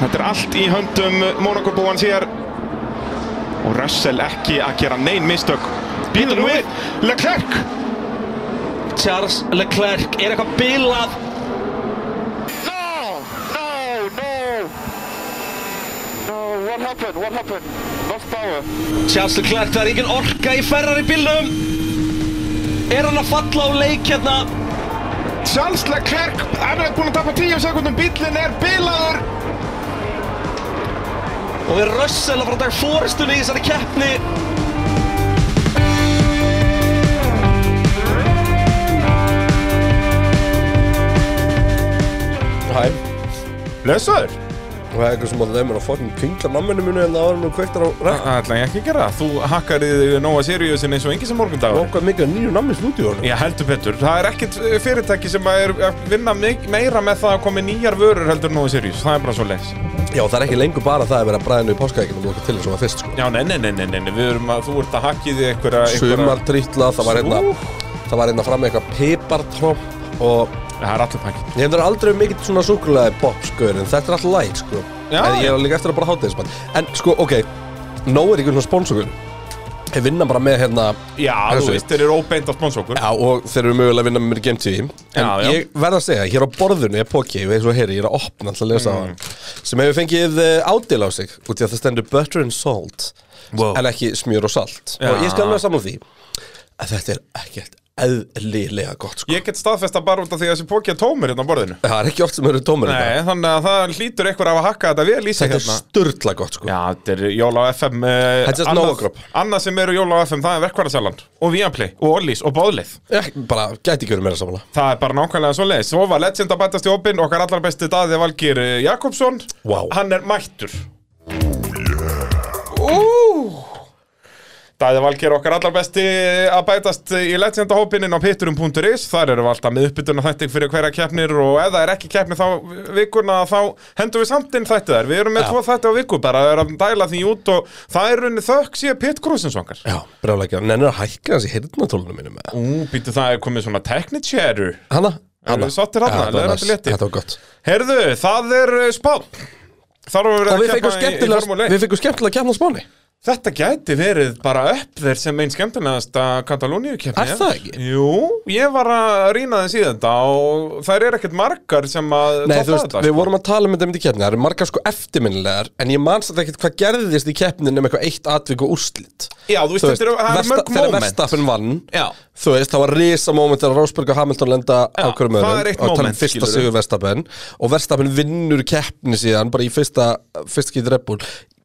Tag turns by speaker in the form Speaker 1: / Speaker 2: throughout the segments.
Speaker 1: Þetta er allt í höndum Monakobúans hér og Russell ekki að gera neinn mistök. Býtur nú við, Leclerc!
Speaker 2: Charles Leclerc er eitthvað bilað
Speaker 3: No! No! No! No! What happened? What happened? Lost power.
Speaker 2: Charles Leclerc, það er engin orka í Ferrari bílnum Er hann að falla á leik hérna?
Speaker 1: Charles Leclerc, hann er búinn að tapa 10 sekundum, bílinn er bilaður!
Speaker 2: Og er Russell að fara að taka fórustunni í þessari keppni
Speaker 4: Hæ,
Speaker 5: Blessaður!
Speaker 4: og það er eitthvað sem að þeim er að fokkin kringla namminu munu en það var nú kvektar á ræk
Speaker 5: Það ætla ég ekki að gera. Þú hakkar í þig Nóa Siriusin eins og enginn sem morgundagur.
Speaker 4: Nókvað mikið að nýju nammi stúdíónu
Speaker 5: Já, heldur Petur. Það er ekkert eh, fyrirtæki sem að er að vinna mik- meira með það að koma með nýjar vörur heldur en Nóa Sirius. Það er bara svo leys.
Speaker 4: Já, það er ekki lengur bara það að vera bræðinu í páskaækjunum og okkur til þess að var fyrst sko
Speaker 5: Já, nei, nei, nei, nei, nei, nei. Við erum að, þú ert að hakka í þig einhverja... einhverja-
Speaker 4: Sumartrýtla, það var hérna
Speaker 5: Ú.
Speaker 4: það var hérna fram með eitthvað pipartromp og
Speaker 5: Það er allir pakkin.
Speaker 4: ég hefði aldrei mikill svona súkulega bopp sko en þetta er alltaf læg sko
Speaker 5: Já,
Speaker 4: en ég
Speaker 5: já.
Speaker 4: var líka eftir að bara háta þess en sko, ok, nóg er ekki svona sponsokun ég vinna bara með hérna
Speaker 5: Já,
Speaker 4: Þessu.
Speaker 5: þú veist, þeir eru óbeint á sponsókur.
Speaker 4: Já, og þeir eru mögulega að vinna með mér í Game TV En
Speaker 5: Já, já.
Speaker 4: ég verð að segja, hér á borðinu er Poki og eins og heyri, ég er að opna alltaf að lesa á hann
Speaker 5: Mm.
Speaker 4: sem hefur fengið uh, ádil á sig út í að það stendur butter and salt
Speaker 5: Wow.
Speaker 4: en ekki smjör og salt
Speaker 5: Já.
Speaker 4: og ég skal alveg samla því að þetta er ekkert eðlilega gott sko.
Speaker 5: Ég get staðfesta bara út af því að þessi póki er tómur hérna á borðinu.
Speaker 4: Það er ekki oft sem eru tómur
Speaker 5: Nei,
Speaker 4: þetta
Speaker 5: þannig að það hlýtur einhver að hafa hakkað þetta vel í sig
Speaker 4: Þetta er
Speaker 5: hérna.
Speaker 4: sturla gott sko
Speaker 5: Já, þetta er Jóla á FM uh,
Speaker 4: Þetta er Nóagrop.
Speaker 5: annað sem eru Jóla á FM, það er verkvarðarsaland Og Viaplay, og Ollís, og Bóðlið
Speaker 4: Ég, Bara gæti ekki verið meira samla
Speaker 5: Það er bara nákvæmlega svo leið Svo var legend að bætast í opinn, okkar allar besti daði Valgir eh, Jakobsson
Speaker 4: Vá.
Speaker 5: Hann er mættur Ú. Daði Valgir okkar allar besti eh, að bætast í legendahópininn á pitturum.is Þar eru við alltaf með uppbytuna þættir fyrir hverja keppnir og ef það er ekki keppni þá vikuna þá hendum við samt inn þætti þar Við erum með tvo þætti á viku bara, við erum að dæla því út og það er runni þökk síðan pitkrúsins okkar
Speaker 4: Já, brálega ekki, nennir að hækka hans í hirtnatólunum mínum eða?
Speaker 5: Ú, býtu það er komið svona technichatter
Speaker 4: Hanna,
Speaker 5: Erum við sáttir þarna?
Speaker 4: Já, þetta var
Speaker 5: Leiðrandi
Speaker 4: næs.
Speaker 5: léttir.
Speaker 4: Þetta var gott
Speaker 5: Herðu, það er spán Þar var við
Speaker 4: Og
Speaker 5: að
Speaker 4: við fengum
Speaker 5: keppa í, í
Speaker 4: skemmtilega,
Speaker 5: formule 1
Speaker 4: við fengum skemmtilega kemna á spáni
Speaker 5: Þetta gæti verið bara upp þeir sem einn skemmtilegast að Katalóníu kemni
Speaker 4: Er það ekki?
Speaker 5: eh? Jú, ég var að rýna þeim síðan þetta og þær eru ekkert margar sem
Speaker 4: Nei,
Speaker 5: að toppa
Speaker 4: þú veist,
Speaker 5: þetta,
Speaker 4: við
Speaker 5: sko.
Speaker 4: vorum að tala um þetta myndi keppni, það eru margar sko eftirminnilegar en ég manst þetta ekkert hvað gerðist í keppnin nema eitthvað eitt atvik og úrslit
Speaker 5: Já, þú veist, þetta eru það eru mörg
Speaker 4: þegar
Speaker 5: moment
Speaker 4: Verstappen vann
Speaker 5: Já,
Speaker 4: þú veist, það var risa moment þegar Rósberg og Hamilton lenda
Speaker 5: Já,
Speaker 4: á hverjum
Speaker 5: það
Speaker 4: öðrum
Speaker 5: er eitt
Speaker 4: og tala
Speaker 5: moment,
Speaker 4: um fyrsta
Speaker 5: skilurðu.
Speaker 4: sigur Verstappen og Verstappen vinnur keppni síðan bara í fyrsta, fyrsta skýt Red Bull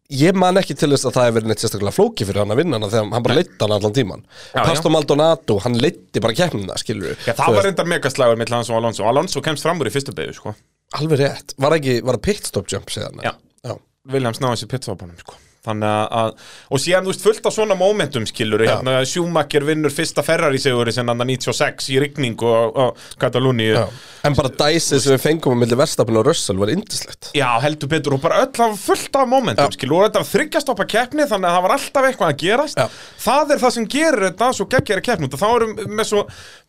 Speaker 4: ég man ekki til þess að það hefur verið neitt sérstaklega flóki fyrir hann að vinna hana þegar hann bara leitt hann allan tíman
Speaker 5: Já, já.
Speaker 4: Pastor Maldonado, hann leitti bara keppnina, skilur
Speaker 5: Já, það var reyndar megaslægur mitt Alonso og Alonso Alonso kemst fram úr í fyrstu beigju, sko
Speaker 4: alveg rétt, var ekki, var það pitstop jump síðan
Speaker 5: Já.
Speaker 4: já.
Speaker 5: Williams náði sér pitstopunum sko. Þannig að- að, og síðan þú veist fullt af svona momentum skilur,
Speaker 4: Já.
Speaker 5: hérna Schumacher vinnur fyrsta Ferrari siguri sinna 96 í rigningu á, á Katalúni
Speaker 4: Já.
Speaker 5: já.
Speaker 4: En bara dæsið sem við fengum á milli verstafin og rössal var indislegt
Speaker 5: heldur betur og bara öll af fullt af momentum
Speaker 4: Já.
Speaker 5: skilur, og þetta var þryggjastoppa keppni þannig að það var alltaf eitthvað að gerast
Speaker 4: Já.
Speaker 5: það er það sem gerir þetta svo geggjara keppni og þá erum við með svo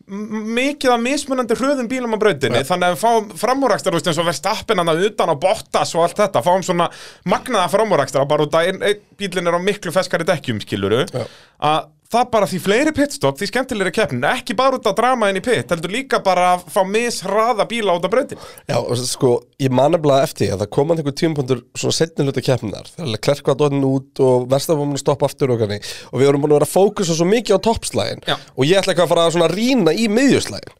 Speaker 5: m- mikið af mismunandi hröðum bílum á brautinni þannig að við fáum framúrækstar eins og verðstappin hann utan á Bottas og allt þetta fáum svona magnaða framúrækstar bara út að ein, ein, bílinn er á miklu feskari dekkjum skiluru
Speaker 4: Já.
Speaker 5: að það bara því fleiri pitstop því skemmtilegri keppnin ekki bara út að drama inn í pit heldur líka bara að fá misraða bíla út af brautinni
Speaker 4: Já, og sko, ég man nefnilega eftir því að það kom hann einhver tímapunktur svona setni hluta keppnar þegar klerk var dottin út og verstafin var búin að stoppa aftur og kannig og við vorum búin að vera að fókusa svo mikið á toppslægin
Speaker 5: Já.
Speaker 4: og ég ætla eitthvað að fara að svona rýna í miðjuslægin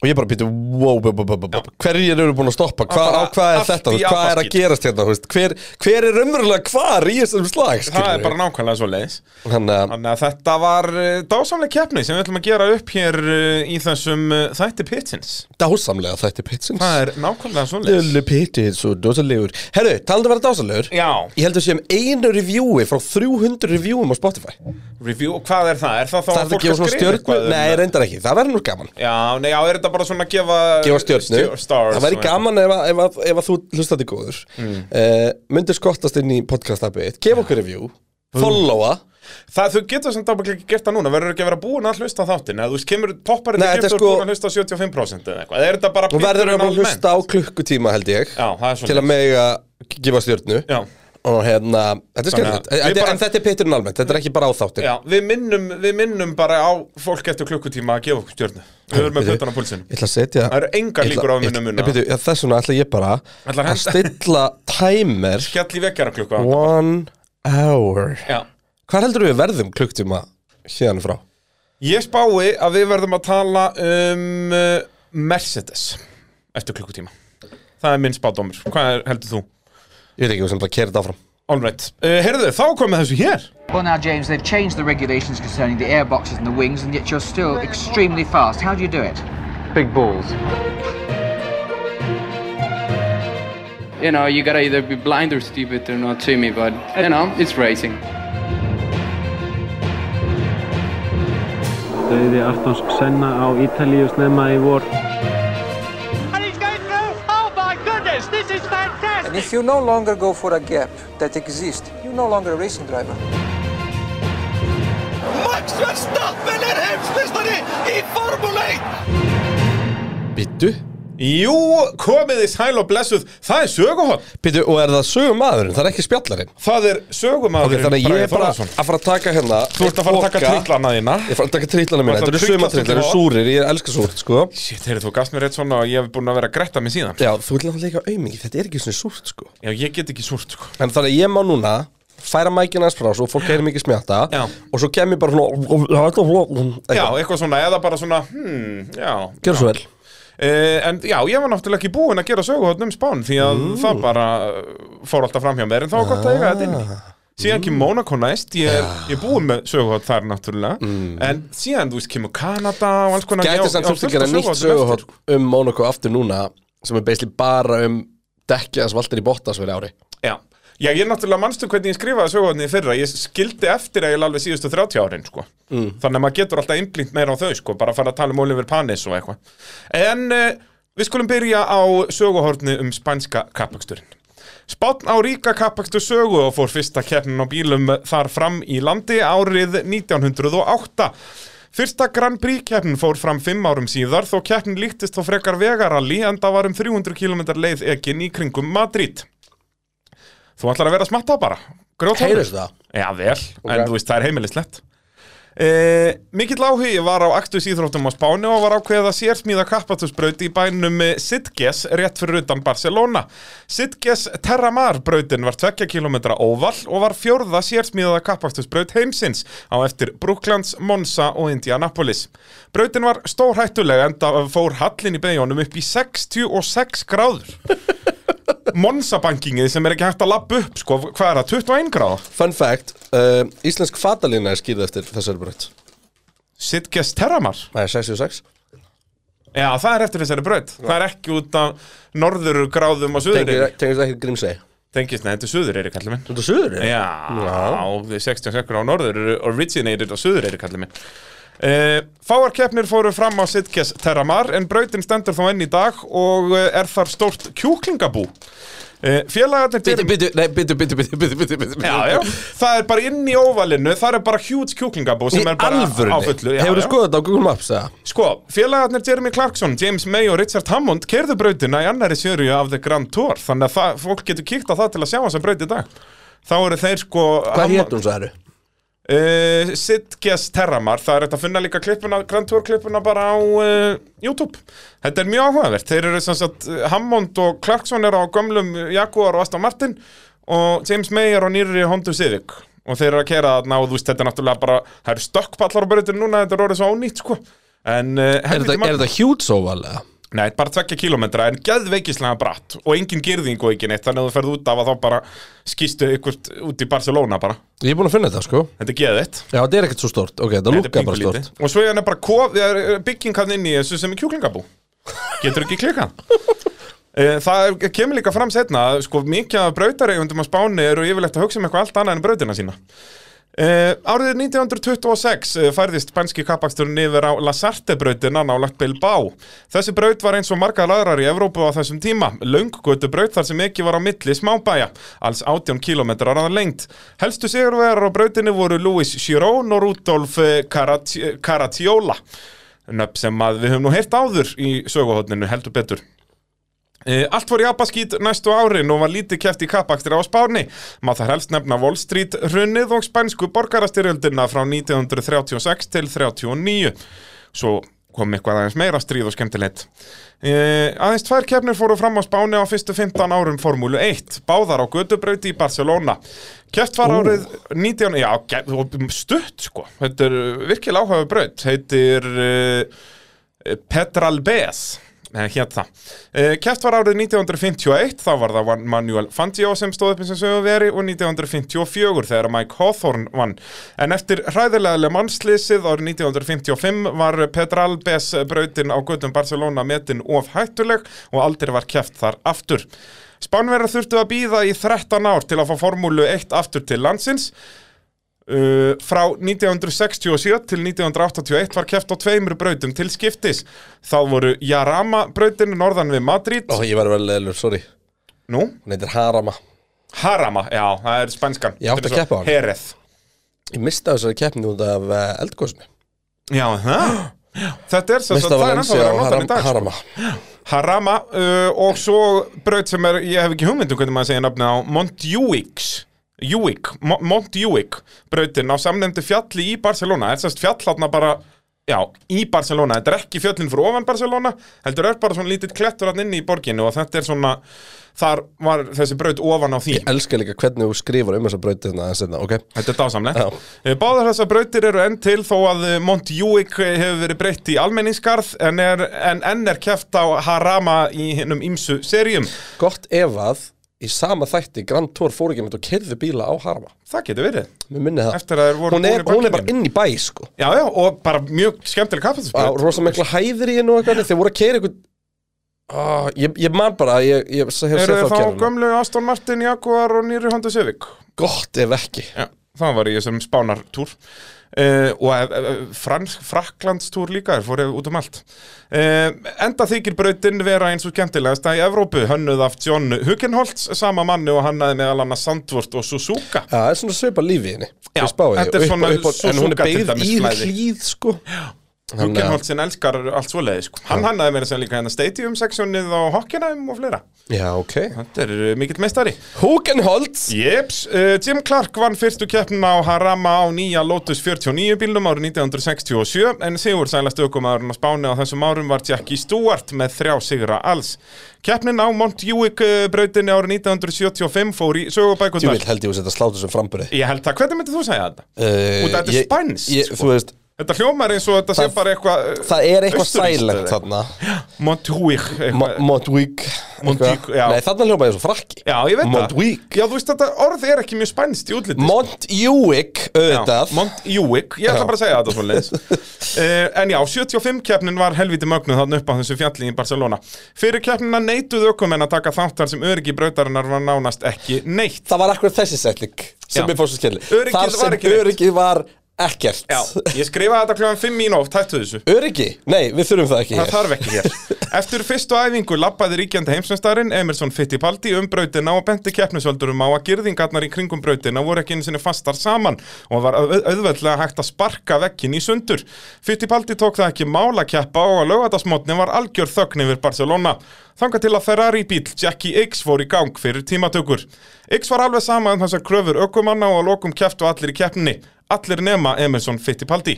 Speaker 4: og ég bara býtu, wow, bú, bú, bú, bú, bú. hverjir eru búin að stoppa, Hva,
Speaker 5: Bara
Speaker 4: á hvað er
Speaker 5: allt
Speaker 4: þetta,
Speaker 5: í
Speaker 4: þú veist, hvað er að
Speaker 5: apaskít.
Speaker 4: gerast hérna, þú veist, hver, hver er umverulega hvar í þessum slag,
Speaker 5: það er bara
Speaker 4: skilur
Speaker 5: nákvæmlega svo leiðis
Speaker 4: Þannig að,
Speaker 5: Þannig að þetta var eh, dásamleg keppni sem við ætlum að gera upp hér eh, í þessum eh, þætti pitsins.
Speaker 4: dásamlega þætti pitsins
Speaker 5: Það er nákvæmlega svoleiðis.
Speaker 4: Lullu pitið, svo dósalegur Herru, talandu að vera dásalegur
Speaker 5: Já,
Speaker 4: Ég heldur séum einu reviewi frá 300 reviewum á Spotify
Speaker 5: review, og hvað er það? Er það þá
Speaker 4: Það er það að gefa svona stjörnu
Speaker 5: um
Speaker 4: Nei,
Speaker 5: það?
Speaker 4: reyndar ekki, það verður nú gaman
Speaker 5: Já, nei, já, er þetta bara svona að gefa... eh,
Speaker 4: Gefa stjörnu,
Speaker 5: stjör- Uh, stars
Speaker 4: það væri
Speaker 5: og
Speaker 4: gaman ef, að- ef, ef, ef að þú hlustandi góður mm. uh, Myndir skottast inn í podcast appið Gef okkur review, followa
Speaker 5: eitthvað. Það þú getur sem dábæk ekki gert það núna, verður ekki að vera búin að hlusta á þáttinn, eða þú veist, kemur topparinn
Speaker 4: Nei,
Speaker 5: í
Speaker 4: þetta er
Speaker 5: kemur
Speaker 4: sko-
Speaker 5: búin að hlusta á 75% eða eitthvað, eða er þetta bara
Speaker 4: Og verður
Speaker 5: pitturinn
Speaker 4: að
Speaker 5: almennt?
Speaker 4: hlusta á klukkutíma held ég
Speaker 5: Já, það er
Speaker 4: Til
Speaker 5: svona,
Speaker 4: að mega gefa stjórnu
Speaker 5: Já,
Speaker 4: og hérna, þetta er
Speaker 5: Þannig að
Speaker 4: skemmt
Speaker 5: við bara-
Speaker 4: en þetta er pitturinn almennt, þetta er ekki bara áþáttir
Speaker 5: já við, minnum, við minnum bara á fólk eftir klukkutíma að gefa okkur stjórnu Við erum með
Speaker 4: Bíddu,
Speaker 5: pötana púlsinu
Speaker 4: Ég ætla að setja
Speaker 5: Það eru engar
Speaker 4: Ég ætla-
Speaker 5: líkur á að
Speaker 4: ég
Speaker 5: muna
Speaker 4: ætla-
Speaker 5: muna.
Speaker 4: Ég byrju, já, Þess vegna ætla ég bara
Speaker 5: Ætlar að
Speaker 4: að stilla timer
Speaker 5: Skjall í vekjara klukku
Speaker 4: One hour
Speaker 5: Já
Speaker 4: Hvað heldur við verðum klukktíma hérna frá?
Speaker 5: Ég spái að við verðum að tala um uh, Mercedes eftir klukkutíma Það er minn spádómur, hvað er, heldur þú?
Speaker 4: Ég veit ekki, við sem bara kerið áfram
Speaker 5: All right, uh, heyrðu þá komið þessu hér
Speaker 6: Well, now, James, they've changed the regulations concerning the air boxes and the wings, and yet you're still extremely fast. How do you do it? Big balls.
Speaker 7: you know, you gotta either be blind or stupid to not see me, but you know, it's racing.
Speaker 8: Dauði Artons Senna á Ítalíu snemma í vor.
Speaker 9: and he's going through. Oh my goodness, this is fantastic!
Speaker 10: If you no longer go for a gap that exists, you're no longer a racing driver.
Speaker 2: Max Verstappen er heimsmistari í Formule 1
Speaker 4: Býttu?
Speaker 5: Jú, komið í sæl og blessuð, það er söguhótt
Speaker 4: Býttu, og er það sögum maðurinn? Það er ekki spjallarinn
Speaker 5: Það er
Speaker 4: Ok,
Speaker 5: sögumadurinn
Speaker 4: þannig að ég er bara
Speaker 5: Þórðarson
Speaker 4: að fara að taka hérna
Speaker 5: Þú ert að fara að taka
Speaker 4: poka.
Speaker 5: trillana þína
Speaker 4: Ég fara að taka trillana mína,
Speaker 5: Þú
Speaker 4: þetta
Speaker 5: ert að
Speaker 4: eru
Speaker 5: trylla
Speaker 4: sumatrill, þetta eru
Speaker 5: trilla.
Speaker 4: súrir, ég elska súrt, sko
Speaker 5: Shit, heyrðu þú gafst mér rétt svona og ég hef búin að vera að gretta mig síðan
Speaker 4: Já, þú vil náttúrulega líka aumingi, þetta er ekki svona súrt, sko
Speaker 5: Já, ég get ekki súrt sko
Speaker 4: En þannig að ég má núna færa mækina aðeins frá svo fólk heyrir mikið smjáta
Speaker 5: Já.
Speaker 4: og svo kem ég bara svona
Speaker 5: Já, eitthvað svona, eða bara svona, hmm, já
Speaker 4: Gjör svo vel
Speaker 5: Uh, en já, ég var náttúrulega ekki búinn að gera söguhóttn um Spán því að það bara uh, fór alltaf fram hjá mér en þá var gott að eiga þetta inn í.
Speaker 4: Ah.
Speaker 5: Síðan kemur Monaco næst, ég er, ég er búinn með söguhótt þar náttúrulega en síðan, þú veist, kemur Kanada og alls konar
Speaker 4: Mm. Gæti samt svolítið að gera nýtt söguhótt um Monaco aftur núna sem er basically bara um dekkjaðans valdir í bóttas fyrir ári
Speaker 5: Já, já ég er náttúrulega manstu hvernig ég skrifaði söguhóttni í fyrra ég skildi eftir eiginlega alveg síðustu 30 árin sko.
Speaker 4: Mm.
Speaker 5: þannig að maður getur alltaf einblínt meira á þau sko, bara að fara að tala um Oliver Panis og eitthvað en uh, við skulum byrja á söguhóttni um spænska kappaksturinn Spátn á ríka kappakstu sögu og fór fyrsta keppnin á bílum þar fram í landi árið 1908. Fyrsta Grand Prix keppnin fór fram fimm árum síðar þó keppnin líktist þó frekar vegaralli en það var um 300 km leið ekin í kringum Madrid. Þú ætlar að vera smatta bara. grjótharður.
Speaker 4: Heyrist það?
Speaker 5: Já, vel, en
Speaker 4: Ok.
Speaker 5: þú veist, það er heimilislegt. E, mikill áhugi var á aktus íþróttum á Spáni og var ákveðið að sérsmíða kappatusbraut í bænum e, Sitges rétt fyrir utan Barcelona. Sitges Terramar brautin var 2 km óval og var fjórða sérsmíðaða kappatusbraut heimsins á eftir Brooklands, Monsa og Indianapolis. Brautin var stórhættuleg enda fór hallin í beigjónum upp í 66 gráður. Monsa-bankingið sem er ekki hægt að lappa upp, sko, hvað er það, 21 gráða?
Speaker 4: Fun fact, uh, íslensk fatalína er skýrð eftir þessari brönd
Speaker 5: Sitges Terramar?
Speaker 4: Það er 66
Speaker 5: Já, það er eftir þessari braut. Það er ekki út af norður gráðum og suður
Speaker 4: Tengir
Speaker 5: Tengist,
Speaker 4: það ekki grímsei
Speaker 5: nei, þetta er suður eiri, kallið minn.
Speaker 4: Þetta er söður
Speaker 5: Já, og þau 60 sekkur á norður eru originated á suður eiri, kallið minn. Uh, fáar keppnir fóru fram á Sitges Terramar en brautin stendur þá enn í dag og eh, er þar stórt kjúklingabú. Uh, félagarnir
Speaker 4: Bitu, bitu, nei, bitu, bitu, bitu, bitu, bitu, bitu
Speaker 5: Já, já, það er bara inn í óvalinu, það er bara huge kjúklingabú sem
Speaker 4: Í
Speaker 5: er bara
Speaker 4: alvörunni?
Speaker 5: á fullu. já,
Speaker 4: Hefurðu
Speaker 5: já.
Speaker 4: skoðað þetta á Google Maps, eða?
Speaker 5: Sko, félagarnir Jeremy Clarkson, James May og Richard Hammond kerðu brautina í annari sjöru af The Grand Tour þannig að það, fólk getur kíkt á það til að sjá hans að braut í dag þá eru þeir sko
Speaker 4: Hvað hétt hún, sagði?
Speaker 5: Uh, Sitges Terramar, það er þetta að finna líka klippuna, Grand Tour klippuna bara á uh, YouTube Þetta er mjög áhugavert, þeir eru sem sagt eh, Hammond og Clarkson eru á gömlum Jaguar og Aston Martin og James May er á nýri Honda Civic og þeir eru að kera þarna og þú veist þetta er náttúrulega bara það eru stökkpallar á brautinu núna, þetta er orðið svo ónýtt sko En, uh,
Speaker 4: Er þetta- er þetta hjúts óvalega?
Speaker 5: Nei, bara tvekja kílómetra en geðveikislega bratt og engin girðing og engin eitt þannig að þú ferð út af að þá bara skýstu ykkur út í Barcelona bara
Speaker 4: Ég er búin að finna þetta, sko
Speaker 5: Þetta er geðveitt
Speaker 4: Já, þetta er ekkert svo stort, ok, þetta
Speaker 5: Þetta er
Speaker 4: lukkar bara
Speaker 5: pingulítið.
Speaker 4: stort
Speaker 5: Og svo er hann bara kof, er byggingan eh, inn í þessu sem er kjúklingabú Getur ekki klikkað Eh, Það kemur líka fram setna að sko, mikið af brautareigundum á Spáni eru yfirleitt að hugsa um eitthvað allt annað en brautina sína Uh, árið 1926 uh, færðist spænski kappaksturinn yfir á Lasarte-brautina nálagt Bilbao. Þessi braut var eins og margar aðrar í Evrópu á þessum tíma. Lönggötu braut þar sem ekki var á milli smábæja, alls 18 kilometrar að lengt. Helstu sigurvegarar á brautinni voru Luis Chirón og Rudolf eh, Carat- Caratiola. Nöfn sem að við höfum nú heyrt áður í söguhóttninu heldur betur. Eh, Allt fór í abaskýt næstu árin og var lítið keft í kappakstir á Spáni. Maður þarf helst nefna Wall Street hrunnið og spænsku borgarastyrjöldina frá 1936 til 39. Svo kom eitthvað aðeins meira stríð og skemmtilegt. Eh, aðeins tvær keppnir fóru fram á Spáni á fyrstu 15 árum Formúlu 1, báðar á Götubrauti í Barcelona. Keft var árið 19... Já, ge- og stutt sko. Þetta er uh, virkilega áhuga braut. Heitir uh, Petralbes hétt það. Eh, Keft var árið 1951, þá var það Juan Manuel Fangio sem stóð upp eins og sögum veri og 1954 þegar Mike Hawthorne vann. En eftir hræðilega mannslýsið árið 1955 var Petralbes brautin á göttum Barcelona metin of hættuleg og aldrei var keft þar aftur. Spánverðar þurftu að býða í 13 ár til að fá formúlu 1 aftur til landsins Uh, frá 1967 til 1981 var keft á tveimur brautum til skiptis þá voru Jarama brautin norðan við Madrid
Speaker 4: Ó, ég var vel leilur, sorry
Speaker 5: Nú,
Speaker 4: Hún heitir Harama
Speaker 5: Harama, já, það er spænskan
Speaker 4: Ég átti að keppa á hann.
Speaker 5: Hereth
Speaker 4: Ég mista þessari keppni út af eh, eldgosinu
Speaker 5: Já, það Þetta er sem sagt,
Speaker 4: Mista
Speaker 5: það er ennþá
Speaker 4: Valencia
Speaker 5: verið að
Speaker 4: og
Speaker 5: nota hann í
Speaker 4: Haram,
Speaker 5: dag sko.
Speaker 4: Harama
Speaker 5: Harama uh, og svo braut sem er, ég hef ekki hugmynd um hvernig maður segir nafnið á Montjuic Juic, Mo- Montjuic brautin á samnefndu fjalli í Barcelona er sérst fjall hérna bara Já, í Barcelona, þetta er ekki fjöllin fyrir ofan Barcelona heldur er bara svona lítill klettur hann inni í borginu og þetta er svona þar var þessi braut ofan á því
Speaker 4: Ég elska líka hvernig þú skrifar um þessa brauti þarna aðeins þetta, ok?
Speaker 5: Þetta er dásamlegt.
Speaker 4: Já.
Speaker 5: Eh, Báðar þessar brautir eru enn til þó að eh, Montjuic hefur verið breytt í almenningskarð en, er, en enn er keft á Harama í hinnum ímsu serjum.
Speaker 4: Gott ef að í sama þætti Grand Tour fór ekki með og kerði bíla á Harama
Speaker 5: Það getur verið.
Speaker 4: Mér minni það
Speaker 5: Eftir að þeir voru
Speaker 4: hún, er,
Speaker 5: búnir í
Speaker 4: hún er bara
Speaker 5: bakinu.
Speaker 4: inn í bæ, sko
Speaker 5: Já, já, og bara mjög
Speaker 4: Á
Speaker 5: skemmtileg kappatisbreyt.
Speaker 4: rosa mikla hæðir í hennu og eitthvað Þeir voru að keira eitthvað ah, ég, ég man bara, að ég, ég hef séð
Speaker 5: Eru
Speaker 4: það á
Speaker 5: þá
Speaker 4: kerfinu
Speaker 5: gömlu Aston Martin, Jaguar og nýri Honda Civic?
Speaker 4: Gott ef ekki
Speaker 5: Já, það var í þessum spánartúr. Uh, og uh, fransk, fraklandstúr líka er fórið út um allt uh, enda þykir brautin vera eins og skemmtilegast í Evrópu, hönnuð af John Hugenholtz sama manni og hannaði meðal annars Sandvort og Suzuka
Speaker 4: Já, það er svona svipa lífi í henni
Speaker 5: Já,
Speaker 4: Ég spái því.
Speaker 5: þetta
Speaker 4: Og
Speaker 5: er
Speaker 4: upp-
Speaker 5: svona
Speaker 4: upp á- En hún
Speaker 5: Suzuka
Speaker 4: er
Speaker 5: til
Speaker 4: beigð
Speaker 5: dæmis
Speaker 4: í
Speaker 5: flæði.
Speaker 4: hlýð, sko Þannig að-
Speaker 5: Hugenholtzin elskar allt svoleiði sko. hann hannaði meira sem líka hérna Stadium sectionið og Hockenheim og fleira
Speaker 4: Já, ok
Speaker 5: þetta er uh, mikill meistari
Speaker 4: Hugenholtz
Speaker 5: Jeps, uh, Jim Clark vann fyrstu keppnina á Harama á nýja Lotus 49 bílnum árið 1967 en sigur sælast aukumæðurinn á Spáni á þessum árum var Jackie Stewart með þrjá sigra alls. Keppnin á Montjuic uh, brautinni árið 1975 fór í
Speaker 4: Ég
Speaker 5: sögubækundar.
Speaker 4: vil held ég að setja slátur sem framburði
Speaker 5: Ég held það, hvernig myndir þú segja þetta?
Speaker 4: Uh,
Speaker 5: Út af þetta er
Speaker 4: ég-
Speaker 5: spænskt,
Speaker 4: ég-
Speaker 5: sko.
Speaker 4: Þú veist,
Speaker 5: Þetta hljómar eins og þetta sé
Speaker 4: Það-
Speaker 5: bara eitthvað... eh,
Speaker 4: það er eitthvað
Speaker 5: austurrískt
Speaker 4: sælent
Speaker 5: eða-
Speaker 4: þarna
Speaker 5: Montjuic,
Speaker 4: Mo-
Speaker 5: eitthvað...
Speaker 4: Montjuic
Speaker 5: Montjuic,
Speaker 4: eitthvað.
Speaker 5: já.
Speaker 4: Nei, þarna hljóma ég svo frakki
Speaker 5: Já, ég veit
Speaker 4: Montjuic.
Speaker 5: það. Já, þú veist þetta orð er ekki mjög spænst í útliti.
Speaker 4: Montjuic, auðvitað
Speaker 5: Montjuic, ég ætla
Speaker 4: Já.
Speaker 5: bara að segja þetta svo leins En já, 75 keppnin var helviti mögnuð þannig upp á þessu fjalli í Barcelona Fyrir keppnina neituðu ökumenn að taka þáttar sem öryggi brautarinnar var nánast ekki neitt
Speaker 4: Það var akkur þessi setning sem
Speaker 5: Já.
Speaker 4: ég fór svo skilni
Speaker 5: Öryggið
Speaker 4: Þar
Speaker 5: var
Speaker 4: sem
Speaker 5: ekki neitt.
Speaker 4: öryggið var ekkert
Speaker 5: Já, ég skrifaði þetta kljóðan 5 í nótt, hættu þessu
Speaker 4: Öryggi? Nei, við þurfum það ekki
Speaker 5: Það
Speaker 4: hér
Speaker 5: þarf ekki hér Eftir fyrstu æfingu lappaði ríkjandi heimsveistarinn Emerson Fittipaldi um brautina og benti keppnisöldurum á að girðingarnar í kringum brautina voru ekki einu sinni fastar saman og var auð- auðveldlega hægt að sparka vekkin í sundur Fittipaldi tók það ekki mála keppa og að lögatasmotni var algjör þögn yfir Barcelona Þanga til að Ferrari bíl Jackie X fór í gang fyrir tímatökur X var alveg sama um þessar kröfur ökumanna og að lokum keftu allir í keppninni allir nema Emerson Fittipaldi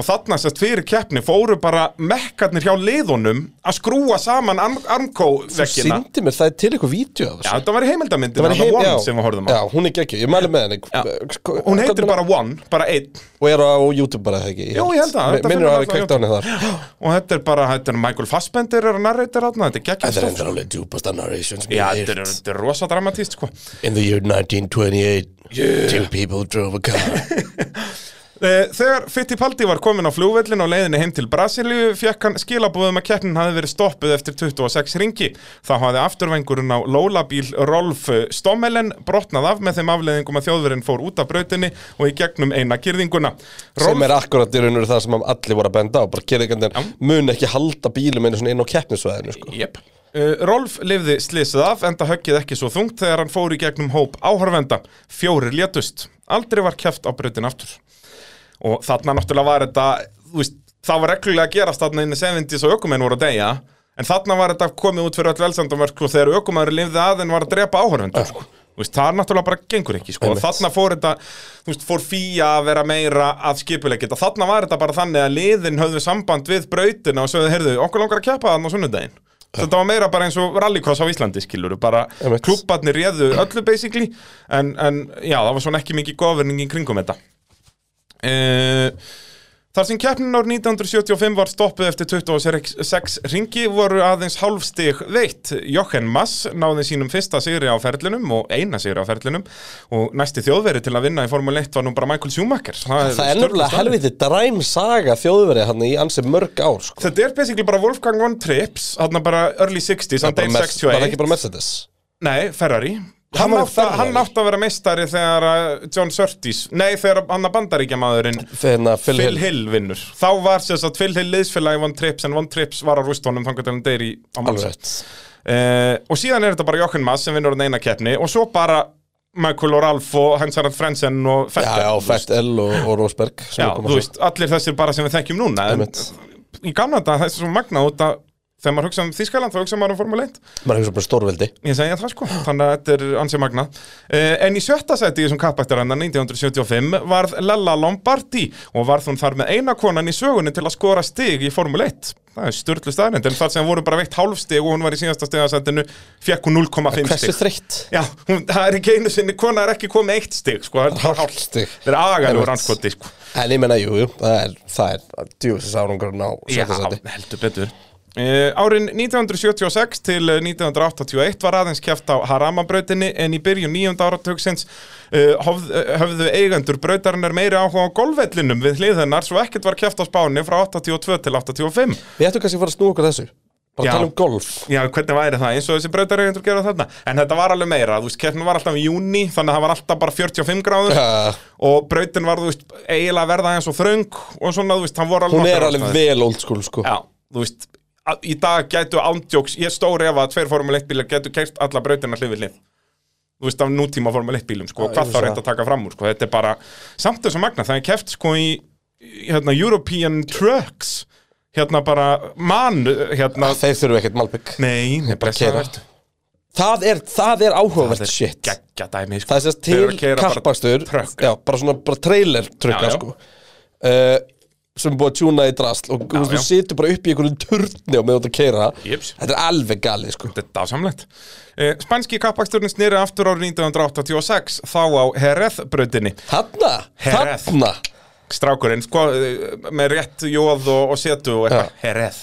Speaker 5: og þarna sérst fyrir keppni fóru bara mekkarnir hjá liðunum að skrúa saman
Speaker 4: Þú
Speaker 5: armkó-vekkina
Speaker 4: sýndi mér, það er til eitthvað vídeo af
Speaker 5: Já,
Speaker 4: þessu.
Speaker 5: þetta var í heimildamyndin,
Speaker 4: Það var
Speaker 5: þetta
Speaker 4: heim-
Speaker 5: var
Speaker 4: já.
Speaker 5: One sem við horfðum á
Speaker 4: Já, hún er geggju, ég mæli með henni Hva-
Speaker 5: Hún heitir
Speaker 4: hvernig-
Speaker 5: bara One, bara einn
Speaker 4: Og er á YouTube bara það ekki
Speaker 5: Jú, ég held það, þetta
Speaker 4: Minnur
Speaker 5: finnur
Speaker 4: að hafi
Speaker 5: maður
Speaker 4: kveikt á henni þar
Speaker 5: og þetta er bara, þetta er Michael Fassbender er að narrator þarna, þetta er geggjast
Speaker 4: Þetta er endur alveg djúpasta narrations
Speaker 5: Já, þetta er, þetta er rosa dramatíst sko
Speaker 4: In the year 1928 Two people drove a car
Speaker 5: Eh, Þegar Fittipaldi var komin á flugvellin og leiðinni heim til Brasilíu fekk hann skilabúðum að keppnin hafi verið stoppuð eftir 26 ringi. Þá hafði afturvengurinn á Lólabíl Rolf Stommelen brotnað af með þeim afleiðingum að þjóðverinn fór út af brautinni og í gegnum eina kyrðinguna.
Speaker 4: sem er akkurat í raun og veru það sem allir voru að benda á bara gerðingarnir mun ekki halda bílum einu svona inn á keppnisvæðinu sko.
Speaker 5: Jep. Uh, Rolf lifði slísið af enda höggið ekki svo þungt þegar hann fór í gegnum hóp áhörvenda. Fjórir létust. Aldrei var keft á brautin aftur. Og þarna náttúrulega var þetta, þú veist, það var reglulega að gerast þarna inn í 70s og ökumenn voru að deyja. en þarna var þetta komið út fyrir öll velsendamörk og þegar aukumæður lifði að en var að drepa áhörfundum sko. Þú veist, það er náttúrulega bara gengur ekki sko.
Speaker 4: Einmitt.
Speaker 5: þarna fór þetta, þú veist, fór fíja að vera meira að skipulegja þetta þarna var þetta bara þannig að liðin höfðu samband við brautina og sögðu, heyrðu, okkur langar að keppa þarna á sunnudaginn Þetta var meira bara eins og rallycross á Íslandi skilur bara
Speaker 4: Einmitt.
Speaker 5: klubbarnir réðu öllu basically en, en já, það var svona ekki mikið governing í kringum þetta uh, Þar sem keppnin ár 1975 var stoppuð eftir 26 ringi voru aðeins hálfstig veitt. Jochen Mass náði sínum fyrsta sigri á ferlinum og eina sigri á ferlinum og næsti þjóðveri til að vinna í Formule 1 var nú bara Michael Schumacher.
Speaker 4: Það er
Speaker 5: stjórnlaust
Speaker 4: nefnilega
Speaker 5: alveg.
Speaker 4: helviti dræm saga þjóðverið hann í ansi mörg ár sko.
Speaker 5: Þetta er basically bara Wolfgang von Trips, hann bara early 60s, hann
Speaker 4: bara
Speaker 5: deyr
Speaker 4: Mer- bara ekki
Speaker 5: 61.
Speaker 4: bara Mercedes
Speaker 5: Nei, Ferrari.
Speaker 4: Hann
Speaker 5: Hann
Speaker 4: var
Speaker 5: átti,
Speaker 4: Ferrari.
Speaker 5: hann átti að vera meistari þegar að John Surtees, nei þegar hann að bandaríkjamaðurinn
Speaker 4: Þegar hérna, Phil
Speaker 5: Phil
Speaker 4: Hill
Speaker 5: Hill vinnur Þá var sérst að Phil Hill liðsfélagi Von Trips en Von Trips var á rústónum þangar til hann deyri á
Speaker 4: Alveg
Speaker 5: málsætt
Speaker 4: rétt
Speaker 5: uh, Og síðan er þetta bara Jochen Mass sem vinnur hann eina keppni og svo bara Michael og Ralf og Hans Harald Frensen og
Speaker 4: Já,
Speaker 5: Fettel
Speaker 4: já, Fettel og, og Rosberg sem
Speaker 5: Já,
Speaker 4: eru koma svo.
Speaker 5: þú veist, allir þessir bara sem við þekkjum núna en,
Speaker 4: Einmitt.
Speaker 5: Í gamla þetta, það er svo magnað út að þegar maður hugsa um Þískaland þá hugsa maður um Formule 1
Speaker 4: Maður hefur svo bara stórveldi
Speaker 5: Ég segja það sko, þannig að þetta er ansið magna uh, En í sjötta sæti í þessum kappættaranna 1975 varð Lella Lombardi og varð hún þar með eina konan í sögunni til að skora stig í Formule 1 Það er störtlu staðrind, en þar sem voru bara veitt hálfstig og hún var í síðasta stigasætinu fekk hún 0,5
Speaker 4: Hversu
Speaker 5: stig
Speaker 4: þreytt
Speaker 5: Já, hún, það er ekki einu sinni, kona er ekki komið eitt stig sko, það er bara hálft
Speaker 4: Hálfstig.
Speaker 5: Það er
Speaker 4: Einmitt.
Speaker 5: agalur rannskoti sko
Speaker 4: En ég menna, jú, jú, það er, það er djúfisins árangurinn á
Speaker 5: Já,
Speaker 4: sjötta sæti.
Speaker 5: heldur betur Uh, árin 1976 til eh, 1981 var aðeins kæft á Harama-brautinni en í byrjun nýjönda áratugsins uh, höfð, eh, höfðu eigendur brautarinnar meiri áhuga á golfvellinum við hliðinnar svo ekkert var kæft á Spáni frá 82 til 85
Speaker 4: Við ættum kannski að fara að snúa okkur að þessu Bara
Speaker 5: Já.
Speaker 4: að tala um golf
Speaker 5: Já, hvernig væri það eins og þessi brautareigendur gera þarna en þetta var alveg meira, þú veist, kæftin var alltaf í júni þannig að það var alltaf bara 45 gráður
Speaker 4: uh,
Speaker 5: og brautin var, þú veist, eiginlega að verða eins og þröng og svona, þú veist, hann voru alveg
Speaker 4: Hún er
Speaker 5: nokkrar
Speaker 4: alveg
Speaker 5: ástæður.
Speaker 4: vel old school, sko
Speaker 5: Já, þú veist að- Í dag gætu ándjóks, ég stóri ef að tveir Formule 1 bílar gætu kert alla brautina hlið við hlið Þú veist af nútíma Formule 1 bílum sko, og hvað
Speaker 4: ég
Speaker 5: þá
Speaker 4: vissi
Speaker 5: reynt að taka fram úr sko. Þetta er bara, samt þessu magna það er keft sko í, í hérna, European Trucks hérna bara mann hérna,
Speaker 4: Þeir þurfu ekkert Malbygg
Speaker 5: nei, nei,
Speaker 4: bara
Speaker 5: blessaður
Speaker 4: keyra.
Speaker 5: vertu.
Speaker 4: Það er, það er áhugavert shit
Speaker 5: geggja dæmi sko.
Speaker 4: Það er sérst
Speaker 5: Þeir eru að
Speaker 4: til
Speaker 5: keyra bara
Speaker 4: kappakstur
Speaker 5: trökk.
Speaker 4: Já, bara svona, bara trailer
Speaker 5: Já,
Speaker 4: trukka,
Speaker 5: já.
Speaker 4: sko uh, Sem er búið að tjúna í drasl Og já, þú
Speaker 5: já.
Speaker 4: situr bara upp í einhvern turni og með út að keira
Speaker 5: Jeps.
Speaker 4: Þetta er alveg galið, sko
Speaker 5: Þetta er dásamlegt. Eh, Spænski kappaksturinn snýri aftur árið 1986 þá á Hereth brautinni
Speaker 4: Hanna,
Speaker 5: Hereth.
Speaker 4: þarna
Speaker 5: strákurinn sko, eh, með rétt jóð og, og setu og eitthvað, herreð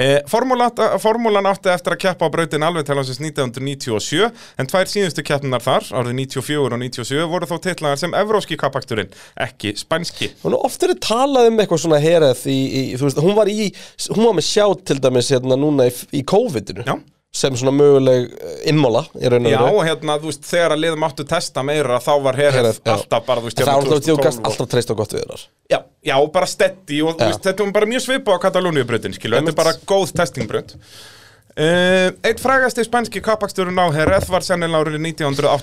Speaker 5: eh, formúlan, formúlan átti eftir að keppa á brautin alveg til ásins 1997 en tvær síðustu keppnar þar, árið 94 og 97 voru þó titlaðar sem evróski kappaksturinn, ekki spænski
Speaker 4: Hún er ofta talað um eitthvað svona herað í, í, þú veist, hún var í, hún var með sjá til dæmis hérna núna í, í COVID-inu
Speaker 5: Já.
Speaker 4: sem svona möguleg eh, immola í raun og
Speaker 5: Já,
Speaker 4: veru.
Speaker 5: og hérna, þú veist, þegar að liðum áttu testa meira þá var herreð
Speaker 4: Herað, já.
Speaker 5: alltaf bara, þú veist,
Speaker 4: En það
Speaker 5: hérna
Speaker 4: var alltaf
Speaker 5: 2012
Speaker 4: tjókast
Speaker 5: og-
Speaker 4: alltaf treyst á gott við þar
Speaker 5: Já, já, bara steady og þú
Speaker 4: Já.
Speaker 5: veist, þetta var bara mjög svipa á Katalóniubröðin, skilu, þetta
Speaker 4: Einmitt.
Speaker 5: er bara góð testingbröð. Uh, eitt frægasti spænski kappaksturinn á Hereth var sennilega árið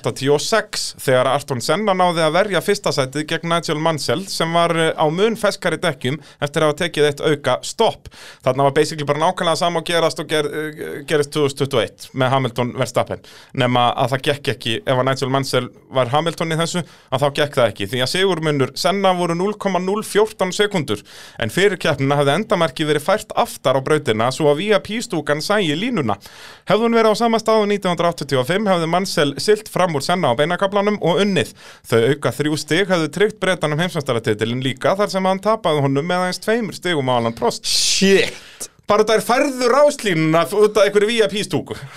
Speaker 5: 1986 þegar Arton Senna náði að verja fyrsta sætið gegn Nigel Mansell sem var eh, á mun feskari dekkjum eftir að hafa tekið eitt auka stopp. Þarna var basically bara nákvæmlega sama og gerast og ger, eh, gerist 2021 með Hamilton Verstappen nema að það gekk ekki ef að Nigel Mansell var Hamilton í þessu að þá gekk það ekki því að sigurmunur Senna voru 0,014 sekundur en fyrir keppnina hafði endamarki verið fært aftar á brautina svo að vía pístúkan sægi línuna hefði hún verið á sama staðu 1985 hefði Mansell silt fram úr Senna á beinakablanum og unnið þau auka þrjú stig hefðu tryggt breytanum heimsmestaratitilin líka þar sem hann tapaði honum með aðeins tveimur stigum á Alan Prost
Speaker 4: Shit
Speaker 5: bara það er færður áslínuna út af einhverju VIP-stúku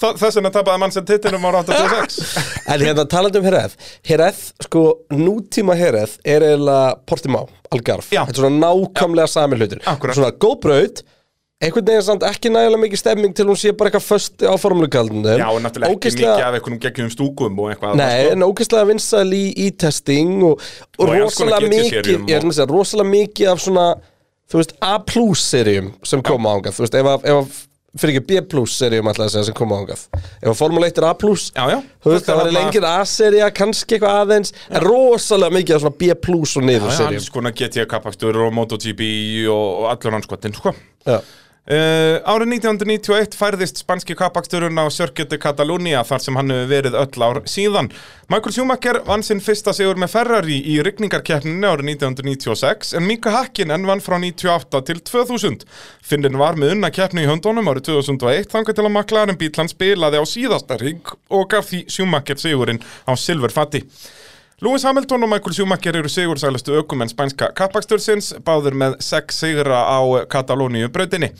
Speaker 5: Þa- þess vegna tapaði mann sem tittinum ára 86
Speaker 4: En hérna talandi um herað Herað, sko, nútíma herað er eiginlega Portimá, Algarve
Speaker 5: Já.
Speaker 4: Þetta er svona nákvæmlega sami hlutur
Speaker 5: Akkúrat.
Speaker 4: Svona góð braut Einhvern veginn samt ekki nægilega mikið stemming til hún sé bara eitthvað föst á formulukaldinu
Speaker 5: Já, og náttúrulega ekki mikið af einhvernum geggjum stúkum og eitthvað
Speaker 4: Nei,
Speaker 5: annað,
Speaker 4: en ógeðslega vinsæl í, í testing og, og,
Speaker 5: Sko. Og í alls konar
Speaker 4: rosalega mikið
Speaker 5: GT-seríum
Speaker 4: ég er að segja, rosalega mikið af svona þú veist, A-plus-seríum sem koma ángað þú veist, ef að, ef að fyrir ekki B-plus-seríum alltaf að segja sem koma ángað ef að Formule 1 er A-plus
Speaker 5: Já, já.
Speaker 4: þú veist,
Speaker 5: Þetta
Speaker 4: það
Speaker 5: er
Speaker 4: var
Speaker 5: þarna-
Speaker 4: lengir A-sería kannski eitthvað aðeins, en rosalega mikið af svona B-plus og
Speaker 5: sko.
Speaker 4: niður
Speaker 5: Það er alls
Speaker 4: seríum
Speaker 5: konar GT kapakstur og MotoGP og, og allur anskotin sko.
Speaker 4: Já.
Speaker 5: Uh, árið 1991 færðist spanski kappaksturinn á Circuit de Catalunya þar sem hann hefur verið öll ár síðan. Michael Schumacher vann sinn fyrsta sigur með Ferrari í rigningarkeppninu árið 1996 en Mika Hakkinen vann frá 98 til 2000. Finnin var með unna keppni í höndunum árið 2001 þangað til að maklaðarinn bíl hann spilaði á síðasta ring og gaf því Schumacher sigurinn á silfurfatti. Lewis Hamilton og Michael Schumacher eru sigursælustu ökumenn spænska kappaksturðsins, báður með sex sigra á Katalóníu brautinni.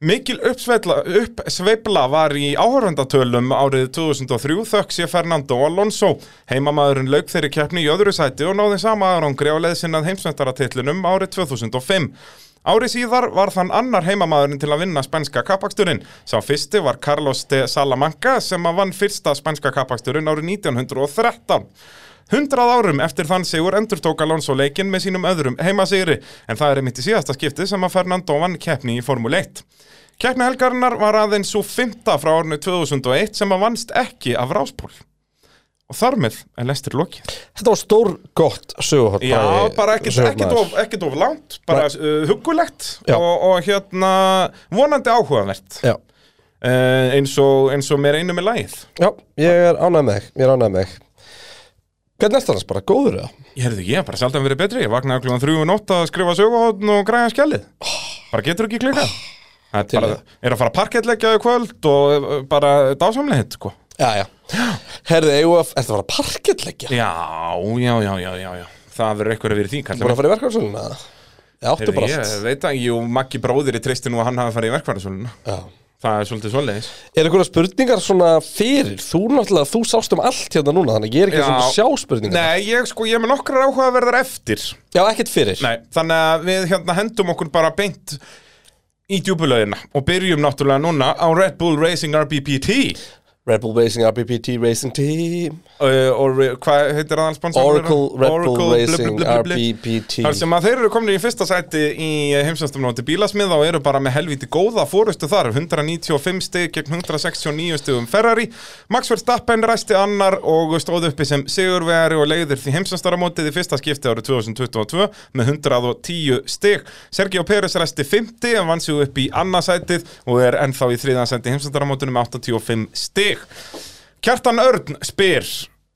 Speaker 5: Mikil uppsveifla, uppsveifla var í áhörvendatölum árið 2003 þökk sé Fernando Alonso. Heimamaðurinn lauk þeirri keppni í öðru sæti og náði sama árangri á leðsinnað heimsveitaratitlinum árið 2005. Árið síðar var þann annar heimamaðurinn til að vinna spænska kappaksturinn. Sá fyrsti var Carlos de Salamanca sem að vann fyrsta spænska kappaksturinn árið 1913. Hundrað árum eftir þann sigur endur tók Alonso leikinn með sínum öðrum heimasigri en það er einmitt í síðasta skipti sem að Fernando vann keppni í Formule 1. Keppni helgarinnar var aðeins svo fymta frá árnu 2001 sem að vannst ekki af ráspól. Og þar með er lestir lokið.
Speaker 4: Þetta var stór gott söguhótt
Speaker 5: Já, bara ekkert, ekkert, of, ekkert of langt, bara uh, hugulegt
Speaker 4: Já.
Speaker 5: og, og hérna vonandi áhugavert
Speaker 4: Já,
Speaker 5: uh, eins, og, eins og mér einu með lagið.
Speaker 4: já, ég er ánægð með þig, ég er ánægð með þig Hvernig er það hans bara, góður eða?
Speaker 5: Ég herði, ég hef bara sjaldan verið betri, ég vaknaði klukkan þrjú og nótt að skrifa söguhóttn og græja skjalið. Bara getur ekki klukka. Það
Speaker 4: Til
Speaker 5: er bara,
Speaker 4: í
Speaker 5: er að fara að parkettleggja í kvöld og uh, bara dásamlegið, sko.
Speaker 4: Já, já Herði, eigum við að, ertu að fara að parkettleggja?
Speaker 5: Já, já, já, já, já, já. Það verður eitthvað að vera í því,
Speaker 4: Búin
Speaker 5: kallar.
Speaker 4: að fara í verkvæmsöluna? Já, áttu bara
Speaker 5: Ég
Speaker 4: allt
Speaker 5: veit að, jú, Maggi bróðir í treysti nú að hann hafi farið í verkvarðarsöluna.
Speaker 4: Já.
Speaker 5: Það er svolítið svoleiðis.
Speaker 4: Er einhverja spurningar svona fyrir? Þú náttúrulega, þú sást um allt hérna núna Þannig að ég er ekki
Speaker 5: Já.
Speaker 4: svona að sjá spurningar
Speaker 5: Nei, ég sko, ég er með nokkrar áhugaverðar eftir.
Speaker 4: Já, ekkert fyrir
Speaker 5: Nei, þannig að við hérna hendum okkur bara beint í djúbulöðina og byrjum náttúrulega núna á Red Bull Racing RBPT
Speaker 4: Red Bull Racing, RBPT Racing Team
Speaker 5: uh, og hvað heitir aðal sponsor
Speaker 4: Oracle, Red Bull
Speaker 5: Oracle,
Speaker 4: Racing,
Speaker 5: blub, blub, blub, blub.
Speaker 4: RBPT
Speaker 5: Þar sem að þeir eru komin í fyrsta sæti í heimsastamnóti bílasmiða og eru bara með helviti góða fórustu þar 195 stig gegn 169 stigum Ferrari Max Verstappen ræsti annar og stóð uppi sem sigurvegari og leiðir því heimsastaramótið í fyrsta skipti árið 2022 með 110 stig Sergio Pérez ræsti 50 en vann sig upp í annarsætið og er ennþá í þriðansæti heimsastaramótinu með 85 stig Kjartan Örn spyr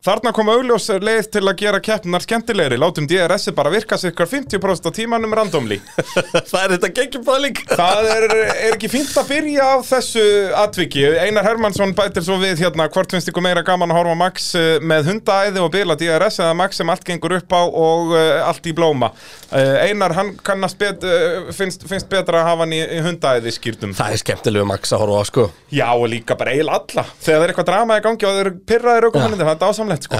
Speaker 5: Þarna kom augljós leið til að gera keppnar skemmtilegri, látum DRS-ið bara virka sig ykkur 50% á tímanum randomli.
Speaker 4: það er þetta geggjum pæling
Speaker 5: Það er, er ekki fínt að byrja á þessu atviki. Einar Hermansson bætir svo við hérna, hvort finnst ykkur meira gaman að horfa á Max eh, með hundaæði og bila DRS eða Max sem allt gengur upp á og uh, allt í blóma. Uh, Einar, hann kannast bet, uh, finnst, finnst betra að hafa hann í, í hundaæði skýrtum.
Speaker 4: Það er skemmtilegu Max að horfa á sko
Speaker 5: Já, og líka bara eil alla. Þegar það er eitthvað drama í gangi og þeir eru pyrraðir aukumenninni, það er dásamlegt sko.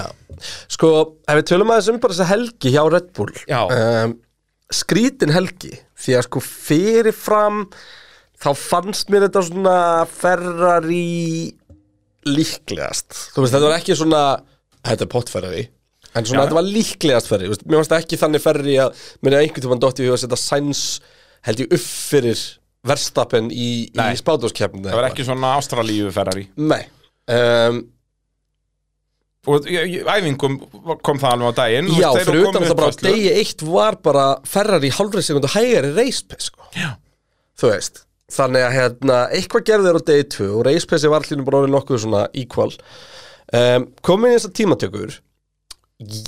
Speaker 4: Sko, ef við tölum aðeins um bara þessa helgi hjá Red Bull
Speaker 5: Já.
Speaker 4: um, Skrítin helgi Því að sko fyrirfram Þá fannst mér þetta svona Ferrari Líklegast Þú veist, þetta var ekki svona Þetta er pottferrari En svona, þetta var líklegast ferri þú veist, Mér fannst ekki þannig ferri að Mér er einhvern tímann dotti í hug að setja sæns Held ég upp fyrir verstappen í, í spátumskeppni
Speaker 5: Það var ekki svona ástralíu Ferrari
Speaker 4: Nei um,
Speaker 5: Og í- í- æfingum kom það alveg á daginn þú
Speaker 4: Já,
Speaker 5: veist, þeir
Speaker 4: fyrir
Speaker 5: komu
Speaker 4: utan það bara á
Speaker 5: uppfærslu.
Speaker 4: degi eitt var bara ferrar í hálfri sekundu hægari reispes sko. Þú veist Þannig að hérna, eitthvað gerðu þeir á degi 2 og reispesi var allir bara orðið nokkuð svona equal um, Komin í þessar tímatökur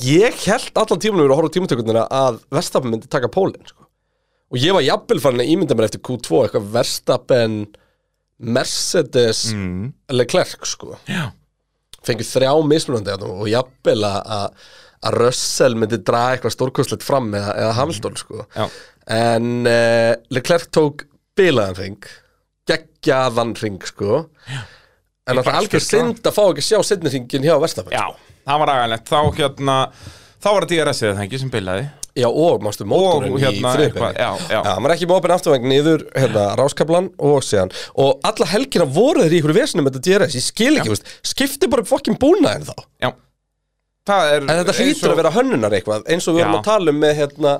Speaker 4: Ég held allan tímanum við að horfa á tímatökurnar að Verstappen myndi taka pólinn sko. og ég var jafnvel farin að ímynda mér eftir Q2 eitthvað Verstappen Mercedes mm. Leclerc sko fengið þrjá mismunandi þarna og jafnvel að- að að Russell myndi draga eitthvað stórkostlegt fram eða, eða Hamilton sko
Speaker 5: Já.
Speaker 4: en uh, Leclerc tók bilaðan ring geggjaðan ring sko Já. en það er algjör synd að fá ekki að sjá setni ringin hjá Verstappen
Speaker 5: Já, það var agalegt Þá hérna Þá var það DRS-ið það ekki sem bilaði
Speaker 4: Já, og mástu mótorinn
Speaker 5: Og, hérna,
Speaker 4: í
Speaker 5: eitthvað,
Speaker 4: þriðbyrni
Speaker 5: já, já.
Speaker 4: maður er ekki mópin afturvæng niður hérna, ráskablan og síðan og alla helgina voru þeir í ykkur vesinu með þetta DRS ég skil ekki, veist, skipti bara fokkin búna en þá
Speaker 5: Já Það er
Speaker 4: En þetta hlýtur að vera hönnunar eitthvað eins og við vorum
Speaker 5: Já.
Speaker 4: að tala um með hérna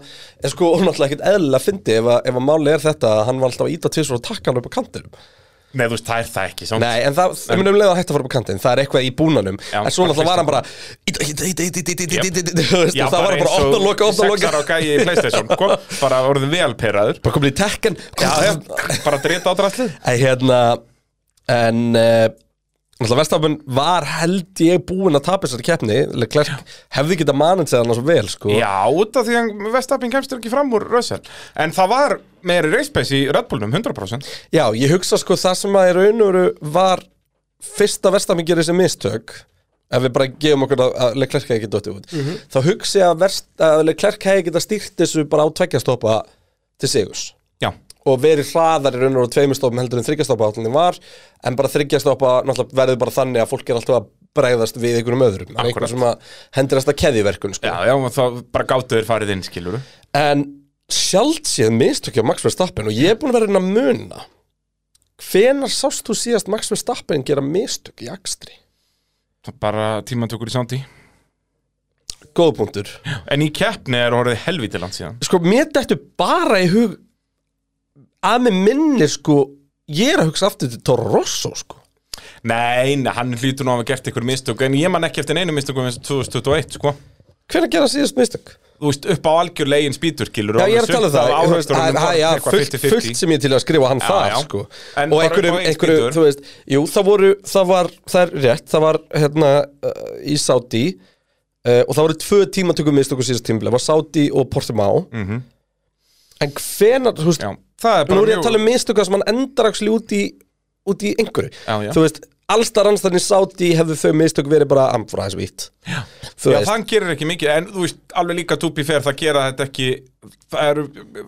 Speaker 4: en sko, hún alltaf ekkert eðlilega fyndi ef að, ef að máli er þetta að hann var alltaf að íta til svo og takka hann upp á kantinum
Speaker 5: Nei, þú veist, það er það ekki samt.
Speaker 4: Nei, en það, það munum leiða að hætta að fara upp á kantinn Það er eitthvað í búnanum
Speaker 5: Já,
Speaker 4: En svo náttúrulega var hann bara Þú veist,
Speaker 5: Já,
Speaker 4: og Það var bara
Speaker 5: eins og
Speaker 4: ofta loka, ofta
Speaker 5: Sexar á
Speaker 4: loka
Speaker 5: gæi í Playstation, sko Bara orðin vel perraður
Speaker 4: Bara komin í tekkan
Speaker 5: Já, já, bara drita á drastlið
Speaker 4: En hérna En eh, Náttúrulega Vestafun var held ég búinn að tapa þessari keppni Leclerc hefði getað manið sig hann svo vel sko
Speaker 5: Já, út af því að Vestapin kemst ekki fram úr Russell En það var meiri race pace í Red Bullnum, 100%
Speaker 4: Já, ég hugsa sko það sem að í raun og veru var fyrsta Verstappen gerir þessi mistök ef við bara gefum okkur að- að Leclerc hefði getað dottið út þá hugsa ég að, verst, að Leclerc hefði getað stýrt þessu bara á tveggjastoppa til sigurs
Speaker 5: Já,
Speaker 4: og verið hraðar í raun og veru tveimur stoppum heldur en þryggjastoppa átlinni var en bara þryggjastoppa náttúrulega verður bara þannig að fólk er alltaf að bregðast við einhverjum öðrum en
Speaker 5: Akkúrat.
Speaker 4: einhver sem að hendurast að keðjuverkun sko.
Speaker 5: já, já, og þá bara gáttu þér farið inn, skilur
Speaker 4: en sjálft séð mistök hjá Max Verstappen og ég er búin að vera að reyna að muna hvenar sást þú síðast Max Verstappen gera mistök í akstri?
Speaker 5: Bara tímantökur í sándi
Speaker 4: Góð punktur
Speaker 5: En í keppni er orðið helvítið langt síðan
Speaker 4: Sko, mér dættu bara í hug að mér minni sko ég er að hugsa aftur til Toro Rosso sko
Speaker 5: Nei, nei, hann hlýtur nú að hafa gert ykkur mistök En ég man ekki eftir einu mistökum eins og 2021, sko
Speaker 4: hvenar gera síðast mistök?
Speaker 5: Þú veist, upp á algjör legin spýtur, skilur
Speaker 4: Já, ég er að tala um það, þú veist, það það- já, fullt, fullt sem ég er til að skrifa hann
Speaker 5: Já,
Speaker 4: það,
Speaker 5: já.
Speaker 4: sko
Speaker 5: En
Speaker 4: Og
Speaker 5: bara
Speaker 4: einhverju,
Speaker 5: upp á einn
Speaker 4: einhverju,
Speaker 5: bítur.
Speaker 4: þú veist, jú, það voru, það var, það er rétt, það var, hérna, uh, í Saudi uh, Og það voru tvö tímatökum mistökum síðast tímabili, það var Saudi og Portimao En hvenar, þú veist,
Speaker 5: Já, það er
Speaker 4: Mhm.
Speaker 5: bara
Speaker 4: nú er ég
Speaker 5: mjög-
Speaker 4: að tala um mistöka sem hann endar axli út í, út í einhverju
Speaker 5: Já, já.
Speaker 4: Þú veist, allstar annstarinn í Saudi hefðu þau mistök verið bara amfra þessu vitt Já, þú
Speaker 5: Já,
Speaker 4: veist,
Speaker 5: hann gerir ekki mikið, en þú veist, alveg líka tupi fer það gera þetta ekki Það eru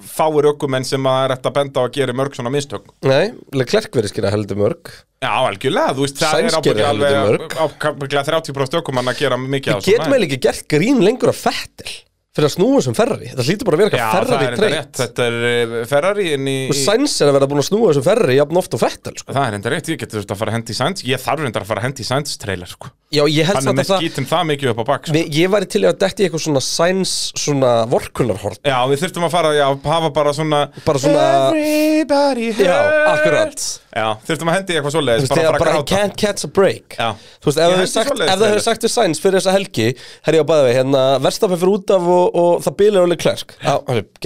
Speaker 5: fáir ökumenn sem að er eftir að benda á að gera mörg svona mistök
Speaker 4: nei, Leclerc verið skilja heldur mörg
Speaker 5: Já, algjörlega, þú veist, það
Speaker 4: Sainz gerir
Speaker 5: er ábyggja alveg
Speaker 4: helviti mörg.
Speaker 5: ábyggja 30% ökumann að gera mikið
Speaker 4: Við getum eiginlega ekki gert grín lengur af Fettel fyrir að snúa sem Ferrari, þetta hlýtur bara að vera
Speaker 5: Já,
Speaker 4: eitthvað
Speaker 5: það er
Speaker 4: Ferrari
Speaker 5: enda rétt,
Speaker 4: treyt
Speaker 5: þetta er eh, Ferrari inn í
Speaker 4: og Sainz er að vera búin að snúa sem Ferrari jafn oft og Fettel sko.
Speaker 5: Það er enda rétt, ég getur þetta að fara að hendi í Sainz Ég þarf enda að fara að hendi í Sainz trailer, sko
Speaker 4: Já, ég held
Speaker 5: Hann er
Speaker 4: samt að
Speaker 5: með
Speaker 4: það
Speaker 5: skítum það mikið upp á bak, sko
Speaker 4: við, ég væri til í að detti eitthvað svona Sainz svona vorkunarhorn
Speaker 5: Já, við þurftum að fara, já, hafa bara svona
Speaker 4: Bara svona-
Speaker 5: Everybody hurts
Speaker 4: Já, akkurat Þú
Speaker 5: Já, þurftum að hendi í eitthvað svoleiðis
Speaker 4: veist, þegar
Speaker 5: að
Speaker 4: bara
Speaker 5: fara
Speaker 4: he
Speaker 5: að gráta
Speaker 4: can't catch a break
Speaker 5: Já.
Speaker 4: Þú veist, ef það
Speaker 5: Ég
Speaker 4: hefur
Speaker 5: held ég
Speaker 4: sagt,
Speaker 5: svoleiðis,
Speaker 4: ef það hefur
Speaker 5: Taylor.
Speaker 4: sagt við Sainz fyrir þessa helgi herri á bæði við, hérna, verstafið fyrir út af og, og það bílir og Leclerc Já,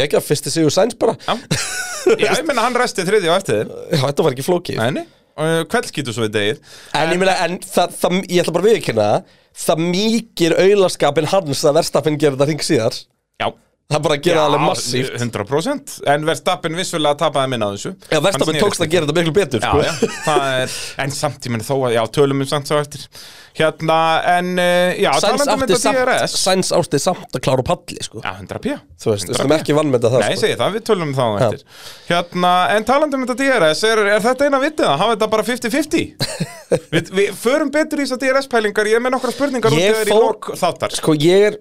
Speaker 4: geggja, fyrsti sigur Sainz bara Já,
Speaker 5: Já, ég menna hann resti þriði á eftir þér
Speaker 4: þetta var ekki flókið
Speaker 5: Nei, uh, kveldskýtu svo í degið
Speaker 4: En ég meina, en það, það, ég ætla bara að viðkynna það, það mýkir auðlaskapin hans að verðstappin gerir þetta hring síðar
Speaker 5: Já,
Speaker 4: Það bara gerir það alveg massíft
Speaker 5: 100% En Verstappen vissulega tapaði minna á þessu
Speaker 4: Já,
Speaker 5: Hann
Speaker 4: verðstappin
Speaker 5: snerist
Speaker 4: tókst að gera þetta miklu betur
Speaker 5: Já,
Speaker 4: sko.
Speaker 5: já, það er, en samt ég menn þó að, já, tölum um samt svo eftir Hérna, en, uh, já,
Speaker 4: Sainz
Speaker 5: talandi um
Speaker 4: átti,
Speaker 5: þetta
Speaker 4: samt,
Speaker 5: DRS
Speaker 4: Sainz átti samt að klára á palli sko.
Speaker 5: Já, 100p
Speaker 4: Þú veist, við
Speaker 5: 100p.
Speaker 4: skulum ekki vannmeta það
Speaker 5: Nei,
Speaker 4: sko.
Speaker 5: segi það, við tölum þá
Speaker 4: Já.
Speaker 5: eftir Hérna, en talandi um þetta DRS, er, er þetta eina vitið að hafa þetta bara 50-50? við, við förum betur í þessar DRS-pælingar, ég er með nokkra spurningar
Speaker 4: Ég
Speaker 5: út þegar í
Speaker 4: fór-
Speaker 5: lok þáttar
Speaker 4: Sko ég er,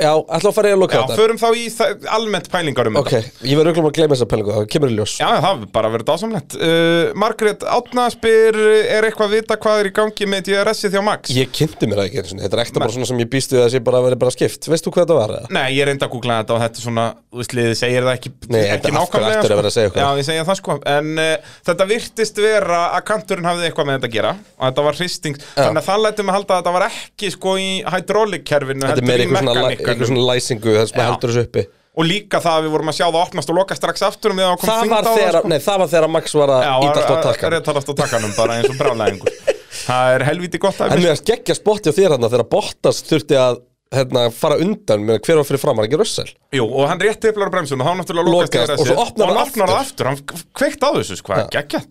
Speaker 4: já, ætla að fara í að
Speaker 5: Já,
Speaker 4: loka þetta
Speaker 5: förum þá í það, almennt pælingar um
Speaker 4: Ok, ég verður öllum að gleyma þessa pælingu, það kemur í ljós
Speaker 5: Já, það hefur bara verið dásamlegt uh, Margrét Átna spyr Er eitthvað vita hvað er í gangi með DRS-ið hjá Max?
Speaker 4: Ég kynnti mér það ekki, einu sinni. þetta er ekta bara svona sem ég býst við að sé bara að vera bara skipt Veist þú hvað þetta var? eða?
Speaker 5: Nei, ég reyndi að googla þetta og þetta er svona Þú veist, liðið segir það ekki,
Speaker 4: Nei, þetta
Speaker 5: ekki
Speaker 4: af hverju ættirðu að vera að segja
Speaker 5: sko.
Speaker 4: eitthvað?
Speaker 5: Já, ég segja það sko En uh, þetta virtist vera að kanturinn hafði eitthvað með þetta að gera Og þetta var hristing Þannig að það lætum við halda að þetta var ekki sko í hydraulikkerfinu
Speaker 4: Þetta er meira eitthvað svona, eitthvað svona læsingu, það sem
Speaker 5: Já.
Speaker 4: heldur þessu uppi
Speaker 5: Og líka það að við vorum að sjá það opnast og loka strax aftur um við að kom
Speaker 4: það
Speaker 5: þyngd á
Speaker 4: var, þegar,
Speaker 5: sko.
Speaker 4: nei, það var þegar að Max var að
Speaker 5: Já,
Speaker 4: ítast á takkan
Speaker 5: rétt á takkanum bara eins og brálaðingur Það er helviti gott að
Speaker 4: En mér að geggja spotti á þér hann þegar Bottas þurfti að hérna, fara undan með hver var fyrir framar ekki rössal
Speaker 5: Jú, og hann rétti eflar á bremsun og þá náttúrulega lokast
Speaker 4: Lokast,
Speaker 5: DRS-ið
Speaker 4: og svo opnar
Speaker 5: og hann
Speaker 4: það
Speaker 5: opnar það aftur, hann kveikt á þessu sko, geggja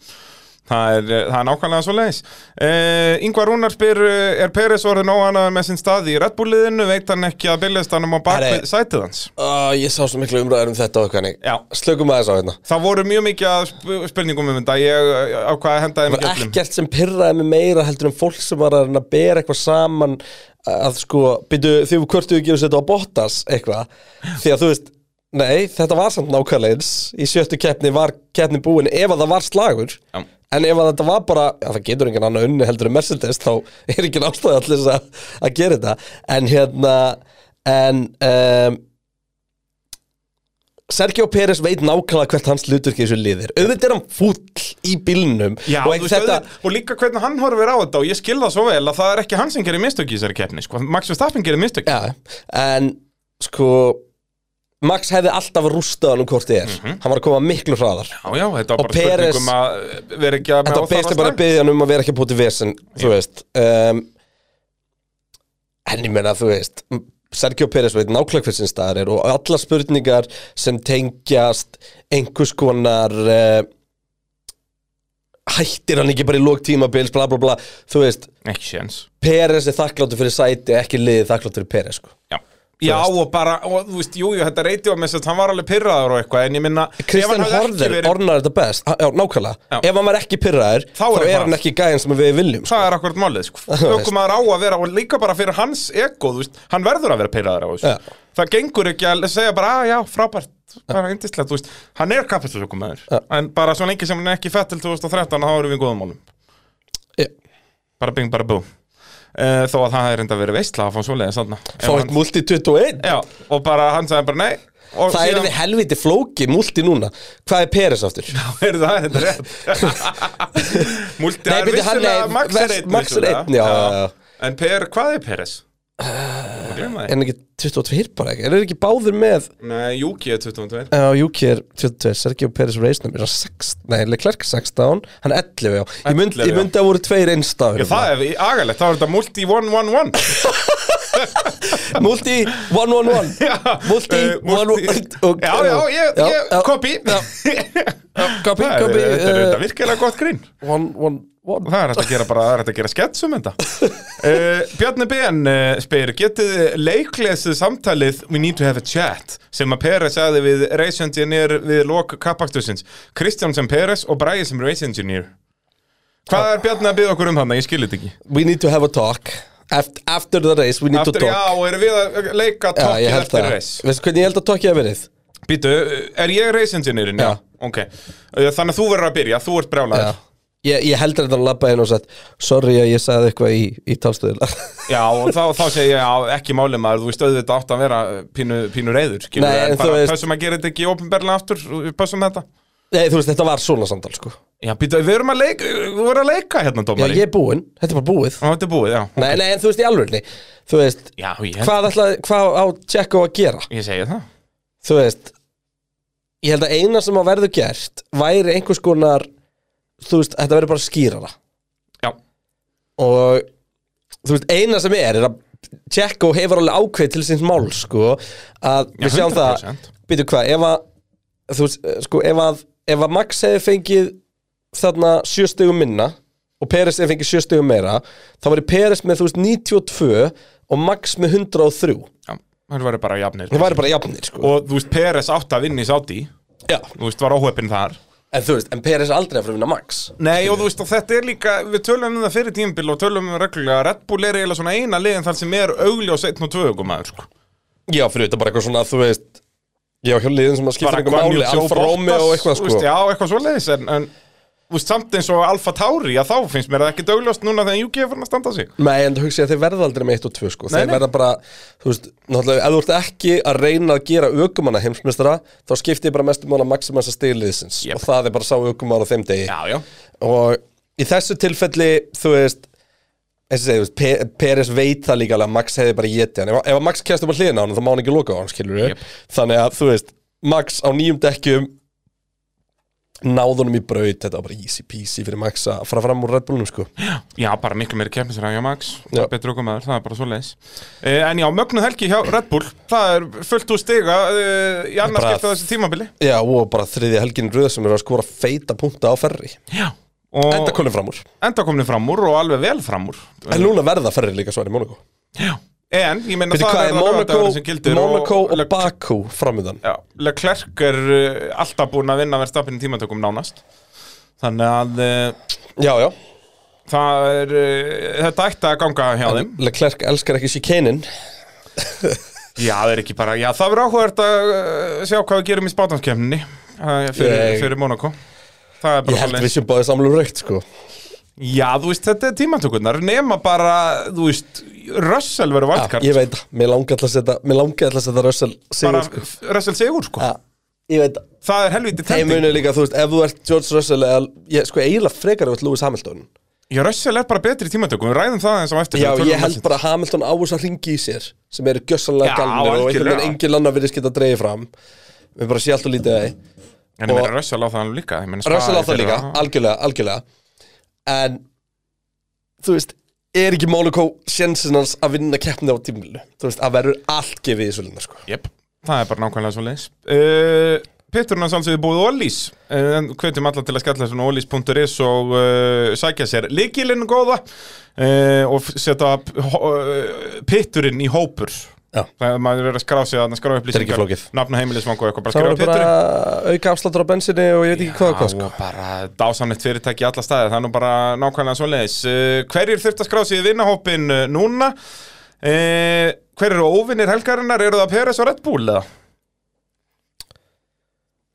Speaker 5: Það er, eh, það er nákvæmlega svo leiðis Yngvar Rúnar spyr eh, Er Peres orðin óhanaður með sinn stað í Red Bull-liðinu? Veit hann ekki að byllistanum á
Speaker 4: Herre.
Speaker 5: bakvið sætið hans?
Speaker 4: uh, Ég sá svo miklu umræður um þetta og eitthvað
Speaker 5: Já.
Speaker 4: Slökum aðeins á hérna
Speaker 5: Það voru mjög mikið af sp- spurningum um þetta Ég eh, ákvað að henda þeim
Speaker 4: Það
Speaker 5: ekki
Speaker 4: var
Speaker 5: öllum.
Speaker 4: ekkert sem pyrraði mig meira heldur en fólk sem var að reyna að bera eitthvað saman að sko, byrju, þið kvörtuðu gefur sér þetta á Bottas eitthvað því að þú veist, nei, þetta var samt nákvæmlega eins í sjöttu keppni var keppni búin ef að það var slagur
Speaker 5: Já.
Speaker 4: en ef að þetta var bara, já það getur enginn annar unni heldur en Mercedes, þá er ekki nástæði allir þess að, að gera þetta en hérna en um, ehm, Sergio Pérez veit nákvæmlega hvert hans hlutverk í þessu liðir auðvitað er hann fúll í bílnum
Speaker 5: Já,
Speaker 4: og
Speaker 5: og,
Speaker 4: ekki
Speaker 5: veist,
Speaker 4: þetta
Speaker 5: þetta... og líka hvernig hann horfir á þetta og ég skil það svo vel að það er ekki hann sem gerir mistök í þessari keppni sko. Max Verstappen gerir mistök
Speaker 4: Já, en sko Max hefði alltaf rústað hann um hvort þið er hann var að koma miklu hraðar
Speaker 5: Já, já, þetta
Speaker 4: Og
Speaker 5: var bara spurning
Speaker 4: Perez-
Speaker 5: um að vera ekki að
Speaker 4: Þetta beist er bara að byggja hann um að vera ekki að búti vesen þú veist um, en ég menna þú veist Sergio Pérez veit nákvæmlega hver sinn staðar er og allar spurningar sem tengjast einhvers konar uh, hættir hann ekki bara í lók tímabils bla bla bla, þú veist
Speaker 5: Ekki séns
Speaker 4: Pérez er þakkláttur fyrir sæti, ekki liðið þakkláttur fyrir Pérez sko.
Speaker 5: Já, já og bara, og, þú veist, jú, jú, þetta radio message, hann var alveg pyrraður og eitthvað, en ég minna
Speaker 4: Kristján Horður ornar þetta best ha- Já, nákvæmlega,
Speaker 5: Já.
Speaker 4: ef hann var ekki pyrraður þá,
Speaker 5: Þá er
Speaker 4: er
Speaker 5: eitthvað
Speaker 4: hann
Speaker 5: að.
Speaker 4: ekki gæðin sem við viljum sko.
Speaker 5: Það er akkurat málið, sko.
Speaker 4: veist.
Speaker 5: Ökum maður á að vera, og líka bara fyrir hans ego, þú veist, hann verður að vera pyrraður á þessu.
Speaker 4: Já.
Speaker 5: Það gengur ekki að segja bara, að já, frábært, bara yndislegt, þú veist, hann er kapitlisökum maður. En bara svo lengi sem hann er ekki fett til 2013, þá erum við í góðum málum.
Speaker 4: Já.
Speaker 5: Bara bing, bara bú. Uh, þó að það er enda verið veistla að fá svoleiðis þarna.
Speaker 4: Fá eitt multi 21
Speaker 5: Já, og bara hann sagði bara nei. og
Speaker 4: Það er
Speaker 5: síðan-
Speaker 4: við helviti flóki multi núna Hvað er Peres aftur?
Speaker 5: Er það, þetta er rétt Múlti, það er
Speaker 4: byrju, hann
Speaker 5: vissulega
Speaker 4: er-
Speaker 5: Max er
Speaker 4: vers-
Speaker 5: einn
Speaker 4: Max er
Speaker 5: vissulega.
Speaker 4: einn, já, já, Uh,
Speaker 5: En Per, hvað er Peres? Þú glemma því.
Speaker 4: En ekki 22 bara ekki, er það ekki báður með
Speaker 5: Nei, Júki er 22
Speaker 4: Já, Júki er 22, Sergio Peres race number 6, nei, Leclerc 16 hann er 11, já, ég myndi,
Speaker 5: 11,
Speaker 4: ég
Speaker 5: já.
Speaker 4: myndi að voru tveir einstafur
Speaker 5: Já, það er agalegt, það var þetta Multi 111
Speaker 4: Uh, Multi 111 Multi
Speaker 5: eh, multi-
Speaker 4: 111
Speaker 5: Já, já, ég, ég, copy
Speaker 4: já. Copy,
Speaker 5: Það er-
Speaker 4: copy
Speaker 5: Þetta er
Speaker 4: eh,
Speaker 5: þetta virkilega gott grín
Speaker 4: One, one, one
Speaker 5: Það er hægt að gera bara, það er hægt að gera skets um þetta uh, Bjarni BN uh, spyr Getið þið leiklesið samtalið We need to have a chat sem að Peres sagði við race engineer við lok kappaktusins Kristján sem Peres og Bræði sem race engineer Hvað er Bjarni að byggja okkur um þarna? Ég skilir þetta ekki
Speaker 4: We need to have a talk After, after the race, we need to
Speaker 5: After,
Speaker 4: talk
Speaker 5: Já, erum við að leika
Speaker 4: ég
Speaker 5: tokkið
Speaker 4: held
Speaker 5: eftir
Speaker 4: það
Speaker 5: race
Speaker 4: Veistu hvernig ég held að talkið að verið?
Speaker 5: Býtu, er ég race engineerin?
Speaker 4: Já.
Speaker 5: Ok, Uh, þannig að þú verður að byrja, þú ert brjálæður
Speaker 4: Ég, ég heldur þetta að labba inn og sagt Sorry að ég sagði eitthvað í, í talstöðila
Speaker 5: Já, og þá, þá segi ég já, ekki máli maður, þú veist auðvitað átt að vera eh, pínu, pínu reyður, skilur
Speaker 4: Nei, en
Speaker 5: en
Speaker 4: þú
Speaker 5: bara
Speaker 4: veist-
Speaker 5: pössum að gera þetta ekki ofinberlega aftur, eh, pössum þetta.
Speaker 4: Nei, þú veist, þetta var svona samtal sko
Speaker 5: Já, býta, við erum að leika, við erum að leika hérna,
Speaker 4: Já,
Speaker 5: dómari.
Speaker 4: ég er búinn, þetta er bara búið
Speaker 5: Og þetta er búið, já.
Speaker 4: Nei, nei, en þú veist, í alvegni Þú veist,
Speaker 5: Já, ég,
Speaker 4: hvað, ætla, hvað á Tjekko að gera?
Speaker 5: ég segi það.
Speaker 4: Þú veist Ég held að eina sem að verður gert Væri einhvers konar Þú veist, þetta verður bara skýrara
Speaker 5: Já,
Speaker 4: og þú veist, eina sem er er að Tjekko hefur alveg ákveð til síns mál sko, að
Speaker 5: Já,
Speaker 4: við sjáum það
Speaker 5: 100%.
Speaker 4: býtu hvað, ef að þú veist, eh, sko, ef að, ef að Max hefði fengið þarna sjö stegum minna og Peres hefði fengið sjö stegum meira þá væri Peres með, þú veist, 92 og Max með 103
Speaker 5: já, það væri bara jafnir.
Speaker 4: það væri bara jafnir, sko
Speaker 5: Og þú veist, Peres átt að vinna í sáti,
Speaker 4: Já.
Speaker 5: þú veist, var áhöpinn þar.
Speaker 4: en þú veist, en Peres er aldrei að fara að vinna Max
Speaker 5: Nei, og þú veist, og þetta er líka, við tölum um það fyrir tímbil og tölum um það reglulega, Red Bull er eiginlega svona eina liðin þar sem er augljós 1 og 2 maður, sko.
Speaker 4: já, fyrir þetta bara eitthvað svona, þú veist já, hjá liðin sem að skipta
Speaker 5: bara
Speaker 4: einhver máli
Speaker 5: Guanyu Joe
Speaker 4: Alfa Romeo og eitthvað,
Speaker 5: þú
Speaker 4: sko
Speaker 5: veist, já, eitthvað svoleiðis en, en þú veist, samt eins og Alfa Tauri að þá finnst mér það ekki dögljóst núna þegar UK er farin að standa sig
Speaker 4: Nei, en þú hugsa ég að þeir verða aldrei með 1 og 2 sko.
Speaker 5: Nei,
Speaker 4: Þeir
Speaker 5: nei.
Speaker 4: verða bara, þú veist, náttúrulega Ef þú ert ekki að reyna að gera aukumanna heimsmeistara Þá skipti ég bara mestum ána maximasa stíliðsins
Speaker 5: Jep.
Speaker 4: Og það er bara sá aukumann á þeim degi
Speaker 5: já, já,
Speaker 4: Og í þessu tilfelli, þú veist eins og segja, þú veist, Pe- Peres veit það líka alveg að Max hefði bara getið hann ef, ef að Max kæst upp að hliðina á hann, þá má hann ekki loka á hann, skilur
Speaker 5: Jep.
Speaker 4: Þannig að, þú veist, Max á nýjum dekkjum Náðunum í braut, þetta var bara easy peasy fyrir Max að fara fram úr Red Bullnum, sko
Speaker 5: já, bara miklu meiri keppnisir á Max
Speaker 4: Já.
Speaker 5: betri okkur maður, það er bara svoleiðis eh, en já, mögnuð helgi hjá Red Bull það er fullt úr stiga eh, í annars
Speaker 4: Bara-
Speaker 5: skipta þessu tímabili
Speaker 4: Já, og bara þriðja helgin röð sem eru að skora feita punta á ferri
Speaker 5: já og
Speaker 4: Enda konum fram úr
Speaker 5: enda komni fram úr og alveg vel fram úr
Speaker 4: En núna verða ferri líka svar í Monaco
Speaker 5: en, ég meina
Speaker 4: Býtu
Speaker 5: það
Speaker 4: hvað
Speaker 5: er
Speaker 4: er
Speaker 5: það
Speaker 4: Monaco,
Speaker 5: laugardagurinn sem gildir
Speaker 4: Monaco og,
Speaker 5: Le-
Speaker 4: Baku framöðan
Speaker 5: Já, Leclerc er eh, alltaf búinn að vinna verðstappin í tímatökum nánast þannig að eh,
Speaker 4: Já, já
Speaker 5: Það er, uh, þetta ætti að ganga hjá þeim
Speaker 4: Leclerc elskar ekki síkenin
Speaker 5: Já, það er ekki bara, já, það verður áhugavert að uh, sjá hvað við gerum í spátanskeppninni uh, fyrir,
Speaker 4: Ég-
Speaker 5: fyrir Monaco Það er
Speaker 4: Ég
Speaker 5: bara
Speaker 4: held við
Speaker 5: svoleiðis.
Speaker 4: sem báðið samlega raukt, sko
Speaker 5: Já, þú veist, þetta er tímantökurnar nema bara, þú veist, Russell verður
Speaker 4: Já,
Speaker 5: valdkart
Speaker 4: Ég veit það, mér langi alltaf að setja Mér langi alltaf að setja Russell
Speaker 5: bara
Speaker 4: sigur, sko
Speaker 5: Russell Sigur, sko
Speaker 4: Já. ég veit það
Speaker 5: Það er helviti
Speaker 4: Þeim
Speaker 5: tending
Speaker 4: munir líka, þú veist, ef þú ert George Russell eða, ég, sko, eiginlega frekar ef þú ert Lewis Hamilton
Speaker 5: Já, Russell er bara betri í tímatökum, við ræðum það eins og eftir
Speaker 4: Já,
Speaker 5: þegar við tölum
Speaker 4: ég
Speaker 5: um
Speaker 4: held
Speaker 5: matchið.
Speaker 4: bara að Hamilton á þess að ringi í sér sem eru
Speaker 5: Já,
Speaker 4: gjössanlega galnir og einhvern veginn
Speaker 5: algjörlega.
Speaker 4: engin landa virðist geta að dreyja fram við bara sé alltaf lítið að það
Speaker 5: En ég
Speaker 4: og-
Speaker 5: meina Russell á það alveg líka ég meina, Spa
Speaker 4: Russell á
Speaker 5: í
Speaker 4: það líka,
Speaker 5: fyrra-
Speaker 4: algjörlega, algjörlega en þú veist, er ekki Mólikó sjensin hans að vinna keppni á tímilu þú veist, að verður allt gefið í þessu lina sko.
Speaker 5: Jep, það er bara nákvæmlega svo leins uh, Pitturinn hans alveg búið Ólís uh, en hvetjum alla til að skella þessu ólís.is og uh, sækja sér líkilinn góða uh, og f- setja uh, pitturinn í hópur
Speaker 4: Já.
Speaker 5: Það er maður verið að skrá sig að skrá
Speaker 4: ekki
Speaker 5: upplýsingar
Speaker 4: flókið.
Speaker 5: Nafna heimilisvang og eitthvað, bara
Speaker 4: það
Speaker 5: skrifa
Speaker 4: verður
Speaker 5: pitturinn
Speaker 4: bara auka afsláttur á bensinni og ég veit ekki hvað það kost
Speaker 5: Já,
Speaker 4: sko.
Speaker 5: og bara dásamlegt fyrirtæki í alla staði, það er nú bara nákvæmlega svoleiðis. Uh, hverjir þurft að skrá sig í vinnahópin uh, núna? Uh, hver eru óvinnir helgarinnar? Eru það Peres og Red Bull eða?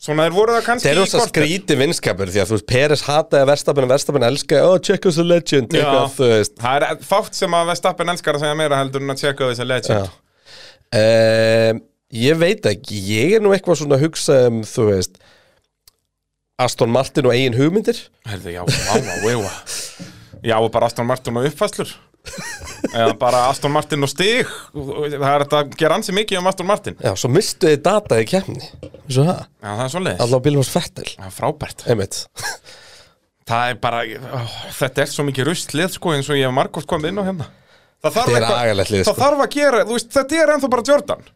Speaker 5: Svona þeir voru það kannski
Speaker 4: Það er rosa skríti vinskapur því að þú veist, Peres hataði verstafinn og verstafinn elskaði, oh, check us the legend,
Speaker 5: Já.
Speaker 4: eitthvað, þú veist.
Speaker 5: Það er fátt sem að Vestappen elskar að segja meira heldur en að tjekka á þess
Speaker 4: Já.
Speaker 5: að legend.
Speaker 4: Um, ég veit ekki, ég er nú eitthvað svona að hugsa um, þú veist, Aston Martin og eigin hugmyndir.
Speaker 5: Herðu, já, vá, vá, vá, vá. Já, og bara Aston Martin og uppfæslur. Eða bara Aston Martin og stig. Það er hægt að gera ansi mikið um Aston Martin.
Speaker 4: Já, svo mistu þið data í kemni. Svo það,
Speaker 5: Já, það er svoleiðis.
Speaker 4: allá bílum hos Fettel.
Speaker 5: Það er frábært.
Speaker 4: Einmitt.
Speaker 5: Það er bara, ó, þetta er svo mikið ruslið sko eins og ég hef margótt komið inn á hérna Það þarf,
Speaker 4: Þetta er
Speaker 5: eitthvað-
Speaker 4: agalegt lið,
Speaker 5: það
Speaker 4: sko.
Speaker 5: þarf að gera, þú veist, þetta er ennþá bara Jordan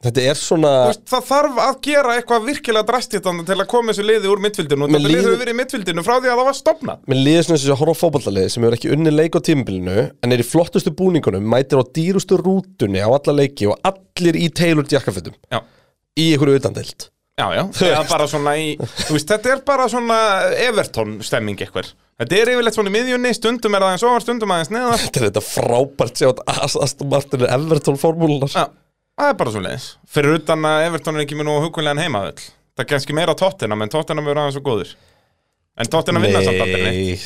Speaker 5: Þú
Speaker 4: Þetta er svona,
Speaker 5: veist, Það þarf að gera eitthvað virkilega drastitanda til að koma þessu liði úr mittfildinu og
Speaker 4: Mér
Speaker 5: Þetta liði
Speaker 4: líður-
Speaker 5: hefur verið í mittfildinu frá því að það var stopnað
Speaker 4: mér líður svona þessi að horfa á fótballaliði sem hefur ekki unni leik á tímabilinu en er í flottustu búningunum, mætir á dýrustu rútunni á alla leiki og allir í Taylor jakkafötum
Speaker 5: Já,
Speaker 4: í einhverju utandelt.
Speaker 5: já, já, það er bara svona í, þú veist, þetta er bara svona Everton stemming eitthvað Þetta er yfirleitt svona í miðjunni, stundum er það aðeins ofar, stundum aðeins neðar
Speaker 4: Þetta er þetta frábært sjátt Aston Martin er Everton formúlunar
Speaker 5: Já, það er bara svo leiðis Fyrir utan að Everton er ekki með nú hugulegan heimavöll Það er kannski meira Tottenham en Tottenham er aðeins svo góður En Tottenham vinna samt aldrei neitt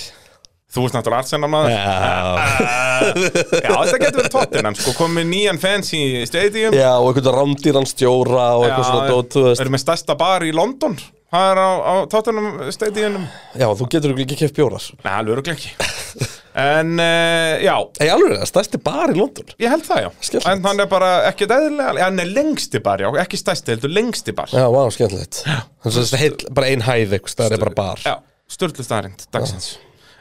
Speaker 5: Þú veist náttúrulega Arsenal maður
Speaker 4: Já.
Speaker 5: Já, þetta getur verið Tottenham sko Komið nýjan fans í stadium
Speaker 4: Já, og einhvern rándýran stjóra og eitthvað svona dót, þú veist
Speaker 5: Erum með stærsta bar í London Það er á, á Tottenham stadium
Speaker 4: Já, þú getur örugglega ekki keft bjórar
Speaker 5: Nei, alveg eru ekki En, uh, já,
Speaker 4: Ei, alveg, það er stærsti bar í London
Speaker 5: ég held það já
Speaker 4: Skemmtilegt.
Speaker 5: En hann er bara ekki dæðilega Hann er lengsti bar, já, ekki stærsti heldur lengsti bar
Speaker 4: Já, vá, skemmtilegt Þannig að heil, bara ein hæð eitthvað, það er bara bar
Speaker 5: Já, störtlu staðarind, dagsins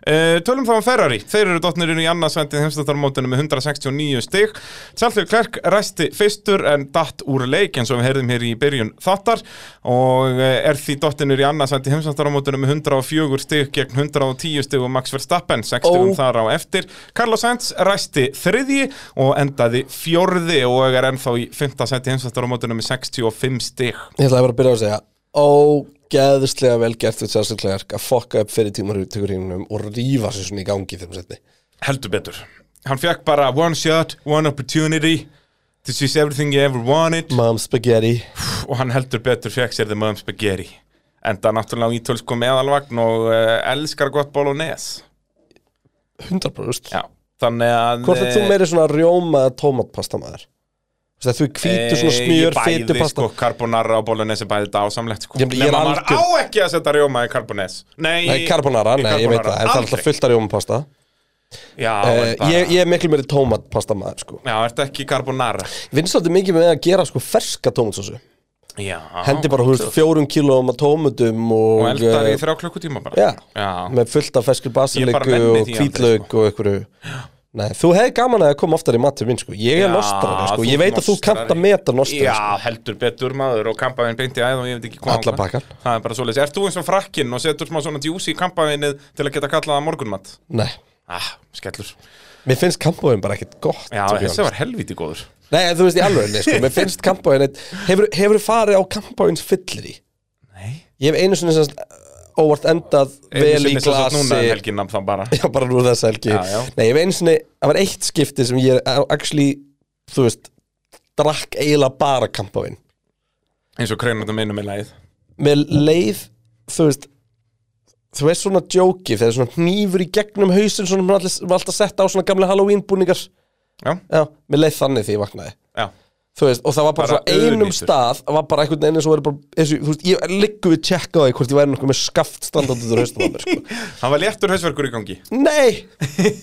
Speaker 5: Uh, tölum þá um Ferrari, þeir eru dotnirinn í annarsvendi heimstartarmótinu með 169 stig Sjálfur Klerk ræsti fyrstur en datt úr leik eins og við heyrðum hér í byrjun þáttar og eh, er því dotnirinn í annarsvendi heimstartarmótinu með 104 stig gegn 110 stig og Max Verstappen 6 stigum
Speaker 4: Ó.
Speaker 5: þar á eftir Carlos Sainz ræsti þriðji og endaði fjórði og er ennþá í 5. sendi heimstartarmótinu með 65 stig
Speaker 4: Ég ætlaði bara að byrja á að segja Ógeðslega vel gert við Charles Leclerc að fokka upp fyrir tímarhugtökurínum og rífa sér svona í gangi í þeim setni
Speaker 5: Heldur betur Hann fekk bara one shot, one opportunity This is everything you ever wanted
Speaker 4: Mom Spaghetti
Speaker 5: Og hann heldur betur fekk sér the mum spaghetti Enda náttúrulega á ítölsku meðalvagn og uh, elskar gott bolognese
Speaker 4: 100%
Speaker 5: Já, þannig að eh,
Speaker 4: Hvort er þú meiri svona rjóma eða tómatpasta maður? Þú veist að þú er hvítur svona smjör, fytu
Speaker 5: Bæði
Speaker 4: pasta
Speaker 5: sko, carbonara og bolognese bæði þetta ásamlegt sko
Speaker 4: Ég meina, ég er
Speaker 5: Nefna maður
Speaker 4: algjör-
Speaker 5: á ekki að setja rjóma í carbonese Nei,
Speaker 4: Nei, carbonara,
Speaker 5: í
Speaker 4: nei, ég veit það, en það er
Speaker 5: aldrei.
Speaker 4: alltaf fullt af rjómapasta
Speaker 5: Já,
Speaker 4: uh,
Speaker 5: er bara-
Speaker 4: ég, ég er miklu meiri tómatpasta maður, sko
Speaker 5: Já, ertu ekki carbonara
Speaker 4: Vinst svolítið mikið með að gera sko ferska tómatsósu
Speaker 5: Já
Speaker 4: Hendi bara, þú veist, fjórum kílóum að tómatum og,
Speaker 5: Og eldar í
Speaker 4: eh,
Speaker 5: þrjá klukkutíma bara
Speaker 4: Já,
Speaker 5: Já.
Speaker 4: með fullt af ferskur basiliku
Speaker 5: nenni
Speaker 4: og
Speaker 5: því aldrei, sko.
Speaker 4: hvítlaug og einhverju Nei, þú hefði gaman að koma oftar í matur minn, sko Ég er
Speaker 5: Já,
Speaker 4: nostrari, sko,
Speaker 5: þú
Speaker 4: ég
Speaker 5: ert
Speaker 4: veit að þú
Speaker 5: nostrari.
Speaker 4: kannt að meta nostari,
Speaker 5: Já,
Speaker 4: sko
Speaker 5: heldur betur maður og kampavín beint í æð og ég veit ekki hvað
Speaker 4: Alla
Speaker 5: hvað.
Speaker 4: pakkan.
Speaker 5: Það er bara svoleiðis, ert þú eins og frakkinn og setur smá svona djús í kampavinnið til að geta kallað það morgunmat?
Speaker 4: Nei,
Speaker 5: Ah, skellur
Speaker 4: mér finnst kampóin bara ekkit gott
Speaker 5: Já,
Speaker 4: to be honest.
Speaker 5: þessi var helviti góður
Speaker 4: Nei, en þú veist í alveg, nei, sko, mér finnst kampáin hefur, hefur farið á kampáins fyllir í?
Speaker 5: Nei.
Speaker 4: Ég hef einu sinni semst óvart endað vel í glasi
Speaker 5: Núna um helginna þá bara
Speaker 4: Já, bara nú þess helgi
Speaker 5: Já, já.
Speaker 4: Nei, ég hef einu sinni, það var eitt skipti sem ég er actually, þú veist drakk eiginlega bara kampáin
Speaker 5: Eins og kreinandum minnum í lagið
Speaker 4: með leið, þú veist þú veist svona djóki þegar svona hnífur í gegnum hausinn svona maður allir- maður alltaf sett á svona gamlega Halloween búningar
Speaker 5: Já.
Speaker 4: Já, með leið þannig því ég vaknaði
Speaker 5: Já,
Speaker 4: þú veist, og það var bara,
Speaker 5: Bara
Speaker 4: bara einum
Speaker 5: auðnýtur.
Speaker 4: stað var bara einhvern veginn eins og verið bara eins og, þú veist, ég liggu við tjekka á því hvort ég væri nokkuð með skaft standandi út úr haustum á mér sko.
Speaker 5: Hann var léttur hausverkur í gangi
Speaker 4: nei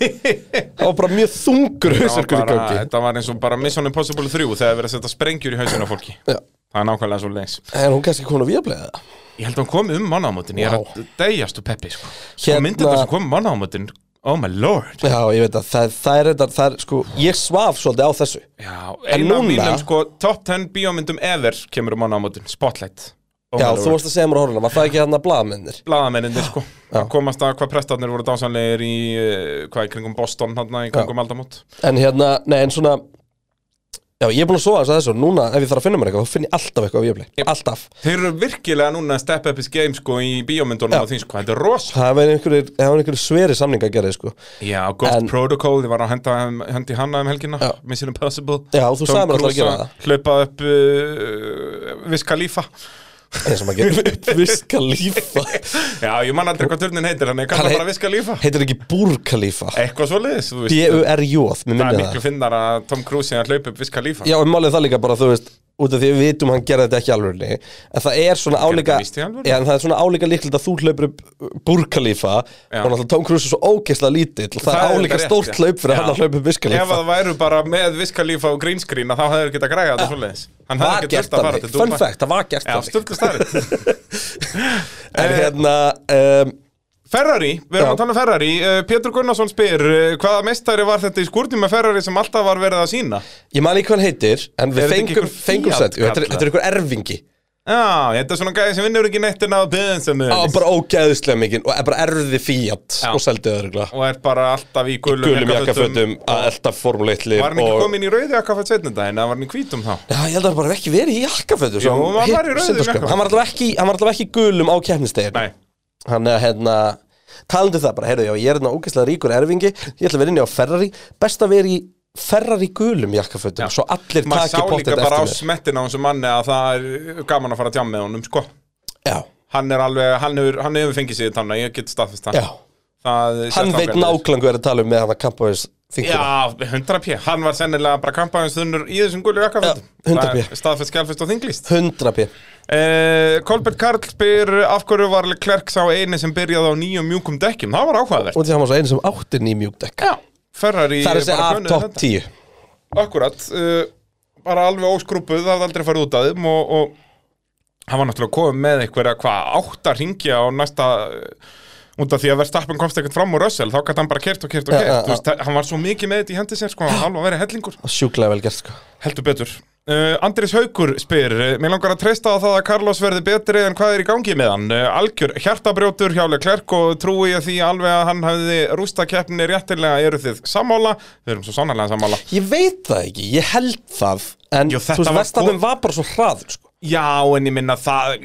Speaker 4: það var bara mjög þungur
Speaker 5: Það var
Speaker 4: hausverkur í
Speaker 5: bara-
Speaker 4: gangi
Speaker 5: Þetta var eins og bara Mission Impossible 3 þegar verið að setja sprengjur í hausinu á fólki
Speaker 4: Já.
Speaker 5: Það er nákvæmlega svo leins
Speaker 4: en hún kannski komin á viðablega það
Speaker 5: Ég held að hún kom um mannaðamótin, ég
Speaker 4: Vá.
Speaker 5: er að deyjast úr peppi sko. Svo
Speaker 4: Hérna-
Speaker 5: hérna... myndið þess að kom um mannaðamótin Oh my lord
Speaker 4: já, ég veit að það, það er þetta það er, sko, ég svaf svolítið á þessu
Speaker 5: Já,
Speaker 4: En
Speaker 5: eina af
Speaker 4: núna-
Speaker 5: mínum sko, top 10 bíómyndum ever kemur um mannaðamótin, Spotlight oh
Speaker 4: já, þú varst að segja mér horfuna, var það ekki hérna hann að blaða mennir
Speaker 5: Blaðamennindir sko, að komast að hvað prestarnir voru dásanlegir í, eh, hvað í kringum Boston, hann í kringum aldamót
Speaker 4: en hérna, nei, en svona já, ég er búin að sofa þess að þessu, núna ef ég þarf að finna mér eitthvað, þá finn ég alltaf eitthvað á viðablega, alltaf
Speaker 5: Þeir eru virkilega núna að step up his game sko í bíómyndunum
Speaker 4: Já.
Speaker 5: og því sko, þetta er rosa
Speaker 4: það var einhverjir, það var einhverjir sveri samninga að gera sko.
Speaker 5: Já, Ghost
Speaker 4: En-
Speaker 5: Protocol, ég var að henda, hendi hanna um helgina,
Speaker 4: Já.
Speaker 5: Mission Impossible
Speaker 4: Já, þú sagðir mér að ætlar að gera það.
Speaker 5: Hlaupa upp uh, Viska Lífa
Speaker 4: eins og maður getur uppviska lífa
Speaker 5: Já, ég man aldrei hvað turnin heitir, þannig ég
Speaker 4: Hann
Speaker 5: kalla bara
Speaker 4: heit-
Speaker 5: Viska Lífa
Speaker 4: heitir ekki Búrkalífa
Speaker 5: Eitthvað svo liðis, þú veist
Speaker 4: B-U-R-J, mér
Speaker 5: Það er
Speaker 4: minni
Speaker 5: miklu
Speaker 4: það
Speaker 5: finnar að Tom Cruise sé að hlaupa upp Viska Lífa
Speaker 4: Já, en málið er það líka bara, þú veist, út af því við vitum að hann gerði þetta ekki alveg en það er svona álíka
Speaker 5: þetta víst í alvörunni.
Speaker 4: Já, en það er svona álíka líklegt að þú hlaupir upp Búrkalífa og
Speaker 5: Já.
Speaker 4: náttúrulega Tom Cruise er svo ógeðslega lítill og það,
Speaker 5: Það er
Speaker 4: er álíka
Speaker 5: rétt,
Speaker 4: stórt
Speaker 5: já.
Speaker 4: hlaup fyrir
Speaker 5: Já.
Speaker 4: hann að hlaupa upp
Speaker 5: Ef að
Speaker 4: Viskalífa
Speaker 5: það væru bara með Viska Lífa og green screen að þá hefur getað græða þetta svo liðis Hann hefði
Speaker 4: Var
Speaker 5: ekki
Speaker 4: gert
Speaker 5: þurft að fara
Speaker 4: þannig,
Speaker 5: til
Speaker 4: fun
Speaker 5: Dubai
Speaker 4: fact, það var gert
Speaker 5: Já, Eh.
Speaker 4: þannig
Speaker 5: stundu starrið
Speaker 4: En hérna, um,
Speaker 5: Ferrari, við erum
Speaker 4: Já.
Speaker 5: að tala um Ferrari uh, Pétur Gunnarsson spyr, uh, hvaða meistari var þetta í skúrnum með Ferrari sem alltaf var verið að sína?
Speaker 4: ég man ekki hvað hann heitir en
Speaker 5: Er
Speaker 4: við
Speaker 5: þetta ekki
Speaker 4: fengum,
Speaker 5: einhver
Speaker 4: fengum
Speaker 5: Fiat
Speaker 4: sent Jú, Þetta er-
Speaker 5: kalla?
Speaker 4: þetta er ykkur erfingi
Speaker 5: Já, þetta er svona gæði sem vinnur ekki neitt en á byðin sem
Speaker 4: Já,
Speaker 5: viðurins
Speaker 4: bara ógæðislega mikið og bara erði fíat
Speaker 5: Já.
Speaker 4: og seldi það örgulega
Speaker 5: og er bara alltaf í gulum,
Speaker 4: gulum jakkafötum að elda formuleitlið
Speaker 5: Var hann ekki
Speaker 4: og...
Speaker 5: komin í rauði jakkaföt setnunda en var hann í hvítum þá?
Speaker 4: Já, ég held að hann bara ekki verið í jakkafötum
Speaker 5: Jú, hann var bara í rauðum jakkafötum.
Speaker 4: Hann var allavega ekki, hann var allavega ekki gulum á keppnisteginu
Speaker 5: Nei,
Speaker 4: Hann er hérna talandi um það bara, heyrðu, já, ég er hérna ógeðslega ríkur erfingi Ég ætla að vera inni á Ferrari Best að vera í Ferrari gulum jakkafötum Svo allir
Speaker 5: maður
Speaker 4: taki
Speaker 5: sá líka
Speaker 4: pottet
Speaker 5: bara á
Speaker 4: eftir mér
Speaker 5: smettin á þessum manni að það er gaman að fara að tjá með honum sko
Speaker 4: Já,
Speaker 5: Hann er alveg, hann hefur, hann hefur fengið sér þannig, ég get staðfist það
Speaker 4: já
Speaker 5: Það
Speaker 4: Hann
Speaker 5: sést
Speaker 4: veit
Speaker 5: ágætlega.
Speaker 4: nákvæmlega hvað er að tala um með hann að kampa þess þinguna
Speaker 5: Já, 100 p, hann var sennilega bara kampaðins þunnur í þessum gullu jakkafötum
Speaker 4: Já, 100 p.
Speaker 5: Það er Staðfest, skjálfist og þinglist
Speaker 4: 100 p
Speaker 5: Eh, Kolbert Karl spyr af hverju var Klerk sá eini sem byrjaði á nýjum mjúkum dekkjum, það var áhugavert
Speaker 4: Og því hann var svo einu sem átti ný mjúkdekk
Speaker 5: Ferrari
Speaker 4: Það er þessi
Speaker 5: bara
Speaker 4: að
Speaker 5: könnuði
Speaker 4: top
Speaker 5: þetta.
Speaker 4: 10
Speaker 5: Akkurat, uh, bara alveg óskrúpuð það hafði aldrei farið út af þeim og, og hann var náttúrulega komið með einhverja hvað átta ringja á næsta uh, út af því að verðstappin komst ekkert fram úr Russell þá gæti hann bara kert og kert og
Speaker 4: Já,
Speaker 5: kert
Speaker 4: já,
Speaker 5: Þú veist, hann var svo mikið með þetta í hendi sér sko, hann var alveg að vera hellingur
Speaker 4: Sjúklega vel gert sko
Speaker 5: Heldur betur. Uh, Andris Haugur spyr, uh, mér langar að treysta á það að Carlos verði betri en hvað er í gangi með hann? Uh, algjör hjartabrjótur hjá Leclerc og trúi ég því alveg að hann hefði rústa keppni réttilega eru þið sammála? Við erum svo sannarlega sammála.
Speaker 4: Ég veit það ekki, ég held það En
Speaker 5: Jú,
Speaker 4: þú
Speaker 5: þetta
Speaker 4: veist,
Speaker 5: var
Speaker 4: Vestafinn
Speaker 5: kom-
Speaker 4: var bara svo hraður sko.
Speaker 5: Já, en ég minna það,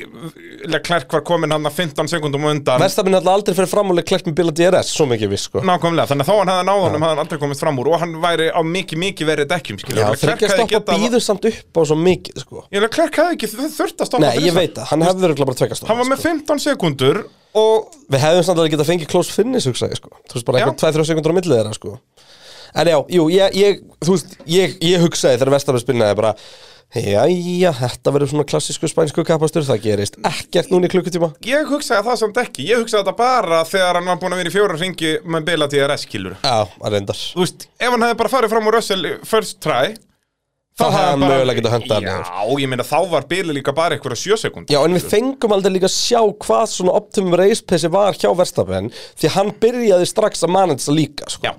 Speaker 5: Leclerc var komin hann að 15 sekundum á undan.
Speaker 4: Vestafinn alltaf aldrei fyrir framúlega klert með bila DRS Svo mikið við sko
Speaker 5: Nákvæmlega, þannig að þá hann hefði náð honum hefði hann aldrei komist fram úr og hann væri á mikið, mikið verið dekkjum, skilur.
Speaker 4: Já,
Speaker 5: Leclerc
Speaker 4: þryggja
Speaker 5: hefði
Speaker 4: stoppa
Speaker 5: getað-
Speaker 4: býður samt upp á svo mikið sko.
Speaker 5: Ég Leclerc hefði ekki þurft að stoppa
Speaker 4: Nei,
Speaker 5: fyrir
Speaker 4: ég
Speaker 5: það.
Speaker 4: veit það, hann hefði örugglega bara tvekja
Speaker 5: Hann
Speaker 4: stoppa
Speaker 5: var með 15 sekundur og
Speaker 4: sko. Við hefðum samt að geta fengið close finish hugsa, ég, sko. Þú veist bara
Speaker 5: Já.
Speaker 4: eitthvað 2-3 sekundur á millið þeirra sko. En já, jú, ég, ég, þú veist, ég, ég hugsaði þegar Vestafinn spinnaði bara Jæja, þetta verður svona klassísku spænsku kapastur Það gerist ekkert núna í klukkutíma
Speaker 5: Ég hugsaði það samt ekki, ég hugsaði þetta bara þegar hann var búin að vera í fjóra ringi með bila DRS kilur
Speaker 4: Já, að reyndar
Speaker 5: Þú veist, ef hann hefði bara farið fram úr Russell first try
Speaker 4: Þá hefði
Speaker 5: hefði
Speaker 4: hann mögulega getað höndað hann sko.
Speaker 5: Já,
Speaker 4: niður.
Speaker 5: ég meina þá var bilið líka bara einhverja sjö sekund
Speaker 4: Já, en við fengum aldrei líka að sjá hvað svona optimum reispessi var hjá Verstappen því hann byrjaði strax að manna þess að líka, sko.
Speaker 5: Já,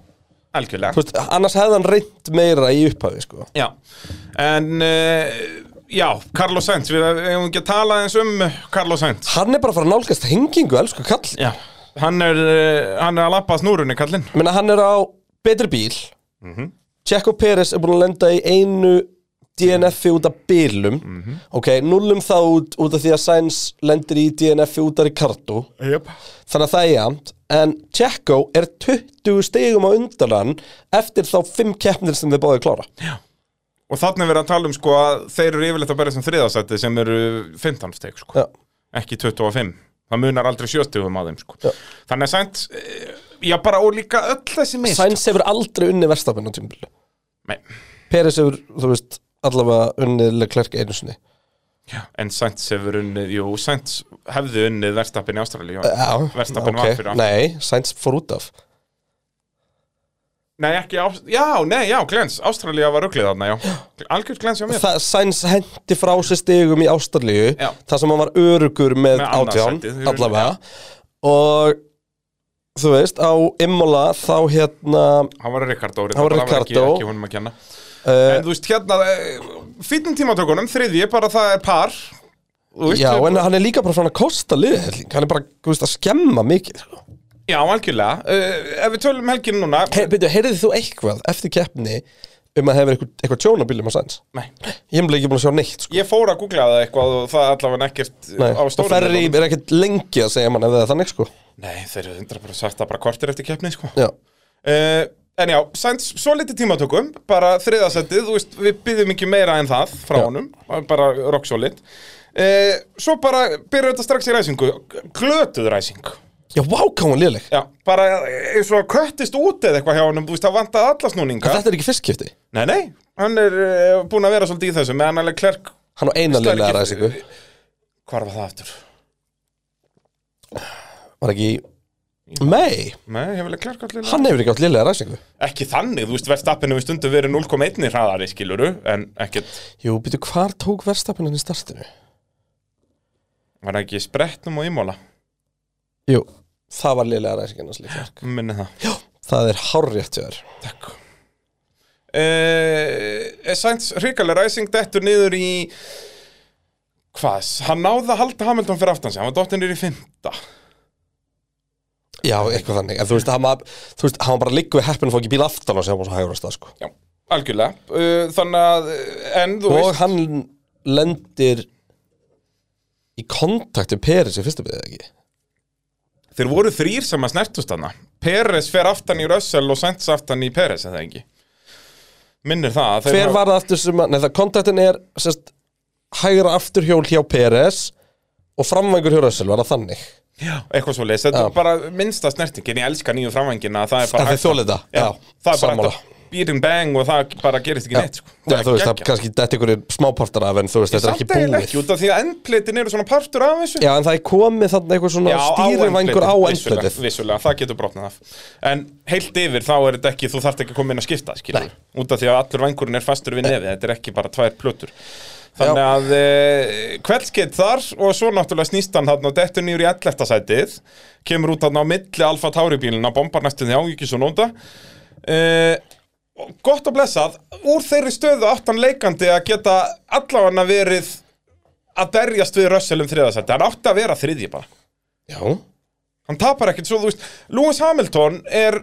Speaker 5: algjörlega
Speaker 4: Þú veist, annars hefði hann reynd meira í upphafi, sko.
Speaker 5: Já, en uh, já, Carlos Sainz, við hefum ekki að tala eins um Carlos Sainz
Speaker 4: Hann er bara að fara að nálgast hengingu, elsku kall.
Speaker 5: Já, hann er, uh, hann er að lappa snúrunni kallinn
Speaker 4: Ég meina, hann er á betri bíl. Mm Checo Pérez er búin að lenda í einu DNF-i út af bílum. Ok, nullum það út, út af því að Sainz lendir í DNF-i út af Ricardo.
Speaker 5: yep.
Speaker 4: Þannig að það er jæmt En Checo er 20 stegum á undan hann Eftir þá 5 keppnir sem þið báðu klára
Speaker 5: Og þannig er verið að tala um sko að þeir eru yfirleitt að berja sem þriðasætti sem eru 15 steg sko.
Speaker 4: Já.
Speaker 5: ekki 25 það munar aldrei sjöstugum að þeim sko.
Speaker 4: Já.
Speaker 5: þannig að Sainz eh, já bara og líka öll þessi mist
Speaker 4: Sainz hefur aldrei unni verstafinn á tímabili
Speaker 5: Nei.
Speaker 4: Peres hefur, þú veist, allavega unnið Leclerc einu sinni
Speaker 5: En Sainz hefur unnið, jú, Sainz hefði unnið verðstappin í Ástralíu
Speaker 4: Já,
Speaker 5: Verstappen var
Speaker 4: ok.
Speaker 5: fyrir aftan.
Speaker 4: Nei, Sainz fór út af
Speaker 5: Nei, ekki, Ást- já, nei, já, glens Ástralíu var ruglið þarna, já Algjörð glens hjá mér
Speaker 4: Þa, Sainz hendi frá sér stigum í Ástralíu
Speaker 5: Já.
Speaker 4: þar sem hann var örugur með,
Speaker 5: Með annað
Speaker 4: átján
Speaker 5: sætið, í rauninni,
Speaker 4: allavega og þú veist, á Immola þá hérna
Speaker 5: Hann var Ricardo,
Speaker 4: Hann var
Speaker 5: reyndar, það ekki,
Speaker 4: Ricardo. Eh,
Speaker 5: ekki honum að kenna En þú veist, hérna, fýtnum tímatökunum, þriðji, bara það er par Þú veist, eh,
Speaker 4: Já,
Speaker 5: við-
Speaker 4: en hann er líka bara frá hann að kosta liðhelling hann er bara, þú veist, að skemma mikið sko.
Speaker 5: Já, algjörlega uh, Ef við tölum helginu núna
Speaker 4: hey, Byrju, heyrðið þú eitthvað eftir keppni um að hefur eitthvað, eitthvað tjónabílum á Sainz?
Speaker 5: Nei.
Speaker 4: Ég hef bara ekki búin að sjá neitt, sko
Speaker 5: Ég fór að googla það eitthvað og það allavega ekkert eh,
Speaker 4: Nei,
Speaker 5: á
Speaker 4: og
Speaker 5: stórum
Speaker 4: Ferri
Speaker 5: myndunum.
Speaker 4: er ekkert lengi að segja mann ef það er þannig, sko
Speaker 5: Nei, þeir eru undra bara sagt það bara kortir eftir keppni, sko
Speaker 4: Já,
Speaker 5: uh, En já, Sainz, svo litið tímatökum bara þriðasettið, þú veist, við byggðum ekki meira en það frá
Speaker 4: Já.
Speaker 5: honum, bara rock solid uh, Svo bara byrjuðu þetta strax í ræsingu, glötuð ræsing
Speaker 4: já, vá, hvað hún liðleg
Speaker 5: Já, bara eins og að köttist út eða eitthvað hjá honum, þú veist, það vantaði alla snúninga
Speaker 4: Þetta er ekki fyrstkipti,
Speaker 5: Nei, nei, hann er uh, búin að vera svolítið í þessu, meðan alveg klerk
Speaker 4: hann á eina liðlega ræsingu
Speaker 5: Hvar var það aftur?
Speaker 4: Var ekki, nei,
Speaker 5: Nei, hefur alveg klerk allir
Speaker 4: hann hefur ekki átt liðlega ræsingu
Speaker 5: Ekki þannig, þú veist, verðstappinu við stundum verið 0,1 hraðari, skiluru, en ekkert
Speaker 4: Jú, byrju, hvar tók verðstapinn hann í startinu?
Speaker 5: Var það ekki í sprettnum og ímóla?
Speaker 4: Jú, það var liðlega ræsingin hans líka
Speaker 5: Minni það
Speaker 4: Það er hárrétt hjá þér
Speaker 5: Takk uh, Sainz hrikalega ræsing dettur niður í Hvað? Hann náði að halda Hamilton fyrir aftan sig Hann var dottinn niður í fymta
Speaker 4: Já, eitthvað þannig, en þú veist, hann var, þú veist, hann var bara liggur við heppin að fá ekki bíl aftan á sig, hann var svo hægur að stað, sko
Speaker 5: Já, algjörlega uh, Þannig að, eh, en þú
Speaker 4: og
Speaker 5: veist
Speaker 4: hann lendir í kontakt við Peris í fyrstu byrðið ekki
Speaker 5: Þeir voru þrýr sem að snertust hana Peres fer aftan í Russell og Sainz aftan í Peres eða ekki Minnir það að þeir
Speaker 4: hver
Speaker 5: hafa-
Speaker 4: var það aftur sem að, nei það kontaktin er sérst, hægra afturhjól hjá Peres og framvængur hjá Russell var það þannig
Speaker 5: eitthvað svo leis,
Speaker 4: Já.
Speaker 5: þetta er bara minnsta snertingin ég elska nýju framvængina það er bara
Speaker 4: Að þeir
Speaker 5: hægt að-
Speaker 4: þolið það,
Speaker 5: Já,
Speaker 4: já,
Speaker 5: það er bara
Speaker 4: sammála.
Speaker 5: hægt að beat and bang og það bara gerist ekki neitt sko.
Speaker 4: Já, þú veist, það
Speaker 5: geggjað.
Speaker 4: kannski dætt ykkur smápartar af en þú veist, þetta er
Speaker 5: Samt
Speaker 4: ekki
Speaker 5: eiginlega
Speaker 4: búið
Speaker 5: ekki út af því að endplitin eru svona partur af þessu
Speaker 4: Já, en það er komið þarna eitthvað svona
Speaker 5: á
Speaker 4: stýrivængur á
Speaker 5: endplitið, vissulega,
Speaker 4: endflötið
Speaker 5: vissulega, það getur brotnað af en heilt yfir þá er þetta ekki þú þarft ekki að koma inn að skipta skilur, út af því að allur vangurinn er fastur við nefið þetta er ekki bara tvær plötur þannig
Speaker 4: Já.
Speaker 5: að e, kveldskeitt þar og svo náttúrulega snýst hann þarna og dettur nýjur í 11. sætið kemur út þarna á milli Alfa Tauri bílina bombar næstu því ágjur ekki svo nónda e, gott og blessað úr þeirri stöðu áttan leikandi að geta allavega verið að berjast við rössalum þriðasætti hann átti að vera þriðji bara
Speaker 4: Já,
Speaker 5: hann tapar ekkert svo þú veist Lewis Hamilton er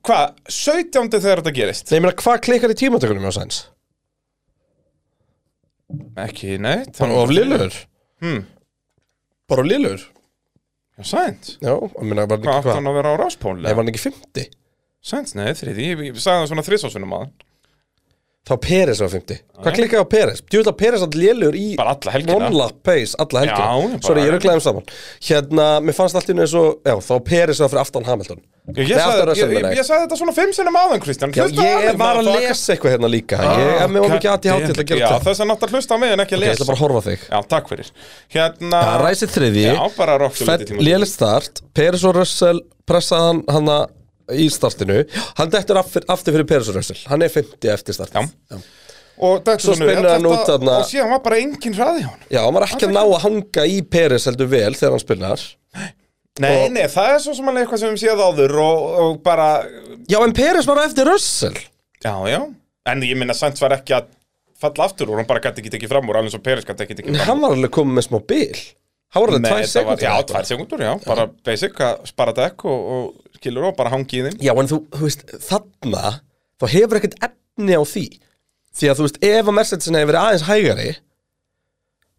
Speaker 5: hvað, 17. þegar þetta gerist
Speaker 4: nei, ég meina, hvað klikkar í tímatökunum hjá Sainz?
Speaker 5: ekki neitt
Speaker 4: Bara of liðlegur
Speaker 5: Hmm.
Speaker 4: Bara of liðlegur
Speaker 5: já, Sainz
Speaker 4: Já, ég meina, var hann
Speaker 5: hvað
Speaker 4: ekki
Speaker 5: átti
Speaker 4: hvað?
Speaker 5: hann að vera á ráspól
Speaker 4: Nei, var hann ekki 50?
Speaker 5: Sainz, nei, þriði ég ég sagði það svona þrisásunum að
Speaker 4: Þá Peres var 50 Hvað klikkaði á Peres? Djúvill að Peres hann lélur í
Speaker 5: Bara alla helgina.
Speaker 4: One lap pace, alla helgina
Speaker 5: Já, bara-
Speaker 4: Sorry, ég rugglaði um saman Hérna, mér fannst allt í einu eins og Já, þá Peres var fyrir aftan Hamilton
Speaker 5: ég, ég,
Speaker 4: Nei, aftan
Speaker 5: sagði,
Speaker 4: Russell,
Speaker 5: ég,
Speaker 4: meina
Speaker 5: ég,
Speaker 4: ég.
Speaker 5: ég sagði þetta svona fimm sinnum áðan Kristján
Speaker 4: Já,
Speaker 5: Hlustaðu á
Speaker 4: ég
Speaker 5: mig,
Speaker 4: var að
Speaker 5: maður.
Speaker 4: lesa eitthvað hérna líka Ég, ef mér var ekki aðti hátil að
Speaker 5: Ah, Já,
Speaker 4: gera það
Speaker 5: þess að náttúrulega hlusta á mig en ekki að
Speaker 4: Ég
Speaker 5: lesa
Speaker 4: ætla bara að horfa á þig
Speaker 5: Já, takk fyrir Hérna
Speaker 4: Það ræsir þriði
Speaker 5: Já, bara rokk svo lítið tíma
Speaker 4: Lélist start Peres og Russell pressaði hann hanna í startinu Hann dettur aftur, aftur fyrir Peres og Russell Hann er 50 eftir start
Speaker 5: Já. Og þetta
Speaker 4: Svo
Speaker 5: svona-
Speaker 4: spinnur hann
Speaker 5: þetta-
Speaker 4: út þarna.
Speaker 5: Og síðan var bara engin hraði hjá hann
Speaker 4: Já, hann var ekki að ná að hanga í Peres heldur vel þegar hann spilnar
Speaker 5: Nei,
Speaker 4: Og-
Speaker 5: nei, það er svo sem alveg eitthvað sem við séð áður og, og bara,
Speaker 4: Já, en Peres var á eftir Russell
Speaker 5: já, já En ég minna, Sainz var ekki að falla aftur og hann bara gæti ekki tekið fram úr, alveg svo Peres gæti ekki tekið
Speaker 4: En
Speaker 5: fram
Speaker 4: hann var alveg komið með smá bil Hann var
Speaker 5: úr
Speaker 4: alveg
Speaker 5: Nei,
Speaker 4: tvær
Speaker 5: þetta var-
Speaker 4: sekundur
Speaker 5: Já, tvær sekundur, já, bara basic að spara dekk og, og skilur og bara hangi í þinn
Speaker 4: Já, en þú, þú veist, þarna þá hefur ekkert efni á því Því að þú veist, ef að Mercedesin hefur verið aðeins hægari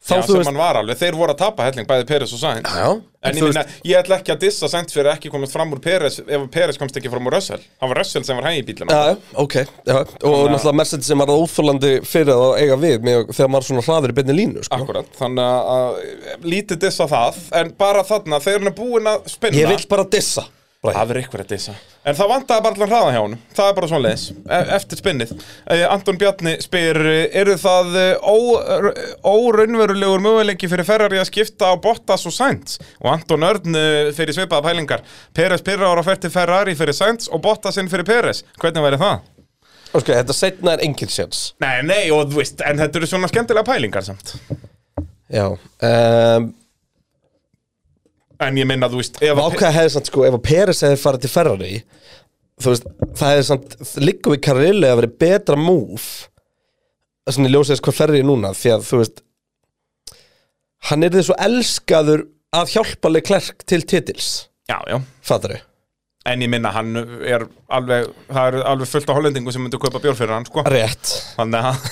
Speaker 4: þá
Speaker 5: Já,
Speaker 4: þú
Speaker 5: sem
Speaker 4: veist
Speaker 5: hann var alveg, þeir voru að tapa helling bæði Peres og Sainz
Speaker 4: Já,
Speaker 5: En ég,
Speaker 4: þú
Speaker 5: minna, ég ætla ekki að dissa Sainz fyrir að ekki komast fram úr Peres ef Peres komst ekki fram úr Russell Það var Russell sem var hæg í bílum
Speaker 4: Já, já, ok, já, og náttúrulega Mercedes sem var óþólandi fyrir að eiga við með, þegar maður svona hraður í beinni línu sko.
Speaker 5: Akkurat, þannig að- að lítið dissa það En bara þarna, þegar hann er búin að spinna
Speaker 4: Ég vil bara dissa
Speaker 5: Það verður ykkur að dissa En það vantaði bara allan hraða hjá honum Það er bara svoleiðis E- Eftir spinnið Eh, Anton Bjarni spyr eh, Eru það eh, ó- r- óraunverulegur möguleiki fyrir Ferrari að skipta á Bottas og Sainz Og Anton Örn eh, fyrir svipaða pælingar Peres Pirrar á fært til Ferrari fyrir Sainz og Bottasinn fyrir Peres Hvernig væri það?
Speaker 4: Ok, þetta setna er engin sjans
Speaker 5: Nei, nei, og þú veist En þetta eru svona skemmtilega pælingar samt
Speaker 4: Já um,
Speaker 5: En ég minna, þú veist ef að Pe-
Speaker 4: Vákað hefði samt sko, ef að Peres hefði farið til Ferrari Þú veist, það hefði samt Liggum við Karilli að verið betra move Svona í ljósið þess hvað Ferrari er núna Því að þú veist Hann er þið svo elskaður Að hjálpa Leclerc til titils
Speaker 5: Já, já
Speaker 4: Fattar þau?
Speaker 5: En ég minna, hann er alveg Það er alveg fullt af hollendingu sem myndu kaupa bjór fyrir hann, sko
Speaker 4: Rétt
Speaker 5: Þannig að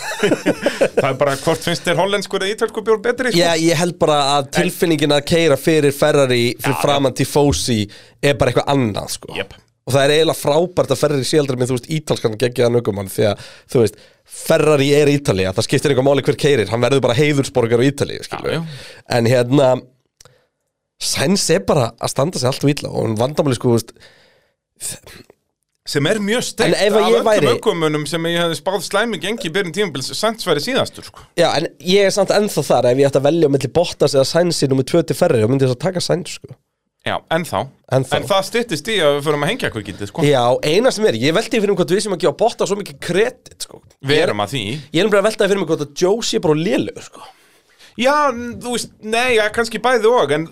Speaker 5: það er bara hvort finnst þér hollenskur eða ítölskur bjór betri sko?
Speaker 4: Já, ég held bara að tilfinningin að keira fyrir Ferrari Fyrir framan Tifosi Er bara eitthvað annað sko
Speaker 5: Jep.
Speaker 4: Og það er eiginlega frábært að Ferrari sé aldrei með þú veist ítalskan geggjaðan aukumann Því að þú veist Ferrari er Ítalía, það skiptir eitthvað máli hver keirir Hann verður bara heiðursborgar á Ítalíu
Speaker 5: Já, já.
Speaker 4: skilur við. En hérna Sainz er bara að standa sig allt vila Og hann vandamáli sko þú veist,
Speaker 5: sem er mjög
Speaker 4: En
Speaker 5: steikt
Speaker 4: ef að
Speaker 5: af
Speaker 4: ég
Speaker 5: öllum
Speaker 4: væri-
Speaker 5: aukumunum sem ég hefði spáð slæmi gengi í byrjun tímabils sannsværi síðastur sko.
Speaker 4: Já, en ég er samt ennþá þar Ef ég ætti að velja á milli Bottas eða Sainz í nummer 20 Ferrari Þá myndi ég þess að taka Sainz sko
Speaker 5: Já, en þá
Speaker 4: En þá.
Speaker 5: En það styttist í að við förum að hengja hvað getið sko.
Speaker 4: Já, eina sem er, ég veldi fyrir mig hvort við sem að gefa Bottas svo mikið kredit sko.
Speaker 5: Við erum að því
Speaker 4: Ég er bara að veltaði fyrir mig hvort að Joe sé bara lélugur sko.
Speaker 5: Já, n- þú veist, nei, ja, kannski bæði og En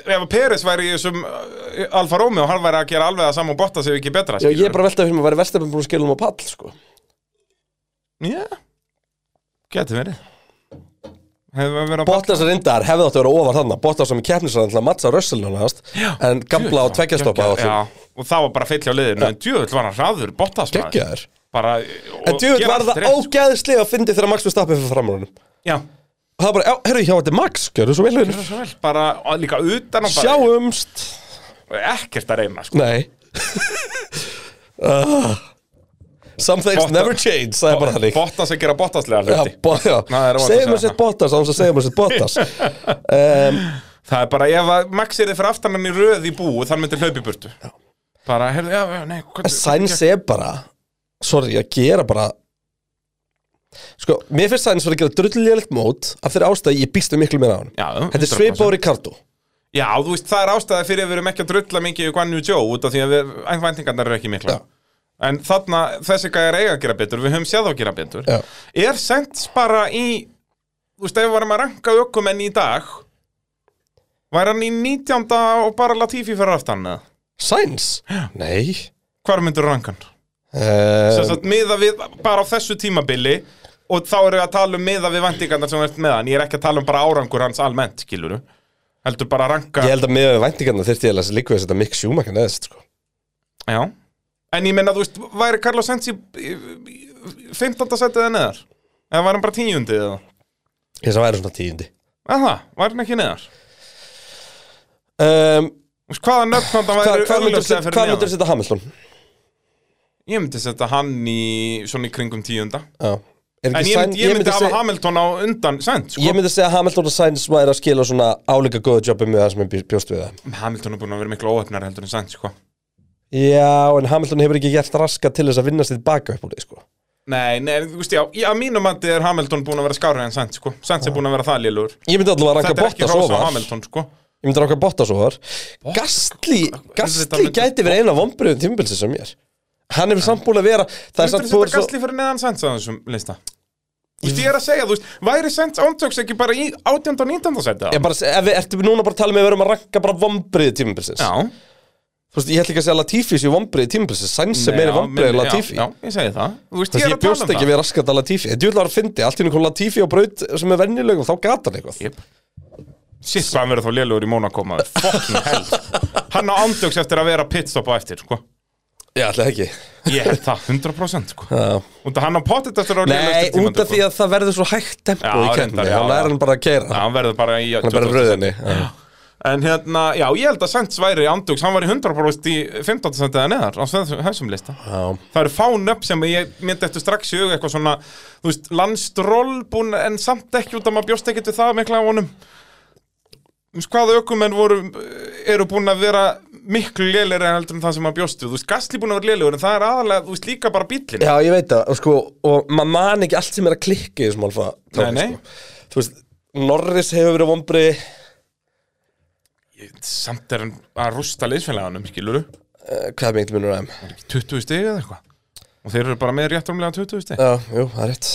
Speaker 5: ef að Peres væri í þessum uh, Alfa Romeo, hann væri að gera alveg að saman botta sig ekki betra
Speaker 4: Já, ég er bara að veltaði fyrir mig að vera verstafinn búin að skilja um á pall sko.
Speaker 5: Já, geti verið Hefur verið að
Speaker 4: Bottas reyndar hefði átt að vera ofar þannig Bottas sem í keppnisræðan til að mattsa rössil En gamla og tveggjastoppa
Speaker 5: Já, og það var bara fyll hjá liðinu En djöðull var hann hraður, Bottas maður.
Speaker 4: Geggjaður.
Speaker 5: bara,
Speaker 4: En djúið var það
Speaker 5: sko.
Speaker 4: ógæðislega að fyndi þegar Max við stappið fyrir framrúnum
Speaker 5: Já,
Speaker 4: Og það bara, já, herru, hjá þetta er Max, gjörðu svo vel
Speaker 5: það
Speaker 4: vinur.
Speaker 5: er svo vel, bara og líka utan og bara
Speaker 4: Sjáumst
Speaker 5: Ekkert að reyna, sko
Speaker 4: Nei Ah. Some things
Speaker 5: Bottas-
Speaker 4: never change, það er bara þannig
Speaker 5: Bottas að gera Bottaslega
Speaker 4: Já,
Speaker 5: hluti
Speaker 4: bo- já.
Speaker 5: Nei, það er óhætt að
Speaker 4: segjum
Speaker 5: segja
Speaker 4: við sitt
Speaker 5: það.
Speaker 4: Bottas án þess að segjum við sitt Bottas um,
Speaker 5: Það er bara, ef að Max er þið fyrir aftan hann í röð í búi Þann myndi hlaupi burtu já. Bara, heyrðu, já, já, nei hvað,
Speaker 4: Sainz er bara sorry, að gera bara sko, mér finnst Sainz fyrir að gera drullilegt mót af þeirri ástæði ég býst um miklu meira á hann
Speaker 5: Já,
Speaker 4: þetta er svipað á
Speaker 5: 100%.
Speaker 4: Ricardo
Speaker 5: Já, þú veist, það er ástæða fyrir að við erum ekki að drulla mikið í Guan Yu Joe út af því að við, einvæntingarnar eru ekki mikla
Speaker 4: Já.
Speaker 5: En þarna, þessi gæjar eiga að gera betur, við höfum séð á að gera betur
Speaker 4: Já.
Speaker 5: Er sent bara í, þú veist, ef við varum að ranka ökumenn í dag Væri hann í 19. og bara Latifi fyrir aftan eða?
Speaker 4: Sainz? Nei
Speaker 5: Hvar myndur ranka hann? Sem
Speaker 4: um,
Speaker 5: sagt, miða við, bara á þessu tímabili Og þá erum við að tala um miða við væntingarnar sem við ert með hann Ég er ekki að tala um bara árangur hans almennt, skilur Heldur bara að ranka
Speaker 4: ég held að með væntingarna þyrfti ég að líka þess að þetta Mick Schumacher neðist sko.
Speaker 5: Já En ég meina, þú veist, væri Carlos Sainz í í- í 15. setið eða neðar? Eða var hann bara tíundið eða?
Speaker 4: ég sem væri svona tíundi
Speaker 5: Eða það, var hann ekki neðar?
Speaker 4: um,
Speaker 5: Þú veist, Hvaða nöfnand hann væri
Speaker 4: hvað myndur
Speaker 5: augljóslega fyrir neðan?
Speaker 4: þetta Hamilton?
Speaker 5: Ég myndi setja hann í, svona í kringum tíunda
Speaker 4: Já. Er
Speaker 5: En
Speaker 4: ekki
Speaker 5: ég
Speaker 4: Sainz-
Speaker 5: myndi, ég myndi hafa
Speaker 4: seg-
Speaker 5: Hamilton á undan Sainz, sko
Speaker 4: Ég myndi segja að Hamilton og Sainz væri að skila svona álíka góða jobbi með það sem ég bjóst við það.
Speaker 5: Hamilton er búin að vera miklu óöfnar heldur en Sainz, sko
Speaker 4: Já, en Hamilton hefur ekki gert raska til þess að vinna sér baka upp úr því, sko.
Speaker 5: Nei, nei, þú veist, já, já, að mínum mandi er Hamilton búin að vera skárið en Sainz, sko Sainz er búin að vera það lélur
Speaker 4: Ég myndi allavega að ranka
Speaker 5: Þetta er ekki
Speaker 4: Bottas
Speaker 5: hrósa á
Speaker 4: ofar.
Speaker 5: Hamilton, sko
Speaker 4: Ég myndi ranka Bottas ofar. Gastli,
Speaker 5: Þetta
Speaker 4: Gastli
Speaker 5: myndi-
Speaker 4: gæti verið eina vombriðum tímabilsi sem ég er. Hann hefur samt búin að vera, það er
Speaker 5: Myndur
Speaker 4: samt
Speaker 5: þetta
Speaker 4: búin
Speaker 5: svo...
Speaker 4: svo...
Speaker 5: gasli fyrir neðan Sainz á þessum lista? Þú veist, ég er að segja, þú veist, væri Sainz ántöks ekki bara í 18. og 19. setja?
Speaker 4: Ég bara, ef við ertum núna bara að tala með að við erum að ranka bara vombriði tímabilsins.
Speaker 5: Já,
Speaker 4: Þú veist, ég ætl ekki að segja að Latifi séu vombriði tímabilsins, Sainz er
Speaker 5: Nei,
Speaker 4: meiri
Speaker 5: já,
Speaker 4: vombriði en
Speaker 5: minni-
Speaker 4: Latifi.
Speaker 5: Já, já, ég segi það Þú veist,
Speaker 4: Þú veist,
Speaker 5: ég er
Speaker 4: ég
Speaker 5: að tala
Speaker 4: bjóst
Speaker 5: um
Speaker 4: ekki
Speaker 5: það
Speaker 4: við raskat að Latifi. Ég djúðlega var að fyndi, allt í henni kom Latifi á braut sem er venjulegum, þá gata hann eitthvað.
Speaker 5: Jep. Sitt, hvað hann verður þá lélugur í Mónakó, maður Fucking hell sko. Hann á ántöks eftir að vera pitstop á eftir, sko
Speaker 4: Já, ætli það ekki.
Speaker 5: Ég held það, 100% sko
Speaker 4: Já.
Speaker 5: Út að hann á pottet eftir að vera lélugur
Speaker 4: Nei, út af því að það verður svo hægt tempo
Speaker 5: Já,
Speaker 4: í
Speaker 5: reyndar,
Speaker 4: keppni,
Speaker 5: já,
Speaker 4: hann
Speaker 5: já.
Speaker 4: er hann bara að keira
Speaker 5: Hann verður bara í
Speaker 4: hann er bara í
Speaker 5: 20.
Speaker 4: rauðinni já.
Speaker 5: En hérna, já, ég held að Sainz væri ándugs, hann var í 100% í 15. sendið eða neðar á þessum- þessum lista.
Speaker 4: Já.
Speaker 5: Það eru fán upp sem ég myndi eftir strax í hug eitthvað svona, þú veist, landstról búin en samt ekki út að maður bjóst ekkert Um, við það mikla á honum. Þú veist, Hvaða ökumenn voru, eru búin að vera miklu lélir en heldur en það sem maður bjóstu Þú veist, Gasly búin að vera lélegur en það er aðalega, þú veist, líka bara bíllinn
Speaker 4: Já, ég veit það, og sko, og maður man ekki allt sem er að klikka í þessum alfa
Speaker 5: Nei, nei.
Speaker 4: Sko. Þú veist, Norris hefur verið vombri
Speaker 5: Samt er hann að rústa liðsfélaganum, skilur þú?
Speaker 4: Eh, Hvað er mikil munur að þeim?
Speaker 5: 20 stig eða eitthvað Og þeir eru bara með rétt rúmlega 20 stig
Speaker 4: Já, jú, það er rétt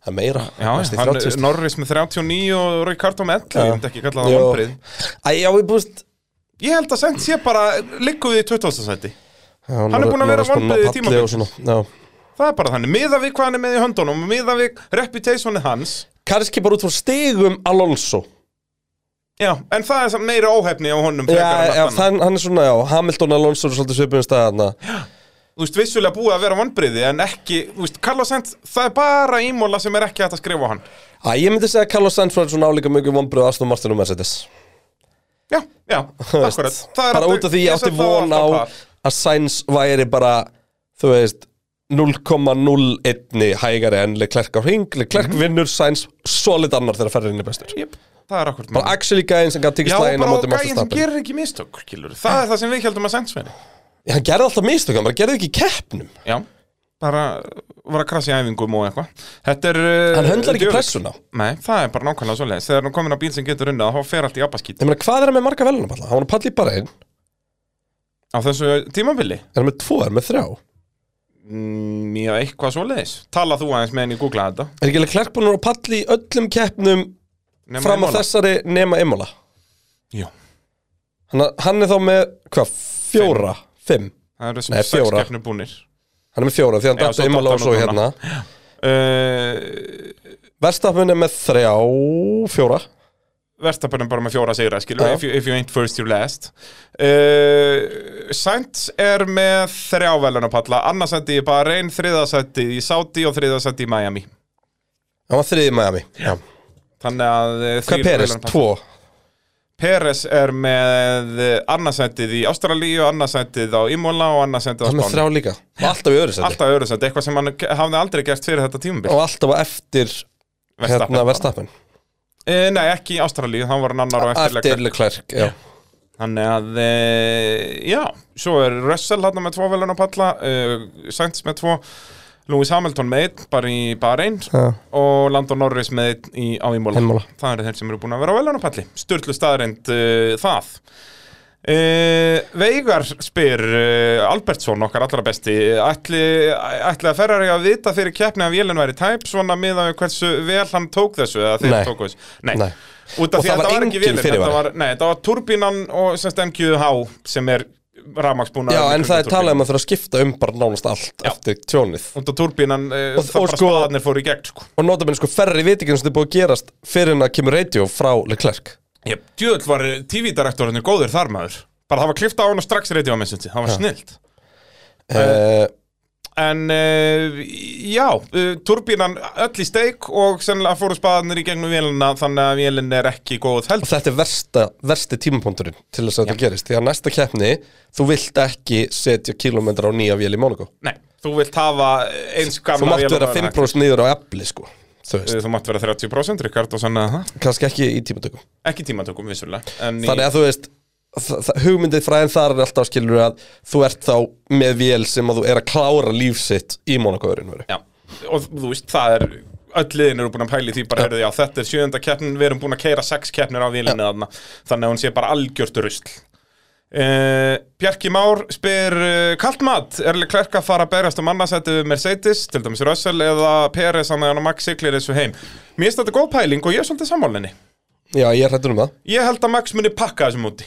Speaker 4: Það er meira
Speaker 5: Já,
Speaker 4: næstum
Speaker 5: hann,
Speaker 4: 30 stig.
Speaker 5: Norris með 39 og Ricardo með 11, ég myndi ekki kalla það
Speaker 4: Jú.
Speaker 5: vonbrið
Speaker 4: Æ, já, ég búist
Speaker 5: Ég held að sent sé bara, liggum við í 20. sæti
Speaker 4: Hann
Speaker 5: er búinn að vera vonbrigði í tímabili.
Speaker 4: tíma
Speaker 5: Það er bara þannig, miða við hvað hann er með í höndunum og miða við reputationið hans
Speaker 4: Karski bara út frá stigum Alonso
Speaker 5: Já, en það er samt meira óhefni á honum
Speaker 4: Já,
Speaker 5: frekar en allt
Speaker 4: já
Speaker 5: annað.
Speaker 4: þann, hann er svona, já, Hamilton og Alonso er svolítið svipum staðarna
Speaker 5: Þú veist, vissulega búið að vera vonbriði en ekki, þú veist, Carlos Sainz, það er bara ímóla sem er ekki hægt að skrifa á hann
Speaker 4: Æ, ég myndi segja að Carlos Sainz var svona álíka mjög vombrið Aston Martin og Mercedes
Speaker 5: Já, já,
Speaker 4: Þú veist,
Speaker 5: akkurat
Speaker 4: Bara út af því ég átti von á að Sainz væri bara, þú veist 0,01 hægari en Leclerc á hring Leclerc
Speaker 5: Mhm.
Speaker 4: vinnur Sainz solid annar þegar ferðinni bestur
Speaker 5: Jep, það er akkurat
Speaker 4: Bara actually gæðin sem gæti
Speaker 5: Já,
Speaker 4: ekki slæðin á
Speaker 5: bara á
Speaker 4: móti Max
Speaker 5: gæinn sem
Speaker 4: Verstappen.
Speaker 5: gerir ekki mistök, kilur Það er það sem við heldum að Sainz veri
Speaker 4: Já, Hann gerði alltaf mistök, hann bara gerði ekki í keppnum
Speaker 5: Já, bara var að krasja í æfingum og eitthvað Þetta er... uh,
Speaker 4: Hann höndlar ekki
Speaker 5: djöfull.
Speaker 4: pressuna
Speaker 5: Nei, það er bara nákvæmlega svoleiðis Þegar hann er komin á bíl sem getur unnið, þá fer allt í abbaskít
Speaker 4: Ég meina, hvað er hann með marga velunum alltaf? Hann var að palla í bara einn,
Speaker 5: Á þessu tímabili,
Speaker 4: er hann með tvo, er hann með þrjá
Speaker 5: mm, já, eitthvað svoleiðis Tala þú aðeins með henni í googla þetta
Speaker 4: Er ekki Leclerc búinn að vera að palla í öllum keppnum
Speaker 5: nema
Speaker 4: fram
Speaker 5: Imola.
Speaker 4: að þessari nema Imola?
Speaker 5: Já,
Speaker 4: Hann, hann er þá með, hvað, fjóra? Fimm?
Speaker 5: það eru
Speaker 4: Nei,
Speaker 5: sem sex
Speaker 4: fjóra.
Speaker 5: keppnur búnir
Speaker 4: Hann er með fjóra því hann
Speaker 5: Já,
Speaker 4: datt
Speaker 5: svo
Speaker 4: á Imola og
Speaker 5: datt hann
Speaker 4: svo
Speaker 5: á
Speaker 4: hérna
Speaker 5: uh,
Speaker 4: Verstafun er með þrjá, fjóra
Speaker 5: Verstappen er bara með fjóra sigra, skilur
Speaker 4: Já.
Speaker 5: if you, if you ain't first, you're last uh, Sainz er með þrjá velunapalla annarsætti í Bahrein, þriðasætti í Saudi og þriðasætti í Miami
Speaker 4: Hann var þriði í Miami Já.
Speaker 5: Þannig að eh,
Speaker 4: Hvað
Speaker 5: þrír
Speaker 4: er Peres?
Speaker 5: verðlaunapallar.
Speaker 4: Tvo?
Speaker 5: Peres er með annarsættið í Ástralíu, annarsættið á Imola og annarsættið á
Speaker 4: Hann er með
Speaker 5: Spáni
Speaker 4: þrjá líka Og Alltaf í öðru seti
Speaker 5: Alltaf öðru sætti, eitthvað sem hann hafði aldrei gert fyrir þetta tímubil
Speaker 4: Og alltaf á eftir hérna Verstafun
Speaker 5: Eh, Nei, ekki í Ástralíu, hann var hann annar og eftirlega
Speaker 4: Eftir Leclerc, já
Speaker 5: Þannig að, e, já, svo er Russell hann með tvo velun að palla, e, Sainz með tvo, Lewis Hamilton með einn, bara í Bahrein
Speaker 4: Já.
Speaker 5: og Landon Norris með einn í, á Ímóla.
Speaker 4: Imola.
Speaker 5: Það eru þeir sem eru búin að vera á velun að palli. Sturlu staðreind e, það. E, Veigar spyr e, Albertsson, okkar allra besti, ætli, ætli að Ferrari að vita fyrir keppni að vélinn væri tæp svona miðað við hversu vel hann tók þessu eða þeir
Speaker 4: Nei.
Speaker 5: tóku þessu. Nei.
Speaker 4: Nei.
Speaker 5: Út
Speaker 4: Og
Speaker 5: af því
Speaker 4: það
Speaker 5: að
Speaker 4: var
Speaker 5: þetta var ekki
Speaker 4: engin
Speaker 5: vélinn, þetta
Speaker 4: fyrirvari.
Speaker 5: var, nei, þetta var turbinan og semst MQH sem er rafmaksbúna
Speaker 4: Já, en það er talað um að það þurfa að skipta um bara nánast allt eftir tjónið
Speaker 5: Út af turbinan, uh,
Speaker 4: Og-
Speaker 5: það
Speaker 4: og
Speaker 5: bara
Speaker 4: sko-
Speaker 5: spaðarnir fóru í gegn sko.
Speaker 4: Og notabene sko ferri viti ekki eins og þetta er búið að gerast fyrir en að kemur radio frá Leclerc
Speaker 5: Jep, djöðl var TV-direktorinu góður þar maður Bara það var klifta á hann og strax reytið á messengi, það var snillt
Speaker 4: uh,
Speaker 5: En uh, já, uh, turbinan öll í steik og sennilega fóru spaðarnir í gegnum vélina þannig að vélinn er ekki góð
Speaker 4: Og
Speaker 5: held
Speaker 4: þetta er versta, versti tímapunkturinn til þess að þetta gerist Því að næsta keppni, þú vilt ekki setja kilometra á nýja vél í Monaco
Speaker 5: Nei, þú vilt hafa eins
Speaker 4: Þú
Speaker 5: gamla
Speaker 4: mátt
Speaker 5: vélina eh,
Speaker 4: vera 5% niður á efli sko Þú veist,
Speaker 5: Þú mátt vera 30% Rikard og sann það
Speaker 4: kannski ekki í tímatökum
Speaker 5: Ekki tímatökum vissulega en í-
Speaker 4: Þannig að þú veist þa- þa- hugmyndið fræðin þar er alltaf skilur að þú ert þá með vél sem að þú er að klára lífsitt í Monaco örinveru
Speaker 5: Já, og þú veist, það er öll liðin eru búin að pæli því bara, heyrðu, já, þetta er sjöunda keppnin, við erum búin að keira sex keppnir á vilinni þarna, þannig að hún sé bara algjört rusl Uh, Bjarki Már spyr uh, Kalt mat, erlega klerk að fara að berjast um annarsættu Mercedes, til dæmis Russell eða Peres, hann að hann og Max siglir þessu heim Mér finnst þetta góð pæling og ég er svolítið sammálinni
Speaker 4: Já, ég er hrættur um það
Speaker 5: Ég held að Max muni pakka þessum úti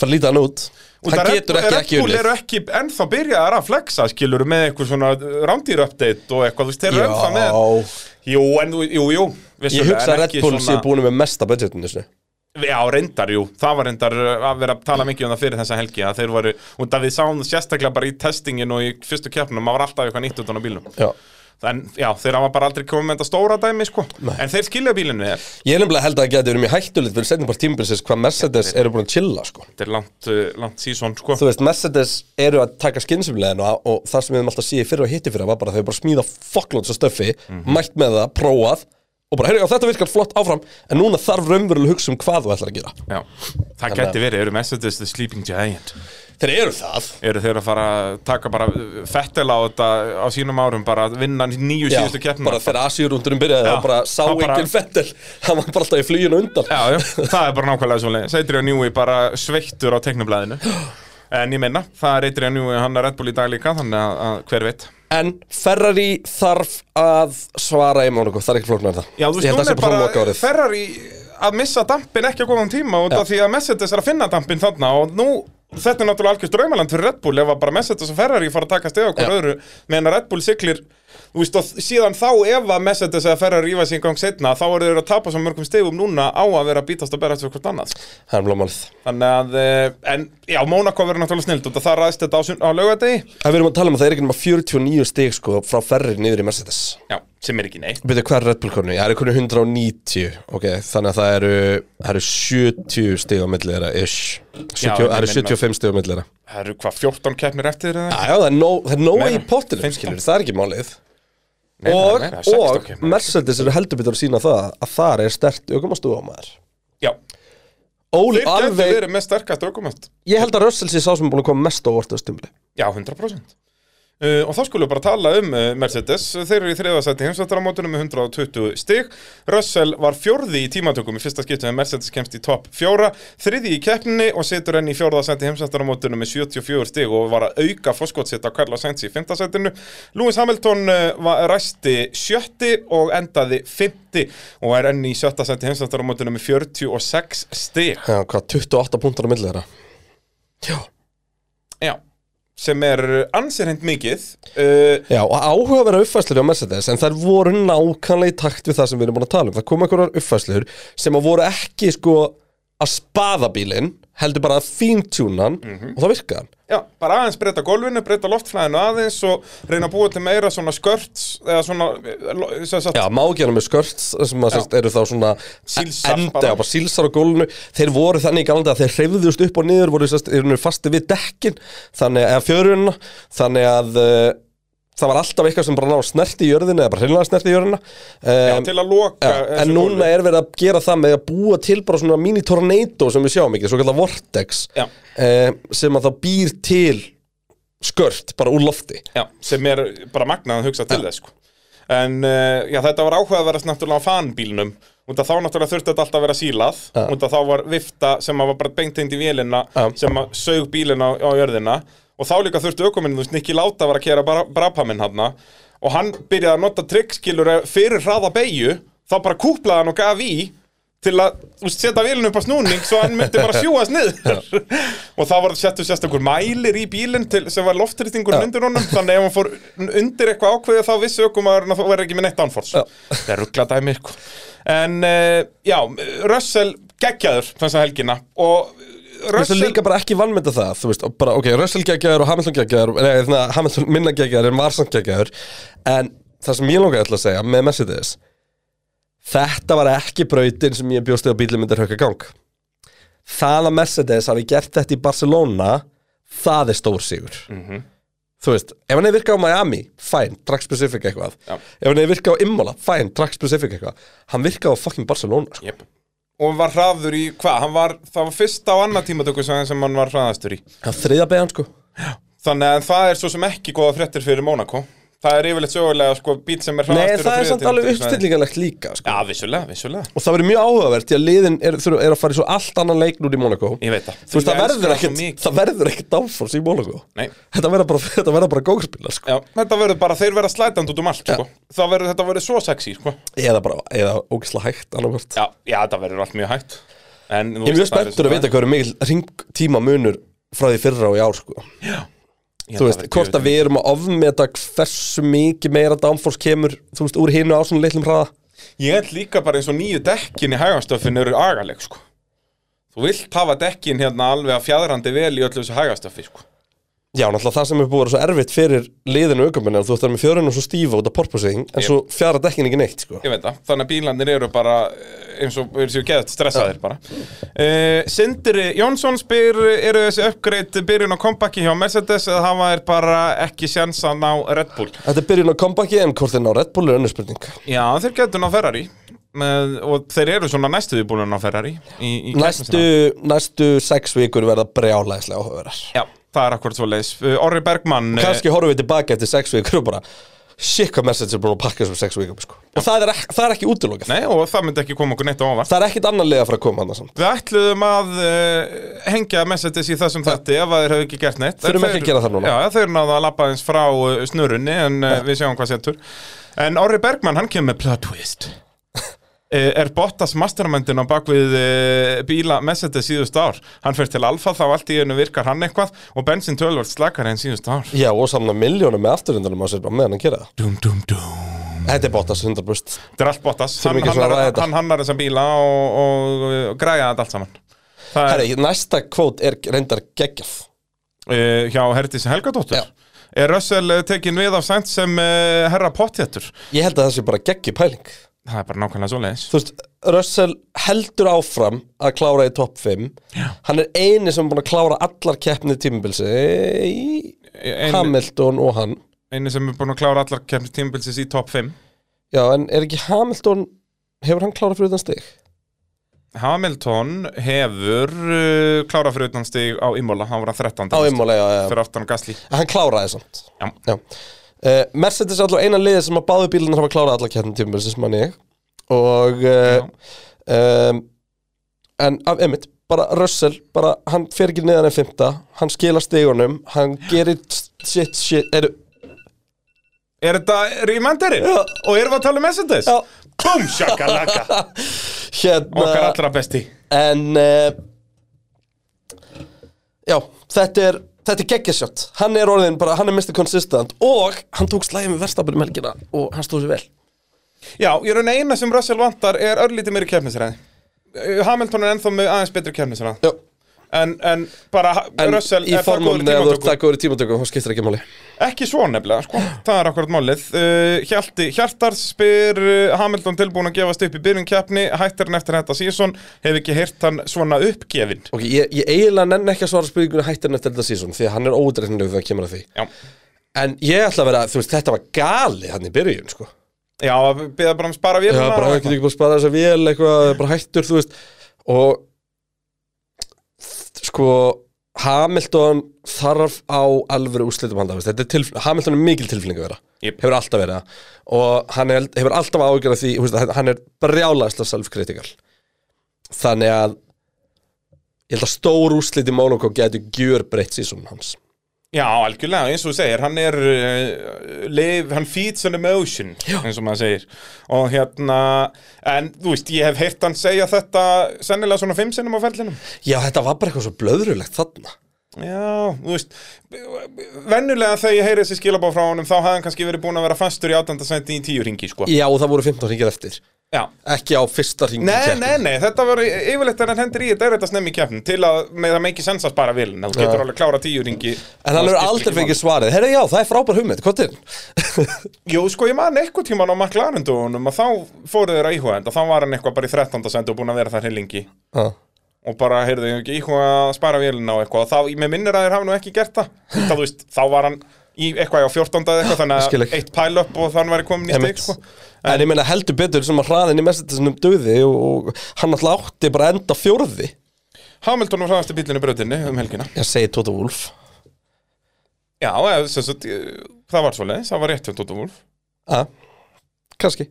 Speaker 4: Það lítið hann út
Speaker 5: Og
Speaker 4: Hann
Speaker 5: það
Speaker 4: getur
Speaker 5: Red-
Speaker 4: ekki ekki
Speaker 5: Red Bull
Speaker 4: unnið
Speaker 5: eru ekki ennþá byrjaðar að flexa skilur með eitthvað svona rándýr update og eitthvað, þú veist, þeir eru ennþá með
Speaker 4: Já,
Speaker 5: Jú, en þú, jú, jú
Speaker 4: ég hugsa að Red Bull sé búin með mesta budgetinu sinni.
Speaker 5: Já, reyndar, jú, það var reyndar uh, að vera að tala mikið um það fyrir þessa helgi að þeir voru, og það við sáum það sérstaklega bara í testingin og í fyrstu keppnum, maður var alltaf eitthvað nýtt utan á bílum
Speaker 4: Já.
Speaker 5: En já, þeir hafa bara aldrei komið með þetta stóra dæmi, sko En þeir skilja bílinn vel
Speaker 4: Ég er nefnilega held að það geti verið mjög hættulegt fyrir setjum bara tímabilsins hvað Mercedes eru búin að chilla sko.
Speaker 5: Þetta er langt, uh, langt sísón, sko
Speaker 4: Þú veist, Mercedes eru að taka skynsumlegin og, og það sem við höfum alltaf séð fyrir og hitti fyrir var bara að þau bara smíða fokklóts og stöffi, mætt með það, prófað og bara, heyrðu, já, þetta virkar flott áfram en núna þarf raunverulega að hugsa um hvað þú ætlar að gera
Speaker 5: Já, það geti verið, eru Mercedes the sleeping giant
Speaker 4: Þeir eru það
Speaker 5: Eru þeir að fara að taka bara fettel á þetta á sínum árum bara að vinna nýju
Speaker 4: Já,
Speaker 5: síðustu keppnum
Speaker 4: bara þegar Asiurúndurinn byrjaði
Speaker 5: Já,
Speaker 4: þá bara sá
Speaker 5: þá bara-
Speaker 4: enginn Fettel hann var bara alltaf í fluginu undan
Speaker 5: Já, já, það er bara nákvæmlega svona Adrian Newey bara sveittur á teknublaðinu En ég meina, það er Adrian Newey hann er Red Bull í dag líka, þannig að, að hver veit
Speaker 4: en Ferrari þarf að svara í Mónaco, það er ekki flóknar það
Speaker 5: Já, þú
Speaker 4: Ég held að það
Speaker 5: veist, nú
Speaker 4: sé
Speaker 5: er
Speaker 4: bara eh,
Speaker 5: bara
Speaker 4: lokaárið.
Speaker 5: Ferrari að missa dampin ekki á góðan tíma út af því að Mercedes er að finna dampin þarna og nú, þetta er náttúrulega algjörst draumaland fyrir Red Bull ef að bara Mercedes og Ferrari fara að taka stegu okkur
Speaker 4: Já.
Speaker 5: öðru meðan að Red Bull siglir Þú veist, og síðan þá ef að Mercedes eða Ferrari rífa sig í gang setna þá eru þeir að tapa svo mörgum stegum núna á að vera að bítast og berast við hvort annað
Speaker 4: það er blómálið
Speaker 5: Þannig að, eh, en já, Monaco verður náttúrulega snild og það ræðst þetta á, sunn- á lögadegi
Speaker 4: En við erum að tala um að það er ekki nema 49 stig sko frá Ferrari niður í Mercedes
Speaker 5: Já, sem er ekki neitt
Speaker 4: Byrju, hvað er Red Bull konu? Já, það er konu 190 Ok, þannig að það eru, það eru 70 stig á milli þeirra ish 70,
Speaker 5: Já,
Speaker 4: Það eru
Speaker 5: ég meina-
Speaker 4: 75 stig á milli þeirra Já,
Speaker 5: Það eru hvað, 14 keppnir eftir eða?
Speaker 4: já, það er nóg no, no í
Speaker 5: Meira.
Speaker 4: pottinum,
Speaker 5: 15.
Speaker 4: skilur, það er ekki málið
Speaker 5: Nei, það er
Speaker 4: Og,
Speaker 5: meira, 16
Speaker 4: og
Speaker 5: keppnir.
Speaker 4: Mercedes eru heldur betur að sína það að þar er stert aukumastu á maður
Speaker 5: Já,
Speaker 4: Óli
Speaker 5: þeir getur
Speaker 4: alveg,
Speaker 5: verið með sterkast aukumönd
Speaker 4: ég held að Russell sé sá sem er búin að koma mest á ortu á stumli
Speaker 5: Já, 100% Uh, og þá skulum við bara tala um uh, Mercedes, þeir eru í þriðasætti heimsvættaramótunum með 120 stig Russell var fjórði í tímatökum í fyrsta skiptum en Mercedes kemst í topp fjóra þriði í keppninni og setur henni í fjórðasætti heimsvættaramótunum með 74 stig og var að auka fórskottsitt á Carlos Sainz í fymtasættinu Lewis Hamilton uh, var ræsti sjötti og endaði fymti og er enni í sjöttasætti heimsvættaramótunum með 46 stig
Speaker 4: Já, hvað, 28 púntar á milli þeirra Já,
Speaker 5: Já, sem er ansirhind mikið uh,
Speaker 4: Já, og áhugaverða uppfæslur á Mercedes en þær voru nákvæmlega í takt við það sem við erum búin að tala um. Það kom einhverjar uppfæslur sem að voru ekki sko að spaða bílinn, heldur bara að fíntjúna hann og það virkaði hann.
Speaker 5: Já, bara aðeins breyta gólfinu, breyta loftflæðinu aðeins og reyna að búa til meira svona skörts eða svona, eh, lo- sem sagt,
Speaker 4: Já, má ekki hann með skört sem að sérst, eru þá svona
Speaker 5: Sílsar
Speaker 4: enda,
Speaker 5: bara.
Speaker 4: bara. bara sílsar á gólfinu. Þeir voru þannig í galandi að þeir hreyfðust upp og niður, voru sérst, eru fasti við dekkin, þannig að fjörunna, þannig að uh, það var alltaf eitthvað sem bara ná snerti í jörðina eða bara hreinlega snerti í jörðina.
Speaker 5: já,
Speaker 4: Um,
Speaker 5: til að loka
Speaker 4: Já,
Speaker 5: þessu
Speaker 4: en núna
Speaker 5: gólfi.
Speaker 4: er verið að gera það með að búa til bara svona mini-tornado sem við sjáum ekki, svo kallar vortex
Speaker 5: Já.
Speaker 4: eh, sem að það býr til skört bara úr lofti
Speaker 5: Já, sem er bara magnað að hugsa til þess, sko En, uh, já, þetta var áhugaverðast náttúrulega á fanbílnum Út að þá náttúrulega þurfti þetta alltaf að vera sílað
Speaker 4: Já.
Speaker 5: Út að þá var vifta sem að var bara beinteind í vélina
Speaker 4: Já.
Speaker 5: Sem að sög bílina á, á jörðina Og þá líka þurfti ökuminn, þú veist, Nicky Láta var að kera bara, brapaminn hann Og hann byrjaði að nota trikkskilur fyrir hraða beigju Þá bara kúplaði hann og gaf í til að þú veist, setja vélinu upp á snúning svo hann myndi bara sjúast niður og það var settu sérstakur mælir í bílinn til, sem var loftrýstingur
Speaker 4: Já.
Speaker 5: undir honum þannig ef hann fór undir eitthvað ákveðið þá vissi ökumæðurinn að það verði ekki með neitt
Speaker 4: Já.
Speaker 5: anfors það er ruggla dæmi sko. en uh, já, Russell geggjaður þessa helgina og
Speaker 4: Russell...
Speaker 5: Russell
Speaker 4: líka bara ekki vannmynda það þú veist, og bara, ok, Russell geggjaður og Hamilton geggjaður nei, þannig að Hamilton minna geggjaður en Varsan geggjaður en það sem ég langaði ætla að segja með Mercedes þetta var ekki brautin sem ég bjósti að bílum myndir höfka gang það að Mercedes hafi gert þetta í Barcelona það er stór sigur
Speaker 5: Mhm.
Speaker 4: þú veist, ef hann hefði virkað á Miami fine, track specific eitthvað
Speaker 5: Já.
Speaker 4: ef hann hefði virkað á Immola, fine, track specific eitthvað hann virkað á fucking Barcelona sko.
Speaker 5: yep. og var hraður í, hvað, hann var það var fyrsta á annað tímatöku sem sem hann var hraðastur í
Speaker 4: hann þriða beðan sko
Speaker 5: þannig að það er svo sem ekki góða fréttir fyrir Monaco það er yfirleitt sögulega sko, bíl sem er hraðastur
Speaker 4: Nei,
Speaker 5: á
Speaker 4: það er
Speaker 5: þriðja
Speaker 4: samt alveg
Speaker 5: tímatöku, svona-
Speaker 4: uppstillingalegt líka sko.
Speaker 5: Já, vissulega, vissulega
Speaker 4: og það verður mjög áhugavert því að liðin er, þurfa- er að fara í svo allt annan leik núna í Monaco
Speaker 5: Ég veit það
Speaker 4: þú veist, það
Speaker 5: Ég
Speaker 4: verður
Speaker 5: elska svo
Speaker 4: ekkert
Speaker 5: mikið.
Speaker 4: það verður ekkert áfors í Monaco
Speaker 5: Nei.
Speaker 4: þetta verður bara, þetta verða bara gókspillar sko.
Speaker 5: Já, þetta verður bara, þeir verða slætandi út um allt sko. Það verður, þetta verður svo sexy sko.
Speaker 4: eða bara, eða ógisla hægt annarkvært
Speaker 5: Já, já, þetta verður allt mjög hægt en,
Speaker 4: ég er mjög spenntur að vita hvað eru mikil ringtíma munur frá því fyrra og í ár sko. þú veist, hvort að við erum að ofmeta hversu mikið meira downforce kemur, þú veist, úr hinu á svona litlum hraða
Speaker 5: Ég held líka bara eins og nýju dekkin í hægastöfin eru agaleg sko. Þú vilt hafa dekkin hérna alveg að fjadrandi vel í öllu þessu hægastöfi sko.
Speaker 4: Já, náttúrulega það sem er búið að vera svo erfitt fyrir liðinu aukumenn en þú ætti að vera með fjörunum svo stífa út af porpoising en
Speaker 5: Jep.
Speaker 4: svo fjara dekkin ekki neitt, sko
Speaker 5: Ég veit það, þannig að bílandir eru bara eh, eins og eru sér geðt stressaðir bara uh, Sindri Jónsson spyr eru þessi uppgreitt byrjun á kompakki hjá Mercedes eða hafa þeir bara ekki sjans að ná Red Bull
Speaker 4: Þetta er byrjun á comebacki en hvort þeir ná Red Bull er önnur spurning
Speaker 5: Já, þeir getur ná Ferrari með, og þeir eru svona næstu við búin að Ferrari í, í keppni
Speaker 4: næstu,
Speaker 5: sinna.
Speaker 4: næstu sex vikur verða brjálæðislega áhugaverar
Speaker 5: Já, það er akkurat svo leis Orri Bergmann eh,
Speaker 4: kannski horfum við tilbaka eftir sex vikur og bara shit hvað message er búin að pakka þessum sex vikum sko. og það er, ek- það er ekki útilokað
Speaker 5: Nei, og það myndi ekki koma okkur neitt á óvart
Speaker 4: það er ekkit annar liða að fara að koma hann samt
Speaker 5: Við ætluðum að uh, hengja messages í þessum þætti ef að þeir hefðu ekki gert neitt En
Speaker 4: Þurfum ekki
Speaker 5: þeir-
Speaker 4: að gera það núna.
Speaker 5: Já, þeir eru náða að labba aðeins frá uh, snurunni en uh, við sjáum hvað setur En Orri Bergmann, hann kemur með plot twist Eh, Er Bottas mastermindin á bakvið uh, bíla messages síðust ár Hann fer til Alfa, þá allt í einu virkar hann eitthvað og bensin tölvöld slakar en síðust ár
Speaker 4: já og samna miljónum með afturhundunum á sér bara meðan hann gera það
Speaker 5: Dum, dum, dum
Speaker 4: þetta er Bottas 100%
Speaker 5: Þetta er allt Bottas,
Speaker 4: Þurfum
Speaker 5: hann
Speaker 4: ekki svona að
Speaker 5: hannar,
Speaker 4: ræða þetta.
Speaker 5: hann hannar þessa bíla og, og, og græja þetta allt saman Það er
Speaker 4: Herri, næsta kvót er reyndar geggjaf Eh,
Speaker 5: uh, hjá Herdís Helgadóttur
Speaker 4: Já.
Speaker 5: Er Russell eh, tekin við af sænt sem uh, herra pottjættur?
Speaker 4: ég held að það sé bara geggi pæling
Speaker 5: Það er bara nákvæmlega svo leiðis
Speaker 4: þú veist, Russell heldur áfram að klára í topp 5 Já. hann er eini sem er búin að klára allar keppnið tímabilsi í
Speaker 5: Ein,
Speaker 4: Hamilton og hann
Speaker 5: Einu E- sem er búin að klára allar kemni tímabilsis í topp 5
Speaker 4: Já, en er ekki Hamilton hefur hann klárað fyrir utan stig?
Speaker 5: Hamilton hefur uh, klára fyrir utan stig á Imola, hann var að 13.
Speaker 4: Á ummála, já, já,
Speaker 5: Fyrir aftan Gasly
Speaker 4: En hann kláraði samt
Speaker 5: Já.
Speaker 4: Uh, Mercedes er allavega eina liðið sem að báðu bílunar hafa klárað allar kjarnin tímur, sem mann ég og uh, um, en af emitt, bara Russell bara, hann fer ekki neðan en fymta hann skila stigunum, hann gerir shit, shit, eru
Speaker 5: Er þetta rímanderinn?
Speaker 4: Já.
Speaker 5: Og erum við að tala um messages?
Speaker 4: Já.
Speaker 5: Bum, shakalaka Okkar
Speaker 4: hérna,
Speaker 5: allra besti
Speaker 4: en uh, já, þetta er þetta er geggjasjött, hann er orðin bara, hann er mest consistent og hann tók slæði með verstafinu um helgina og hann stóð sér vel
Speaker 5: Já, ég raun að eina sem Russell vantar er örlítið meiri kefnisræði. Hamilton er ennþá með aðeins betri kefnisræði.
Speaker 4: Já.
Speaker 5: En, en bara ha-
Speaker 4: En
Speaker 5: Russell
Speaker 4: í
Speaker 5: er það góður
Speaker 4: formúlunni, ef þú ert
Speaker 5: tímatökum
Speaker 4: það góður í tímatökum, þá skiptir ekki máli
Speaker 5: Ekki svo nefnilega, sko, það er akkurat málið uh, Hjalti Hjartar spyr uh, Hamilton tilbúin að gefast upp í byrjun keppni Hættir hann eftir þetta sísón Hef ekki heyrt hann svona uppgefin
Speaker 4: Ok, ég, ég eiginlega nenn ekki að svara spurningunni hættan eftir þetta sísón Því að hann er ódreifnilegu þegar kemur að því
Speaker 5: Já,
Speaker 4: En ég ætla að vera, þú veist, þetta var gali hann í byrjun, sko
Speaker 5: Já beða bara um spara
Speaker 4: Já,
Speaker 5: vélina
Speaker 4: bara
Speaker 5: og
Speaker 4: hann
Speaker 5: eitthvað.
Speaker 4: getur ekki búin að spara þessa vél eitthvað, bara hættur, þú veist Og sko, Hamilton þarf á alvöru úrslitum handa, þú veist, þetta er tilf Hamilton er mikil tilfinning að vera
Speaker 5: Jep.
Speaker 4: Hefur alltaf verið það Og hann er, hefur alltaf ágjörð af því, þú veist, hann er brjálæðslega self-critical Þannig að ég held að stór úrslit í Mónakó getur gjör breytt sísónum hans
Speaker 5: Já, algjörlega, eins og þú segir, hann er uh, live, hann feeds an emotion eins og maður segir og hérna, en þú veist, ég hef heyrt hann segja þetta sennilega svona fimm sinnum á ferlinum
Speaker 4: Já, þetta var bara eitthvað svo blöðrulegt þarna
Speaker 5: Já, þú veist vennulega þegar ég heyri þessi skilabá frá honum þá hafði hann kannski verið búin að vera fastur í 18. senti í 10 ringi, sko
Speaker 4: Já, og það voru 15 hringir eftir
Speaker 5: Já.
Speaker 4: Ekki á fyrsta hringi
Speaker 5: Nei, nei, nei, þetta var yfirleitt en hann hendur í þetta er þetta snemmi í keppnum til að með það meiki sensast bara vil þú getur alveg klára 10 ringi
Speaker 4: En hann hefur aldrei fengið svarið Herra, já, það er frábær hugmynd, hvað er
Speaker 5: Jú, sko, ég man eitthvað tíman á McLarendunum að þá fóru þeir að íhuga þetta þá var hann eitthvað bara í 13. sendi og búin að vera þar heilingi og bara, heyrðu, ég hef ekki íhuga að spara vélina og eitthvað og þá, mér minnir að þeir hafi nú ekki gert það þá, þú veist, þá var hann í eitthvað á 14. eða
Speaker 4: Skil
Speaker 5: eitthvað þannig
Speaker 4: ekki.
Speaker 5: að eitt pæl upp og þann væri komin í stig, sko
Speaker 4: En ég meina heldur betur sem að hraðin í messagesinum döði og, og hann alltaf átti bara að enda fjórði
Speaker 5: Hamilton var hraðast í bílinu brötinni um helgina
Speaker 4: Ég segi Tóta Wolf
Speaker 5: Já, eða, sem sagt, eh, það var svoleiðis, það var rétt hjá Dóta Wolf
Speaker 4: A, kannski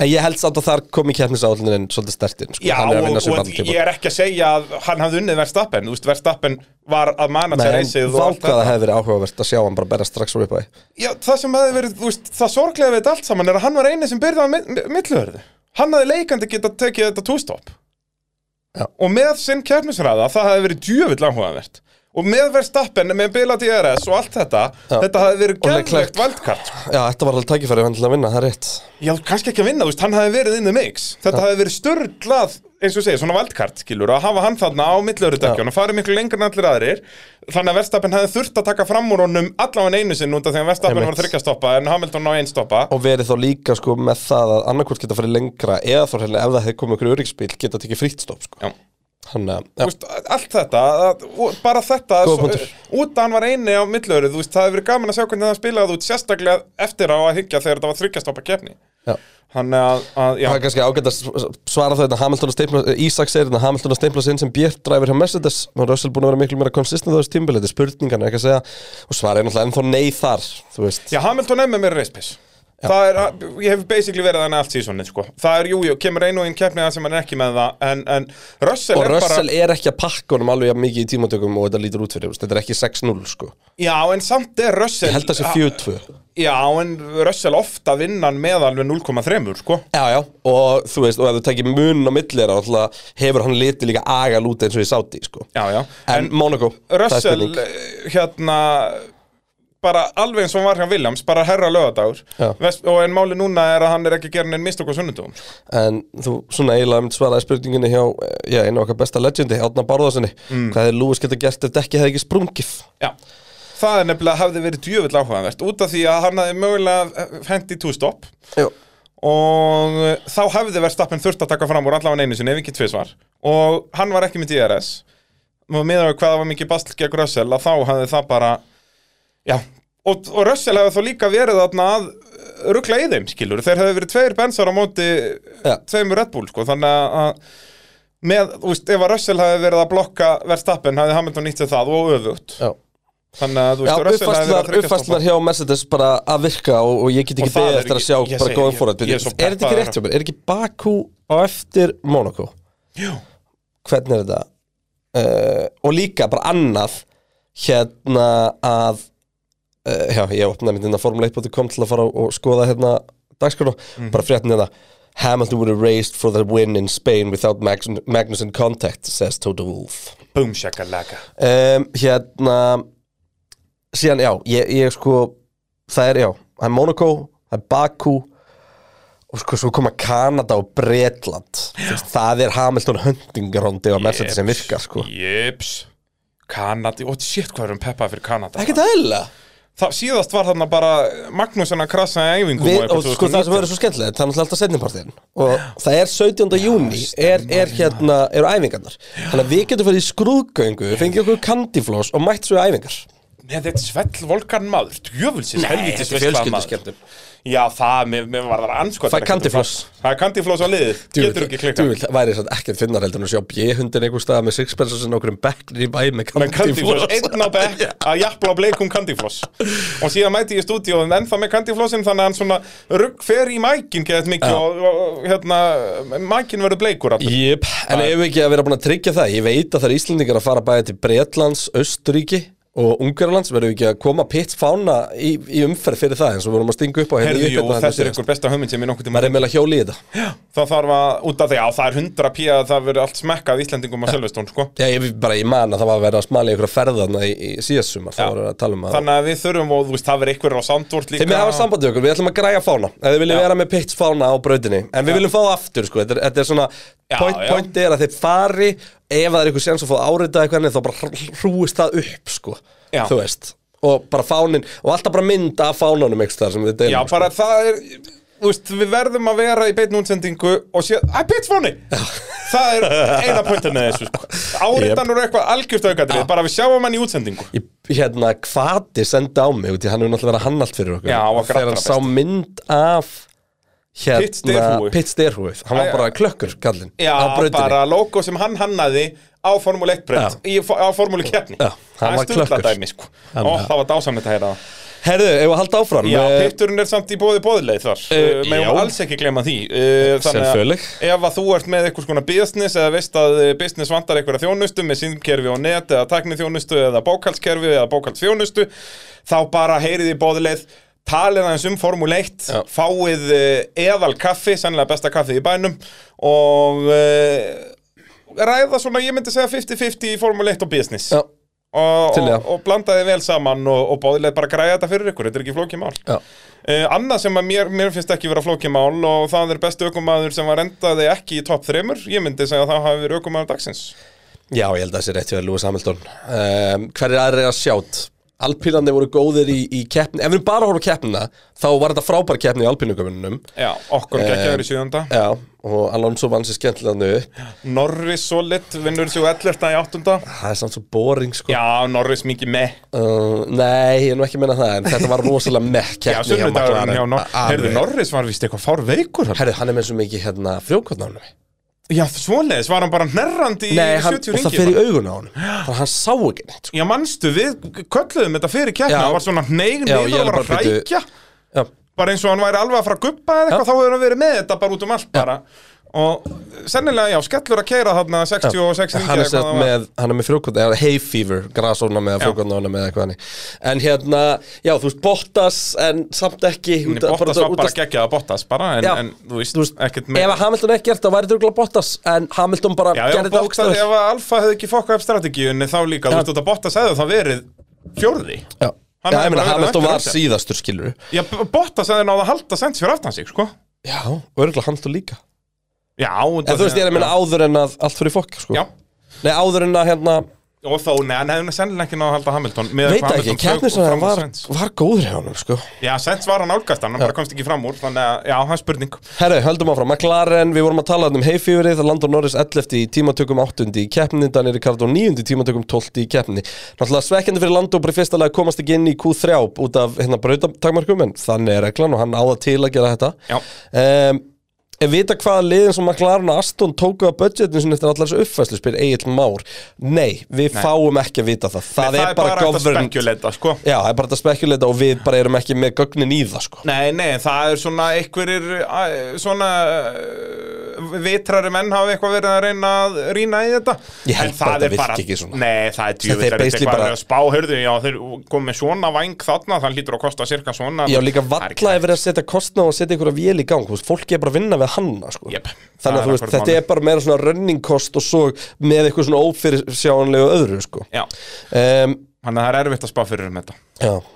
Speaker 4: En ég held samt að þar kom í keppnisállinin svolítið stertinn sko.
Speaker 5: Já,
Speaker 4: Hann er að
Speaker 5: og,
Speaker 4: vinna sér
Speaker 5: og
Speaker 4: bandatíma.
Speaker 5: ég er ekki að segja að hann hafði unnið Verstappen, þú veist, Verstappen var að mana
Speaker 4: Nei,
Speaker 5: til
Speaker 4: en
Speaker 5: reysið
Speaker 4: vá hvað það hefði verið áhugavert að sjá hann bara berja strax úr upp að
Speaker 5: Já, það sem hefði verið, þú veist, það sorglega við þetta allt saman er að hann var eini sem byrði á milluhörðu. Hann hafði leikandi getað tekið þetta tústopp.
Speaker 4: Já.
Speaker 5: Og með sinn kjærnusræða, það hefði verið djöfull áhugavert. Og með verðstappen, með bila DRS og allt þetta,
Speaker 4: Já.
Speaker 5: þetta hefði verið
Speaker 4: Og Leclerc.
Speaker 5: gæðlegt valdkart. sko.
Speaker 4: Já, þetta var alveg tækifæri hann til að vinna, það er rétt
Speaker 5: Já, kannski ekki að vinna, þú veist, hann hefði verið in the mix. Þetta hefði verið störlað, eins og segja, svona valdkart, skilur, að hafa hann þarna á millurðardekjunum, farið miklu lengur en allir aðrir, þannig að Verstappen hefði þurft að taka fram úr honum allavega einu sinn út af því að Verstappen
Speaker 4: Einmitt.
Speaker 5: var þryggjastoppa en Hamilton á einn stoppa.
Speaker 4: Og verið þá líka sko með það að annarkvort geta farið lengra eða þá hérna ef það hefði komið ykkur öryggsbíl geta tekið frítt stopp sko
Speaker 5: Já.
Speaker 4: Hann, eh, já,
Speaker 5: Þú veist, allt þetta, að- og bara þetta
Speaker 4: Góða
Speaker 5: svo-
Speaker 4: punktur.
Speaker 5: út að hann var eini á millöru, þú veist, það hefur verið gaman að sjá hvernig það spilaði út sérstaklega eftir á að hyggja þegar þetta var þryggjastoppa kefni
Speaker 4: Já.
Speaker 5: Þannig að, að já,
Speaker 4: Það er kannski ágætt að s- svara það að Hamilton að steipla, Ísak segir þetta Hamilton að steipla sinn sem Björn dræfur hjá Mercedes og Russell búin að vera miklu meira konsistent á þessu tímbil þetta er spurningan, ekki að segja og svara er náttúrulega ennþá nei þar, þú veist
Speaker 5: já, Hamilton er með mér reispiss Það er, að- ég hef basically verið þannig allt sísonið sko. Það er, jú, jú, kemur einu og einn keppni það sem hann er ekki með það En, en Russell
Speaker 4: og
Speaker 5: er bara
Speaker 4: Russell er ekki að pakka honum alveg jafn mikið í tímatökum og þetta lítur út fyrir, þú veist, þetta er ekki 6-0 sko,
Speaker 5: Já, en samt er Russell
Speaker 4: ég held að sé 4-2
Speaker 5: Já, en Russell ofta vinnan með alveg 0,3 sko.
Speaker 4: Já, já, og þú veist, og ef þú tekir munun á millir náttúrulega hefur hann litið líka agal út eins og í sáti, sko
Speaker 5: Já, já,
Speaker 4: En, Monaco, það er
Speaker 5: Russell,
Speaker 4: spurning.
Speaker 5: eh, hérna bara alveg eins og hann var hjá Williams bara herra lögadagur
Speaker 4: Já.
Speaker 5: Vest, og en máli núna er að hann er ekki gerin en mistök á sko. sunnundum
Speaker 4: En þú svona eiginlega mynd svaraði spurninginni hjá eh, já, einu okkar besta legendi, Átna Bárðarssoni
Speaker 5: Mm.
Speaker 4: Hvað hefði Lewis geta gert ef dekki hefði ekki sprungið?
Speaker 5: Já. það er nefnilega hafði verið djöfull áhugavert út af því að hann hafði mögulega hendi two stop
Speaker 4: Jú,
Speaker 5: og eh, þá hafði Verstappen þurft að taka fram úr allavega einu sinni ef ekki tvisvar og hann var ekki með DRS og miðað við hvað það var mikið bastl gegn Russell að þá hafði það bara já, og, og Russell hefði þá líka verið þarna að rugla í þeim skilur, þeir hefði verið tveir bensar á móti
Speaker 4: Já.
Speaker 5: tveimur Red Bull sko, þannig að- að með, þú veist, ef að Russell hefði verið að blokka Verstappen hafði Hamilton nýtt sér það og öfugt
Speaker 4: já
Speaker 5: þannig að
Speaker 4: Já,
Speaker 5: þú veist, Russell hefði verið að
Speaker 4: uppfæslar,
Speaker 5: tryggja
Speaker 4: uppfæslar hjá Mercedes bara að virka og, og ég get
Speaker 5: Og
Speaker 4: ekki
Speaker 5: það
Speaker 4: beðið
Speaker 5: er
Speaker 4: eftir að
Speaker 5: ekki-
Speaker 4: sjá
Speaker 5: ég
Speaker 4: bara
Speaker 5: segi,
Speaker 4: góðan
Speaker 5: ég-
Speaker 4: fórhætt
Speaker 5: ég er
Speaker 4: Er
Speaker 5: svo
Speaker 4: þetta ekki
Speaker 5: peppaður.
Speaker 4: rétt hjá mér? Er ekki Baku á eftir Monaco?
Speaker 5: Jú.
Speaker 4: Hvernig er þetta? Uh, og líka bara annað hérna að uh, já, ég opnaði myndin að formuleitbóti.com til að fara og skoða hérna dagskrona,
Speaker 5: Mhm.
Speaker 4: bara fréttin hérna Hamilton would have raced for the win in Spain without Magnus- Magnussen contact, says Toto Wolff
Speaker 5: stoppað. Boom, shakalaka
Speaker 4: um, hérna síðan já, ég, ég sko það er já, það er Monaco það er Baku og sko svo koma Kanada og Bretland Þú veist, það er Hamilton hunting rondi á Mercedes sem virkar sko
Speaker 5: Jips Kanadi, og shit hvað erum peppað fyrir Kanada
Speaker 4: ekkert aðeila
Speaker 5: það, síðast var þarna bara Magnússon að krasa í æfingum
Speaker 4: Við,
Speaker 5: eitthvað
Speaker 4: og sko það sem
Speaker 5: 2019.
Speaker 4: verður svo skemmtilegt, það er náttúrulega alltaf setnipartin og það er 17. júni er, er hérna, eru æfingarnar þannig að við getum farið í skrúðgöngu fengið okkur kandifloss og mætt svo í æfingar
Speaker 5: Með þetta svell volkan maður, djöfulsins
Speaker 4: þetta
Speaker 5: helvitis
Speaker 4: er
Speaker 5: veistlaða
Speaker 4: fjölskylduskemmtun.
Speaker 5: Já, það, mér, mér var það anskot
Speaker 4: Fæ kandifloss.
Speaker 5: um Það er kandifloss á liðið, getur ekki klikkað
Speaker 4: Djúvill, það væri satt ekkert finnar heldur en að sjá bjöhundin einhver stað með sixpensar sem okkur um bekknir í bæ með
Speaker 5: Með kandifloss,
Speaker 4: kandifloss
Speaker 5: einn á bekk að jafnla bleikum kandifloss Og síðan mæti ég í stúdíóin ennþá með kandiflossin Þannig að hann svona rugg fer í mækin geðið mikið og, og, og hérna, mækin verður bleikur aftur
Speaker 4: Jep, en ef við ekki að vera búin að tryggja það Ég veit að það er Íslendingar að fara bæði til Bretlands, Östuríki og Ungarlands verðum við ekki að koma pitt fána í, í umferð fyrir það eins og við vorum að stinga upp á hérna í
Speaker 5: Herðu, jú,
Speaker 4: uppbyrna
Speaker 5: þetta er
Speaker 4: síðast.
Speaker 5: einhver besta hugmynd sem ég nokkuð tíma
Speaker 4: Maður er meðlega hjóli í þetta
Speaker 5: Það þarf að, út af því, já, það er 100 pí að það verður allt smekkað Íslendingum á Selvestón, sko
Speaker 4: Já, ég bara, ég man að það var að vera að smala í einhverja ferðarna í, í síðast sumar Það
Speaker 5: Já.
Speaker 4: var að tala um að
Speaker 5: Þannig að við þurfum og þú veist, það verður einhver á Sandvort líka
Speaker 4: Þeim við hafa sambandi við okkur, við ætlum að græja fána Ef þið viljum
Speaker 5: Já.
Speaker 4: vera með pitts fána á brautinni En við viljum fá það aftur, sko Þetta er, þetta er svona,
Speaker 5: Já,
Speaker 4: point,
Speaker 5: já.
Speaker 4: point er að þeir fari Ef það er einhver séns að fá áritað eitthvað annað, Þá bara hrúist það upp, sko
Speaker 5: Já.
Speaker 4: Þú veist Og bara fánin, og alltaf bara mynd af fánanum Ykkur þar sem þið deilum
Speaker 5: Já, bara það er, þú veist, við verðum að vera í beinn útsendingu og sé, að pitsfóni Það er eina pöntunni þessu, sko Áritan eru eitthvað algjörst aukatrið, bara við sjáum hann í útsendingu
Speaker 4: Í, hérna, hvati sendi á mig út í hann hefur náttúrulega verið að hann allt fyrir okkur
Speaker 5: Já, okkar
Speaker 4: þegar hann
Speaker 5: allra
Speaker 4: sá mynd af
Speaker 5: Pitt Steyrhúfu.
Speaker 4: hérna, Pitt Steyrhúið hann
Speaker 5: Æ,
Speaker 4: var bara klökkur, kallinn
Speaker 5: Já,
Speaker 4: á brautinni
Speaker 5: bara logo sem hann hannaði á formúli 1 breytt,
Speaker 4: Já.
Speaker 5: á formúli keppni
Speaker 4: Já, hann
Speaker 5: Það
Speaker 4: var
Speaker 5: er stundla
Speaker 4: klökkur.
Speaker 5: dæmi, sko
Speaker 4: Hann-
Speaker 5: Ó, það var dásamnið að heyra það
Speaker 4: herðu, ef að halda áfram
Speaker 5: Já,
Speaker 4: eh,
Speaker 5: pitturinn er samt í bóði bóðileið þar uh,
Speaker 4: já.
Speaker 5: Megum alls ekki glemma því uh,
Speaker 4: Selvfølgelig.
Speaker 5: ef að þú ert með eitthvað skona business eða veist að eh, business vantar einhverja þjónustu með símkerfi og net eða tækniþjónustu eða bókaldskerfi eða bókaldsþjónustu þá bara heyrið í bóðileið talið aðeins um Formule 1
Speaker 4: Já.
Speaker 5: fáið uh, eðal kaffi sannlega besta kaffið í bænum og uh, ræða svona, ég myndi segja 50-50 í Formule 1 og business
Speaker 4: Já,
Speaker 5: og,
Speaker 4: Til í
Speaker 5: og,
Speaker 4: það.
Speaker 5: og blandaði vel saman og, og bóðilega bara græja þetta fyrir ykkur, þetta er ekki flókið mál
Speaker 4: Já.
Speaker 5: Eh, annað sem að mér, mér finnst ekki vera flókið mál og það er bestu ökumaður sem var endaði ekki í topp þremur, ég myndi segja að það hafi verið ökumaður dagsins
Speaker 4: já, ég held að það sé rétt hjá Lewis Hamilton um, Hver er aðrið að sjátt? Alpínandi voru góðir í, í keppni Ef við bara horfum á keppnina, þá var þetta frábær keppni í alpínugumunum
Speaker 5: já, okkur
Speaker 4: Eh,
Speaker 5: ekki að vera í sjöðanda
Speaker 4: Já, og Alonso vann sér skemmtilega hann upp
Speaker 5: Norris solid, vinnur sig 11. í 8.
Speaker 4: Ah, það er samt svo boring sko
Speaker 5: Já, Norris mikið með
Speaker 4: uh, nei, ég er nú ekki að menna það en þetta var rosalega mekk
Speaker 5: Já,
Speaker 4: keppni hjá McLaren.
Speaker 5: sunnudagurinn hjá Norris
Speaker 4: Alveg.
Speaker 5: Herðu, Norris var vist eitthvað fár veikur
Speaker 4: Herðu, hann er með svo mikið hérna frjókvöldnánu
Speaker 5: Já, svoleiðis, var hann bara hnerrandi í
Speaker 4: Nei, hann,
Speaker 5: 70
Speaker 4: og það fer í
Speaker 5: ringi
Speaker 4: augun á hann Þannig að hann sá ekki neitt sko.
Speaker 5: Já, manstu, við köllum þetta fyrir keppna
Speaker 4: Já.
Speaker 5: Það var svona hneig
Speaker 4: Já,
Speaker 5: niður
Speaker 4: ég er
Speaker 5: og var að
Speaker 4: bara, bíddu.
Speaker 5: hrækja
Speaker 4: Já,
Speaker 5: Bara eins og hann væri alveg að fara að guppa eða eitthvað Þá hefur hann verið með þetta bara út um allt bara Og sennilega, já, skellur að keira þarna 60 og 6 ringi
Speaker 4: hann, er sem sagt með, hann er með frjókvöldnánu, hann er hay fever Grasóna með frjókvöldnánu með eitthvað hannig En hérna, já, þú veist, Bottas En samt ekki út af-
Speaker 5: Bottas
Speaker 4: út af-
Speaker 5: var
Speaker 4: út
Speaker 5: bara
Speaker 4: af-
Speaker 5: geggjað að Bottas bara En,
Speaker 4: Já.
Speaker 5: en þú veist,
Speaker 4: Þú veist,
Speaker 5: ekkert
Speaker 4: Ef að Hamilton ekki gert það væri þetta Bottas En Hamilton bara
Speaker 5: Já, ef,
Speaker 4: gerði þetta
Speaker 5: Bottas,
Speaker 4: ógstæður
Speaker 5: ef að Alfa hefði ekki fokkað upp strategíunni þá líka, þú veist, þetta Bottas hefði þá verið fjórði.
Speaker 4: Já,
Speaker 5: Hann
Speaker 4: já
Speaker 5: hefði
Speaker 4: ég meina,
Speaker 5: bara verið
Speaker 4: Hamilton
Speaker 5: eftir
Speaker 4: var
Speaker 5: Russell.
Speaker 4: síðastur skilur
Speaker 5: Já, B- Bottas hefði náða að halda sens fyrir aftan sig, sko.
Speaker 4: Já, örgulega hann þú líka
Speaker 5: Já,
Speaker 4: En þú veist, ég er að minna áður en að allt fyrir fokk sko.
Speaker 5: Já,
Speaker 4: Nei, áður en að hérna
Speaker 5: og þó, nei, hann hefði sennilega ekki náða að halda Hamilton. með
Speaker 4: Veit ekki,
Speaker 5: hvað Hamilton flaug
Speaker 4: keppnisvæðan
Speaker 5: fram úr
Speaker 4: var,
Speaker 5: Sainz.
Speaker 4: var góður hjá hann sko.
Speaker 5: Já, Sainz var hann álgast, hann bara komst ekki fram úr, þannig að, já, það er spurning.
Speaker 4: Herru, höldum áfram, McLaren, við vorum að tala um heifíverið, það landur Norris 11 í tímatökum 8 í keppni, Daniel Ricardo 9 í tímatökum 12 í keppni. Náttúrulega svekkjandi fyrir Lando bara í fyrsta lag komast ekki inn í Q3 út af hérna brautatakmarkum, en þannig er reglan og hann áða til að gera
Speaker 5: Já.
Speaker 4: þetta. Um, en vita hvaða liðin sem McLaren og Aston tóku að budgetinu sinni eftir allar þessu uppfæslu, spyr Egil Már. Nei, við fáum ekki að vita það. Það,
Speaker 5: Nei,
Speaker 4: er, bara,
Speaker 5: hægt að
Speaker 4: governed.
Speaker 5: spekuleita, sko.
Speaker 4: Já, það er bara að spekuleita og við bara erum ekki með gögnin í það, sko.
Speaker 5: Nei, nei, það er svona einhverjir æ, svona uh, vitrari menn hafa eitthvað verið að reyna að rýna í þetta
Speaker 4: Ég held
Speaker 5: En
Speaker 4: bara
Speaker 5: það
Speaker 4: þetta
Speaker 5: er
Speaker 4: virki ekki svona.
Speaker 5: Nei, það er djúvill
Speaker 4: þeir
Speaker 5: er þetta
Speaker 4: basically
Speaker 5: eitthvað
Speaker 4: bara-
Speaker 5: að spá, hörðu, já, þeir komið með svona væng þarna, það hlýtur að kosta cirka svona
Speaker 4: Já, líka
Speaker 5: Það er ekki
Speaker 4: valla
Speaker 5: hægt.
Speaker 4: er verið að setja kostna og setja einhverja vél í gang, þú veist, fólki er bara að vinna við hanna, sko.
Speaker 5: Jep, það
Speaker 4: Þannig
Speaker 5: er
Speaker 4: að þú veist,
Speaker 5: akkurat
Speaker 4: þetta
Speaker 5: málið.
Speaker 4: er bara meira svona running cost og svo með eitthvað svona ófyrirsjáanlegu öðru, sko.
Speaker 5: Já,
Speaker 4: Um,
Speaker 5: þannig að það er erfitt að spá fyrir um þetta
Speaker 4: já,
Speaker 5: uh,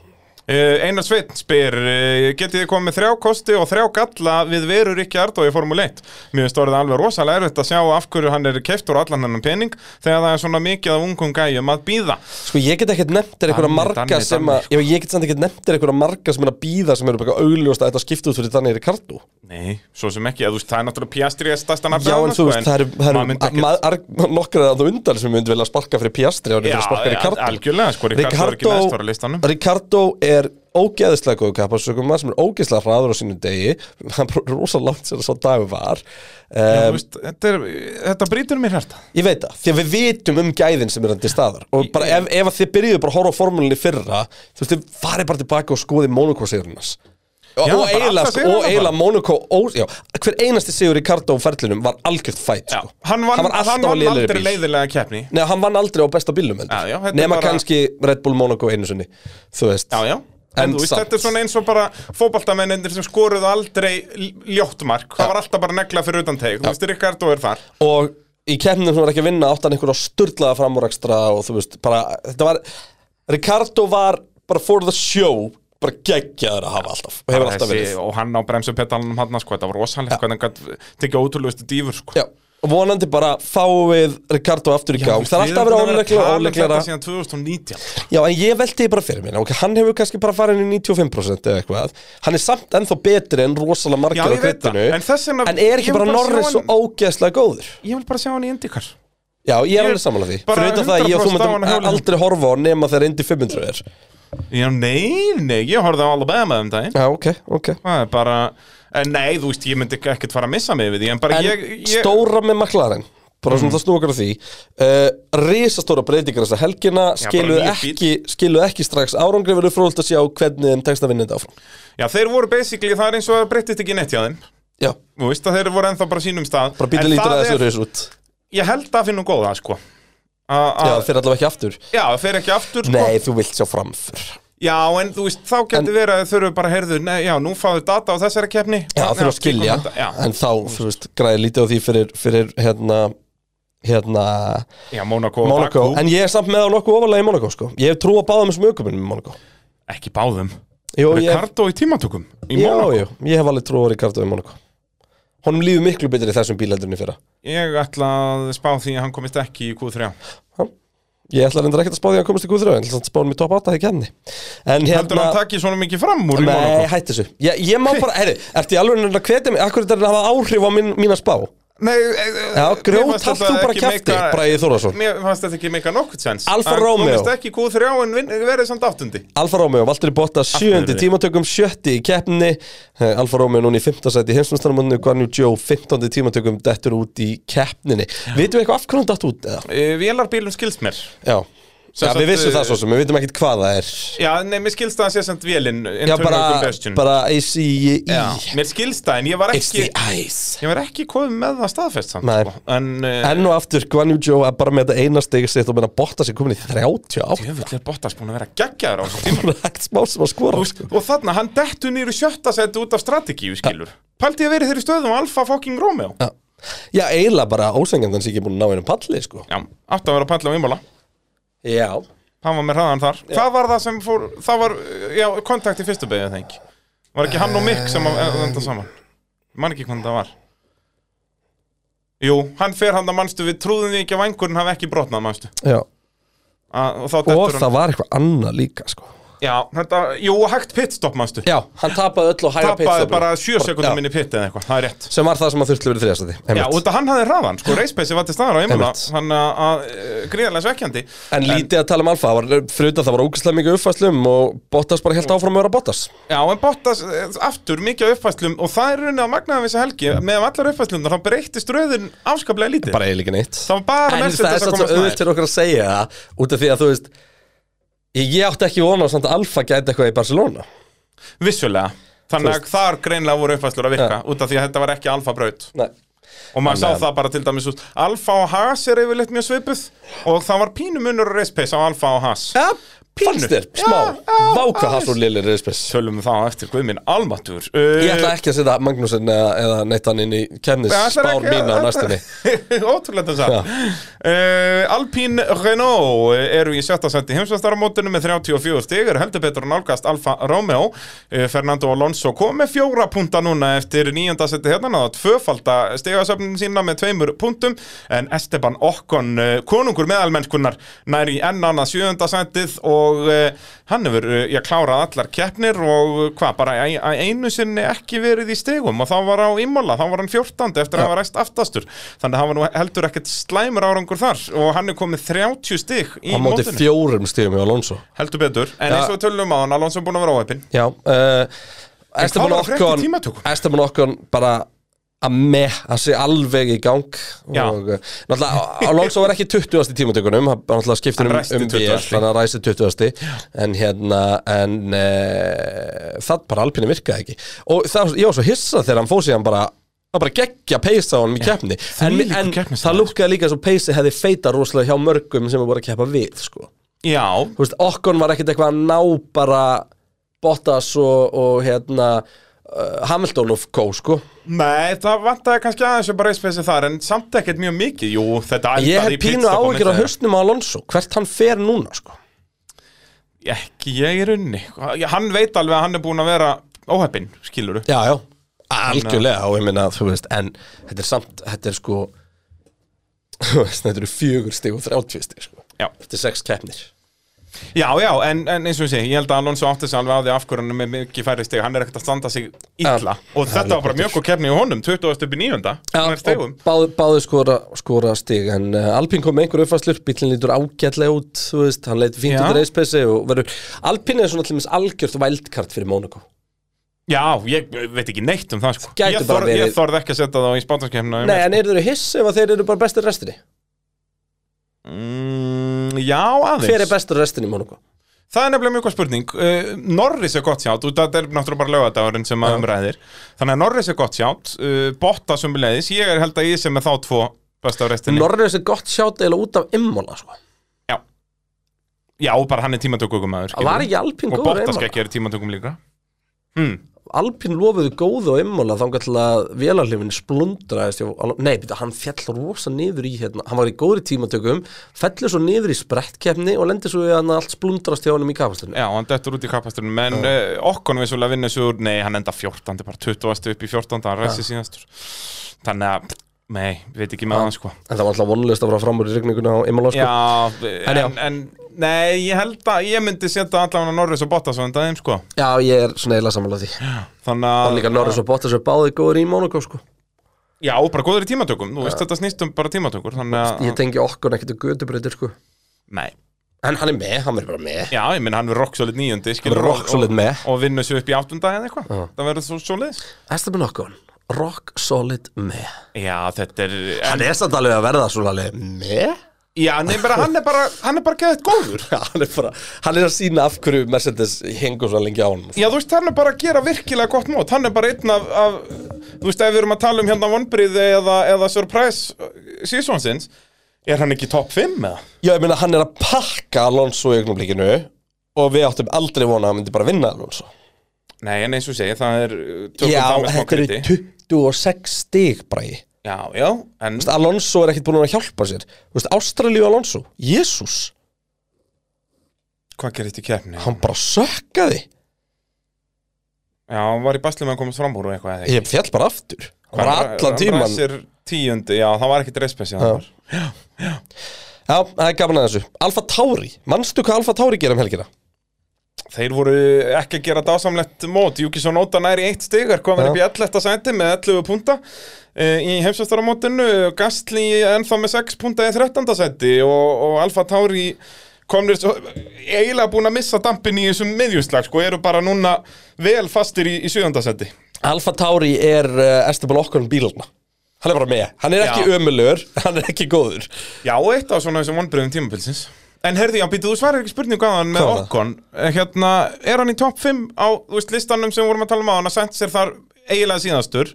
Speaker 5: Einar Sveinn spyr uh, Getið þið komið með þrjá kosti og þrjá galla við veru Rikki Ardó í Formule 1 Mér finnst orðið alveg rosalega erfitt að sjá af hverju hann er keftur allan hennan pening þegar það er svona mikið af ungum gæjum að býða
Speaker 4: sko, ég get ekkert nefnt er einhverja
Speaker 5: Danni,
Speaker 4: marga
Speaker 5: Danni,
Speaker 4: sem
Speaker 5: Danni, sko.
Speaker 4: að, já, ég get samt ekkert nefnt er einhverja marga sem er að býða sem eru bara augljóst að þetta skipta út fyrir þannig Ricardo.
Speaker 5: Nei, svo sem ekki, eða, þú veist, það er náttúrulega Piastri er stærsta nafn
Speaker 4: Já, en
Speaker 5: þarna,
Speaker 4: þú
Speaker 5: sko,
Speaker 4: veist, það eru, það
Speaker 5: maður
Speaker 4: eru
Speaker 5: myndi ekkert-
Speaker 4: ma- ar- nokkrar að það undan sem myndi velja að sparka fyrir Piastri og
Speaker 5: Já,
Speaker 4: nefnir að sparka
Speaker 5: ja,
Speaker 4: Ricardo.
Speaker 5: algjörlega, sko, Ricardo er ekki neðst þar á listanum.
Speaker 4: Ricardo er ógeðislega góðu kapasökum maður sem er ógeðislega hraður á sínum degi hann er rosa langt sér að svo dagur var
Speaker 5: Þú
Speaker 4: um,
Speaker 5: veist, þetta, er, þetta brýtur um mér hérta
Speaker 4: ég veit það, því að við vitum um gæðin sem er hann til staðar og bara ef, ef að þið byrjuðu bara að horfa á formúlinni í fyrra þú veist, þið farið bara tilbaka og skoði Monaco sigurinnars og,
Speaker 5: Já,
Speaker 4: og
Speaker 5: bara alla
Speaker 4: eiginlega, sko,
Speaker 5: sigurana
Speaker 4: og
Speaker 5: bara.
Speaker 4: eiginlega Monaco ó, já, hver einasti sigur Ricardo á ferlinum var algjört fætt
Speaker 5: Já,
Speaker 4: sko.
Speaker 5: hann vann,
Speaker 4: var alltaf
Speaker 5: hann
Speaker 4: á
Speaker 5: vann
Speaker 4: lélegri
Speaker 5: aldrei
Speaker 4: bíl.
Speaker 5: leiðilega keppni
Speaker 4: Nei, hann vann aldrei á besta bílum
Speaker 5: Já, já,
Speaker 4: heldur
Speaker 5: þetta er
Speaker 4: Nema
Speaker 5: bara-
Speaker 4: kannski Red Bull Monaco einu sinni Þú veist
Speaker 5: Já, já En,
Speaker 4: En
Speaker 5: þú veist,
Speaker 4: samt.
Speaker 5: þetta er svona eins og bara fótbaltamennir sem skoruðu aldrei l- ljótt mark Það var alltaf bara negla fyrir utan teig Þú veist, Ricardo er þar
Speaker 4: Og í keppnum sem var ekki að vinna átti hann einhverja sturlaða framúrakstra og þú veist bara Þetta var Ricardo var bara for the show bara geggjaður að hafa alltaf og hefur alltaf
Speaker 5: Þessi-
Speaker 4: verið
Speaker 5: Og hann á bremsupedalanum hann, sko, þetta var rosalegt Hvernig hann gætt tekið ótrúlegustu dýfur, sko
Speaker 4: Já og vonandi bara fáum við Ricardo aftur í
Speaker 5: Já,
Speaker 4: gang
Speaker 5: þú veist,
Speaker 4: Það er
Speaker 5: við
Speaker 4: alltaf
Speaker 5: erum
Speaker 4: verið
Speaker 5: búin
Speaker 4: óleglega
Speaker 5: að tala um
Speaker 4: óleglega
Speaker 5: Þetta síðan 2019
Speaker 4: Já, en ég velti því bara fyrir mér ok, Hann hefur kannski bara farin í 95% eða eitthvað Hann er samt ennþá betri en rosalega
Speaker 5: Já,
Speaker 4: margir á
Speaker 5: ég veit það.
Speaker 4: krettinu
Speaker 5: En þess vegna-
Speaker 4: En er
Speaker 5: ég
Speaker 4: ekki
Speaker 5: vil
Speaker 4: bara
Speaker 5: bara sjá
Speaker 4: Norris svo
Speaker 5: hann-
Speaker 4: ógeðslega góður
Speaker 5: Ég vil bara sjá hann í Indikar
Speaker 4: Já, ég
Speaker 5: Ég-
Speaker 4: er alveg sammála því
Speaker 5: bara
Speaker 4: Fyrir auðvitað það að ég og þú
Speaker 5: 100% á hana hjólinu.
Speaker 4: myndum aldrei horfa á nema þegar Indy 500 er
Speaker 5: Já, nei, nei, ég horfði á Alabama um daginn
Speaker 4: Já, ok, ok
Speaker 5: Það er bara, en nei, þú veist, ég myndi ekki- ekkert fara að missa mig við því En bara
Speaker 4: En
Speaker 5: ég, Mhm. ég
Speaker 4: stóra með McLaren Bara svona það snúkar á því uh, Rísastóra breytingar þessa helgina
Speaker 5: Já, bara
Speaker 4: Skiluðu
Speaker 5: nýr bíll.
Speaker 4: ekki, skiluðu ekki strax árangri Verður fróðult að sjá hvernig þeim tekst að vinna þetta áfram
Speaker 5: Já, þeir voru basically, það er eins og að breyttist ekki neitt hjá þeim
Speaker 4: Já,
Speaker 5: Þú veist að þeir voru ennþá bara á sínum stað
Speaker 4: bara býta
Speaker 5: En
Speaker 4: lítur
Speaker 5: það
Speaker 4: að þessu
Speaker 5: er-
Speaker 4: hrjus út
Speaker 5: Ég held að finnum góða, sko A, a,
Speaker 4: Já,
Speaker 5: já,
Speaker 4: þeir allavega ekki aftur
Speaker 5: það fer ekki aftur, sko
Speaker 4: Nei, þú vilt sjá framför
Speaker 5: Já, en þú veist, þá getur verið að þeir þurfum bara að heyrðu Nei, já, nú fáðu data á þessari keppni
Speaker 4: Já,
Speaker 5: Þarna-
Speaker 4: þurfa að skilja
Speaker 5: þetta- Já,
Speaker 4: En þá, þú veist, græði lítið á því fyrir, fyrir hérna, hérna
Speaker 5: já
Speaker 4: Monaco,
Speaker 5: Monaco, Monaco Bakú,
Speaker 4: en ég er samt með á nokkuð ofalega í Monaco sko. Ég hef trú að báða með smökumunum í Monaco
Speaker 5: ekki báðum
Speaker 4: Jó, ég,
Speaker 5: Ricardo í tímatökum, í
Speaker 4: já,
Speaker 5: Monaco
Speaker 4: já, ég hef alveg trú á Ricardo í Monaco Honum líður miklu betur í þessum bílældurinn í fyrra
Speaker 5: Ég ætla að spá því að hann komist ekki í Q3
Speaker 4: Já. Ég ætla reyndar ekkert að spá því að hann komist í Q3 En þannig spáðum í top 8 að það kemni En
Speaker 5: Heldur
Speaker 4: hérna
Speaker 5: hann takki svona mikið fram úr í
Speaker 4: Nei,
Speaker 5: Monaco?
Speaker 4: hætti þessu Ég, ég má bara, herri, ertu í alveg að hvetja mig Akkur þetta er að hafa áhrif á mín, mína spá
Speaker 5: Nei, e- e-
Speaker 4: Já,
Speaker 5: mér
Speaker 4: grjót
Speaker 5: fannst
Speaker 4: halt
Speaker 5: þetta
Speaker 4: þú bara
Speaker 5: ekki
Speaker 4: kjafti,
Speaker 5: meika-
Speaker 4: Bragi Þórðarson.
Speaker 5: Mér fannst þetta ekki meika nokkurt sens
Speaker 4: Alfa
Speaker 5: Hann
Speaker 4: Romeo.
Speaker 5: komist ekki í Q3 en vin- verið samt áttundi
Speaker 4: Alfa Romeo, Valtteri Bottas sjöndi
Speaker 5: niðri.
Speaker 4: tímatökum, sjötti í keppni Eh, Alfa Romeo núna í 15. sæti í heimsumstæðamönnu Guanyu Joe 15. tímatökum dettur út í keppninni Vitum við eitthvað af hvernig hann datt út? Eða?
Speaker 5: Eh, Vélarbílum skilst mér
Speaker 4: Já,
Speaker 5: Sem
Speaker 4: Já
Speaker 5: sagt,
Speaker 4: við vissum
Speaker 5: eh,
Speaker 4: það svo sem, við vitum ekkert hvað það er
Speaker 5: Já, nei, mér skilst það að sé samt vélinn
Speaker 4: Já,
Speaker 5: Internal
Speaker 4: bara,
Speaker 5: combustion
Speaker 4: bara E ACI
Speaker 5: Já, Mér skilst það, en ég var
Speaker 4: It's
Speaker 5: ekki
Speaker 4: the ice
Speaker 5: Ég var ekki komið með það staðfest samt
Speaker 4: Nei.
Speaker 5: sko. En, eh,
Speaker 4: Enn og aftur Guanyu Joe að bara með þetta eina stig sitt og meina Bottas er komin í 38
Speaker 5: Jöfull er Bottas búin að vera geggjaður á þessum tíma
Speaker 4: Hún er hægt smá sem að skora
Speaker 5: og,
Speaker 4: sko.
Speaker 5: og þarna, hann dettu nýru sjötta seti út af strategíu, skilur Paldi að verið þeirri stöðum Alfa fucking Romeo
Speaker 4: Já. Já, eiginlega bara ósengjandi hans ekki búin að ná einu palli sko.
Speaker 5: Já, átti að vera palla á Imola
Speaker 4: Já
Speaker 5: Hann var með hraðan þar Hvað var það sem fór, það var, já, kontakt í fyrstu beigja þeng Var ekki hann og Mick sem að enda saman Man ekki hvernig það var Jú, hann fer hann að mannstu Við trúðum því ekki að vangurinn hafi ekki brotnað mannstu
Speaker 4: Já,
Speaker 5: Og þá
Speaker 4: og
Speaker 5: dettur
Speaker 4: það
Speaker 5: hann
Speaker 4: var eitthvað annað líka sko.
Speaker 5: Já, þetta, jú, hægt pitstopp mannstu
Speaker 4: Já, hann tapaði öll og hæra
Speaker 5: Tappaði bara sjö sekundum
Speaker 4: Já.
Speaker 5: inn í pitt eða eitthvað, það er rétt
Speaker 4: Sem var það sem að þurfti að vera þriðastæti
Speaker 5: Já, út að hann hafði hraðan, sko, reispeysi var til staðar á Imola
Speaker 4: Einmitt.
Speaker 5: Hann að- að eh, gríðarlega svekkjandi
Speaker 4: En lítið að tala um Alfa, það var fruta, það var ógæslega mikið uppfæslum og Bottas bara helt áfram að vera Bottas
Speaker 5: Já, en Bottas eh, aftur mikið af uppfæslum og það er raunin að magnaðan við þessi helgi með allar uppfæslum þá breyttist röðin afskaplega lítið
Speaker 4: Bara eiginlega ekki neitt
Speaker 5: Það var bara
Speaker 4: En það er
Speaker 5: Mercedes að
Speaker 4: satt svo
Speaker 5: komast
Speaker 4: auðvitt
Speaker 5: nær
Speaker 4: fyrir okkur að segja það út af því að þú veist Ég, ég átti ekki vona á samt að Alfa gæti eitthvað í Barcelona
Speaker 5: Vissulega Þannig að þar greinlega voru uppfæslur að virka út af því að þetta var ekki alfa braut
Speaker 4: Nei
Speaker 5: og maður
Speaker 4: Þannig
Speaker 5: sá
Speaker 4: að-
Speaker 5: það bara til dæmis út Alfa og Haas er yfirleitt mjög svipuð og það var pínu munur og reispeysa á Alfa og Haas
Speaker 4: Ja,
Speaker 5: Pínu.
Speaker 4: fannst þér, smá
Speaker 5: Já, já,
Speaker 4: Váka
Speaker 5: aðeins.
Speaker 4: hans og Lili Reyspes
Speaker 5: Tölum þá eftir Guðminn Almatur Eh,
Speaker 4: Ég ætla ekki að setja Magnúsin eða, eða neitt hann inn í kemnis spár mín á næstunni
Speaker 5: Ótrúlega þess að uh, Alpine Renault eru í sjötta seti heimsvæstaramótinu með 34 stig eru heldur betur en álgast Alfa Romeo uh, Fernando Alonso kom með fjóra punta núna eftir nýjönda seti hérna það var tvöfalda stigasöfnin sína með tveimur puntum en Esteban Okkon uh, konungur meðalmennskunnar nær í enn annað sjöunda setið og uh, hann hefur uh, já, klárað allar keppnir og uh, hvað bara ei- ei- einu sinni ekki verið í stigum og þá var á Imola, þá var hann 14 eftir að hafa ræst aftastur þannig að hann var nú heldur ekkert slæmur árangur þar og hann er komið 30 stig í
Speaker 4: Á móti
Speaker 5: mótinu
Speaker 4: fjórum stíðum hjá Alonso
Speaker 5: heldur betur, en
Speaker 4: Ja.
Speaker 5: eins og við tölum á hann Alonso er búin að vera óheppin
Speaker 4: Já uh, Esteban
Speaker 5: hvað var að frétta í
Speaker 4: Okkon
Speaker 5: tímatökum?
Speaker 4: Esteban Okkon bara að með, hann sé alveg í gang
Speaker 5: Já.
Speaker 4: og uh, náttúrulega Alonso var ekki 20. í tímatökunum hann bara náttúrulega skiptir
Speaker 5: Hann
Speaker 4: um,
Speaker 5: ræsti
Speaker 4: um vél,
Speaker 5: 20..
Speaker 4: þannig að ræsi 20. en hérna en uh, það bara alpinni virkaði ekki og það, ég var svo hissa þegar hann fóð síðan bara Það bara geggja peysa á honum í keppni En,
Speaker 5: þvílíkur
Speaker 4: en
Speaker 5: keppnismaður,
Speaker 4: það lúkkaði líka svo peysi hefði feita rosalega hjá mörgum sem er bara að keppa við sko
Speaker 5: já,
Speaker 4: þú veist, Okkon var ekkert eitthvað að ná bara Bottas og, og hérna uh, Hamilton of Co, sko
Speaker 5: Nei, það vantaði kannski aðeins að bara reyspeysi þar en samt ekkert mjög mikið, jú, þetta
Speaker 4: Ég hef
Speaker 5: endaði í
Speaker 4: pínu
Speaker 5: pitstop á
Speaker 4: áhyggjur á
Speaker 5: milli þeirra.
Speaker 4: hausnum á Alonso, hvert hann fer núna, sko
Speaker 5: Ekki ég í runni Hann veit alveg að hann er búin að vera óheppin, skiluru
Speaker 4: Já, já, algjörlega og ég meina, þú veist, en þetta er samt, þetta er sko þú veist, þetta eru fjögur stig og þrjáttvíð stig, sko
Speaker 5: Já.
Speaker 4: Þetta er sex keppnir
Speaker 5: Já, já, en, en eins og ég segi, ég held að Alonso átti sig alveg á því af hverju hann er með mikið færri stig Hann er ekkert að standa sig illa
Speaker 4: Já.
Speaker 5: Og þetta var bara mjög góð keppni í honum, 20. upp í 9. Hann er
Speaker 4: og
Speaker 5: stegum
Speaker 4: báð, báðu skora, skora stig en uh, Alpín kom með einhver uppfæslur bílinn lítur ágætlega út, þú veist hann leitur fínt
Speaker 5: Já.
Speaker 4: út í reispessi og verður Alpín er svona til mér algjört vældkart fyrir Mónaco
Speaker 5: Já, ég veit ekki neitt um það sko
Speaker 4: Gæti
Speaker 5: Ég,
Speaker 4: bara
Speaker 5: þor, ég
Speaker 4: verið-
Speaker 5: þorði ekki að setja það í spántanskefna
Speaker 4: Nei, en eru þeir hiss ef að þeir eru bara bestir restinni?
Speaker 5: mm, Já, aðeins
Speaker 4: Hver er bestur restinni í Mónaco?
Speaker 5: Það er nefnilega mjög góð spurning uh, Norris er gott sjátt, út af þetta er náttúrulega bara lögadagurinn sem að umræðir Þannig að Norris er gott sjátt, uh, Botta sem leiðis Ég er held að ég sem er þá tvo best á restinni
Speaker 4: Norris er gott sjátt eða út af Immola sko.
Speaker 5: Já Já, og bara hann er tímatökumæður
Speaker 4: Var ekki Alpín
Speaker 5: Og
Speaker 4: góður á
Speaker 5: Botta skal
Speaker 4: Immola?
Speaker 5: ekki verið tímatökum líka hmm.
Speaker 4: Alpín lofuðu góðu á Immola þangar til að vélarlifin splundraðist hjá, Alon- Nei, byrja, hann fjall rosa niður í hérna, hann var í góðri tímatökum fellur svo niður í sprettkefni og lendir svo í að allt splundrast hjá honum í kapastunni
Speaker 5: Já, hann dettur út í kapasturinn Men uh, okkon við svolítið að vinna svo úr Nei, hann enda 14, bara 20 upp í 14 Hann resi síðastur Þannig að Nei, veit ekki með það sko
Speaker 4: En það var alltaf vonlust að vera framur í rigninguna á Imala sko.
Speaker 5: Já,
Speaker 4: En
Speaker 5: en,
Speaker 4: já.
Speaker 5: en, Nei, ég held að ég myndi setja allavega Norris og Bottas á endaðum sko
Speaker 4: Já, ég er svona eiginlega sammála því
Speaker 5: Þannig
Speaker 4: Og
Speaker 5: að
Speaker 4: líka Norris og Bottas er báði góður í Monaco sko.
Speaker 5: Já, bara góður í tímatökum, þú veist þetta snýst um bara tímatökur Þannig
Speaker 4: Ég
Speaker 5: að,
Speaker 4: tengi okkur ekkert að gödubreytir sko.
Speaker 5: nei
Speaker 4: En hann er með, hann verður bara með
Speaker 5: Já, ég minn hann verður rocksolid níundi skilur,
Speaker 4: verður rock solid
Speaker 5: og,
Speaker 4: með.
Speaker 5: Og vinnur sér upp í áttunda eða eitthvað Það verður svo, svo liðs
Speaker 4: Esteban Okkon, rock solid með
Speaker 5: Já, þetta er en,
Speaker 4: Hann er samt alveg að verða svona alveg með
Speaker 5: Já, nei, bara, hann er bara, hann er bara geðið góður
Speaker 4: Já, hann er bara, hann er að sína af hverju Mercedes hengur svo lengi á hann
Speaker 5: Já, þú veist, hann er bara að gera virkilega gott mót Hann er bara einn af, af Þú veist, ef við erum að tala um hérna vonbriði eða, eða surprise seasonsins Er hann ekki topp 5 eða?
Speaker 4: Já, ég meina, hann er að pakka Alonso í augnumblíkinu og við áttum aldrei vona að hann myndi bara vinna Alonso
Speaker 5: Nei, en eins og segi, það er uh, tökum
Speaker 4: Já,
Speaker 5: það með smá
Speaker 4: þetta eru
Speaker 5: kriti
Speaker 4: 26 stig bræði
Speaker 5: Já, já, en
Speaker 4: Alonso er ekkit búin að hjálpa sér Þú veist, Ástralíu Alonso, Jésús
Speaker 5: hvað gerist í keppni?
Speaker 4: hann bara sökkaði
Speaker 5: Já, hann var í basli með að komast fram úr og eitthvað eða ekki?
Speaker 4: ég fjall bara aftur hann var allan tíman
Speaker 5: Hann ræsir tíundi, já, það var ekkit respessi
Speaker 4: Já.
Speaker 5: hann var
Speaker 4: Já, það er gaman að þessu Alfa Tauri, manstu hvað Alfa Tauri gerir um helgina?
Speaker 5: Þeir voru ekki að gera dásamlegt mót Júkisson Óta næri eitt stigar komin
Speaker 4: Já.
Speaker 5: upp í 11. sæti með 11 punta eh, í heimsvæstaramótinu Gastli ennþá með 6 punta í 13. sæti og, og Alfa Tauri komnir svo, eiginlega búin að missa dampin í þessum miðjúslag sko, eru bara núna vel fastir í, í 7. sæti
Speaker 4: Alfa Tauri er uh, Esteban Okkon bílarna hann er bara með, hann er ekki
Speaker 5: Já.
Speaker 4: ömulur hann er ekki góður
Speaker 5: Já, og eitt af svona þessum vonbröðum tímabilsins En herði, já, býttu, þú svarir ekki spurningu aðan með
Speaker 4: Hvað var það?
Speaker 5: Okkon Hérna, er hann í topp 5 á, þú veist, listanum sem vorum að tala um á hann að sent sér þar eiginlega síðastur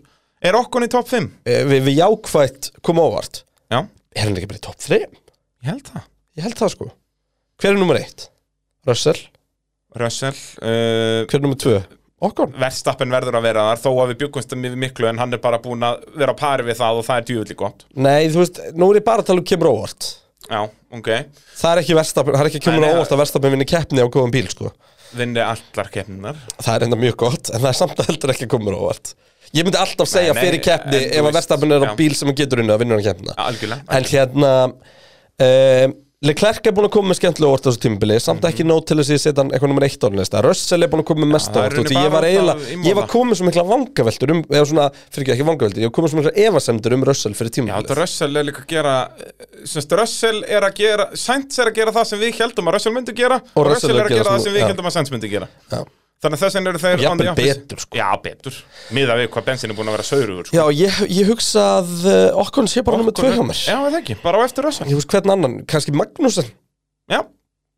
Speaker 5: Er Okkon í topp 5?
Speaker 4: Eh, við, við jákvætt koma ávart
Speaker 5: Já,
Speaker 4: er hann ekki bara í topp 3?
Speaker 5: ég held það
Speaker 4: ég held það sko hver er nummer 1? Russell
Speaker 5: Russell, uh,
Speaker 4: hver er nummer 2? Okkon
Speaker 5: verðstappen verður að vera þar Þó að við bjögumstum yfir miklu en hann er bara búin að vera á pari við það og það er djúvillig gott
Speaker 4: nei, þú veist, nú er ég bara að tala um kemur ávart
Speaker 5: Já, ok,
Speaker 4: það er ekki, verstapin, það er ekki kemur
Speaker 5: Nei, nei,
Speaker 4: ávart að verstapin vinni keppni á góðum bíl sko
Speaker 5: vinni allar keppninar
Speaker 4: það er enda mjög gott, en það er samt að heldur ekki að koma óvart. Ég myndi alltaf segja
Speaker 5: nei,
Speaker 4: fyrir keppni
Speaker 5: en þú
Speaker 4: ef að
Speaker 5: veist,
Speaker 4: verstafinn er á
Speaker 5: já.
Speaker 4: bíl sem hann getur unni að vinna hann keppna.
Speaker 5: Algjörlega
Speaker 4: En hérna, um, Leclerc er búin að koma með skemmtilega óvart á þessu tímubili, samt ekki
Speaker 5: Mhm.
Speaker 4: nót til þess að ég setja hann eitthvað nummer eitt á hann lista. Russell er búin að koma með mest
Speaker 5: það er
Speaker 4: óvart út, í.
Speaker 5: rauninni
Speaker 4: ég
Speaker 5: bara
Speaker 4: var
Speaker 5: að
Speaker 4: eiginlega,
Speaker 5: ímóða.
Speaker 4: ég var komið svo mikla vangaveltur um, eða svona, fyrir ekki ekki vangaveltur, ég var komið svo mikla efasemdur um Russell fyrir
Speaker 5: Já, þetta
Speaker 4: tímubilið.
Speaker 5: Russell er líka að gera semst, Russell er að gera Sainz er að gera það sem við heldum að Russell myndi gera og, Russell er að gera það sem við
Speaker 4: já.
Speaker 5: heldum að Sainz myndi gera
Speaker 4: Já.
Speaker 5: Þannig að þess vegna eru þeir
Speaker 4: Jafnvel
Speaker 5: on the opposite.
Speaker 4: betur, sko.
Speaker 5: Já, betur Miða við hvað bensin er búin að vera saurugur
Speaker 4: Já, ég, ég hugsa að uh, okkur sé bara nummer tvö hjá mér.
Speaker 5: Já, það ekki, bara á eftir Russell
Speaker 4: Ég hugsa hvern annan, kannski Magnúsen.
Speaker 5: Já,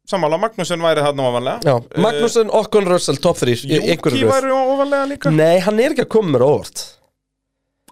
Speaker 5: sammála, Magnússon væri þarna ofanlega
Speaker 4: Já, Magnúsen, Okkon, Russell, top 3
Speaker 5: Júki Eh, væri ofanlega líka
Speaker 4: Nei, hann er ekki að koma mér á óvart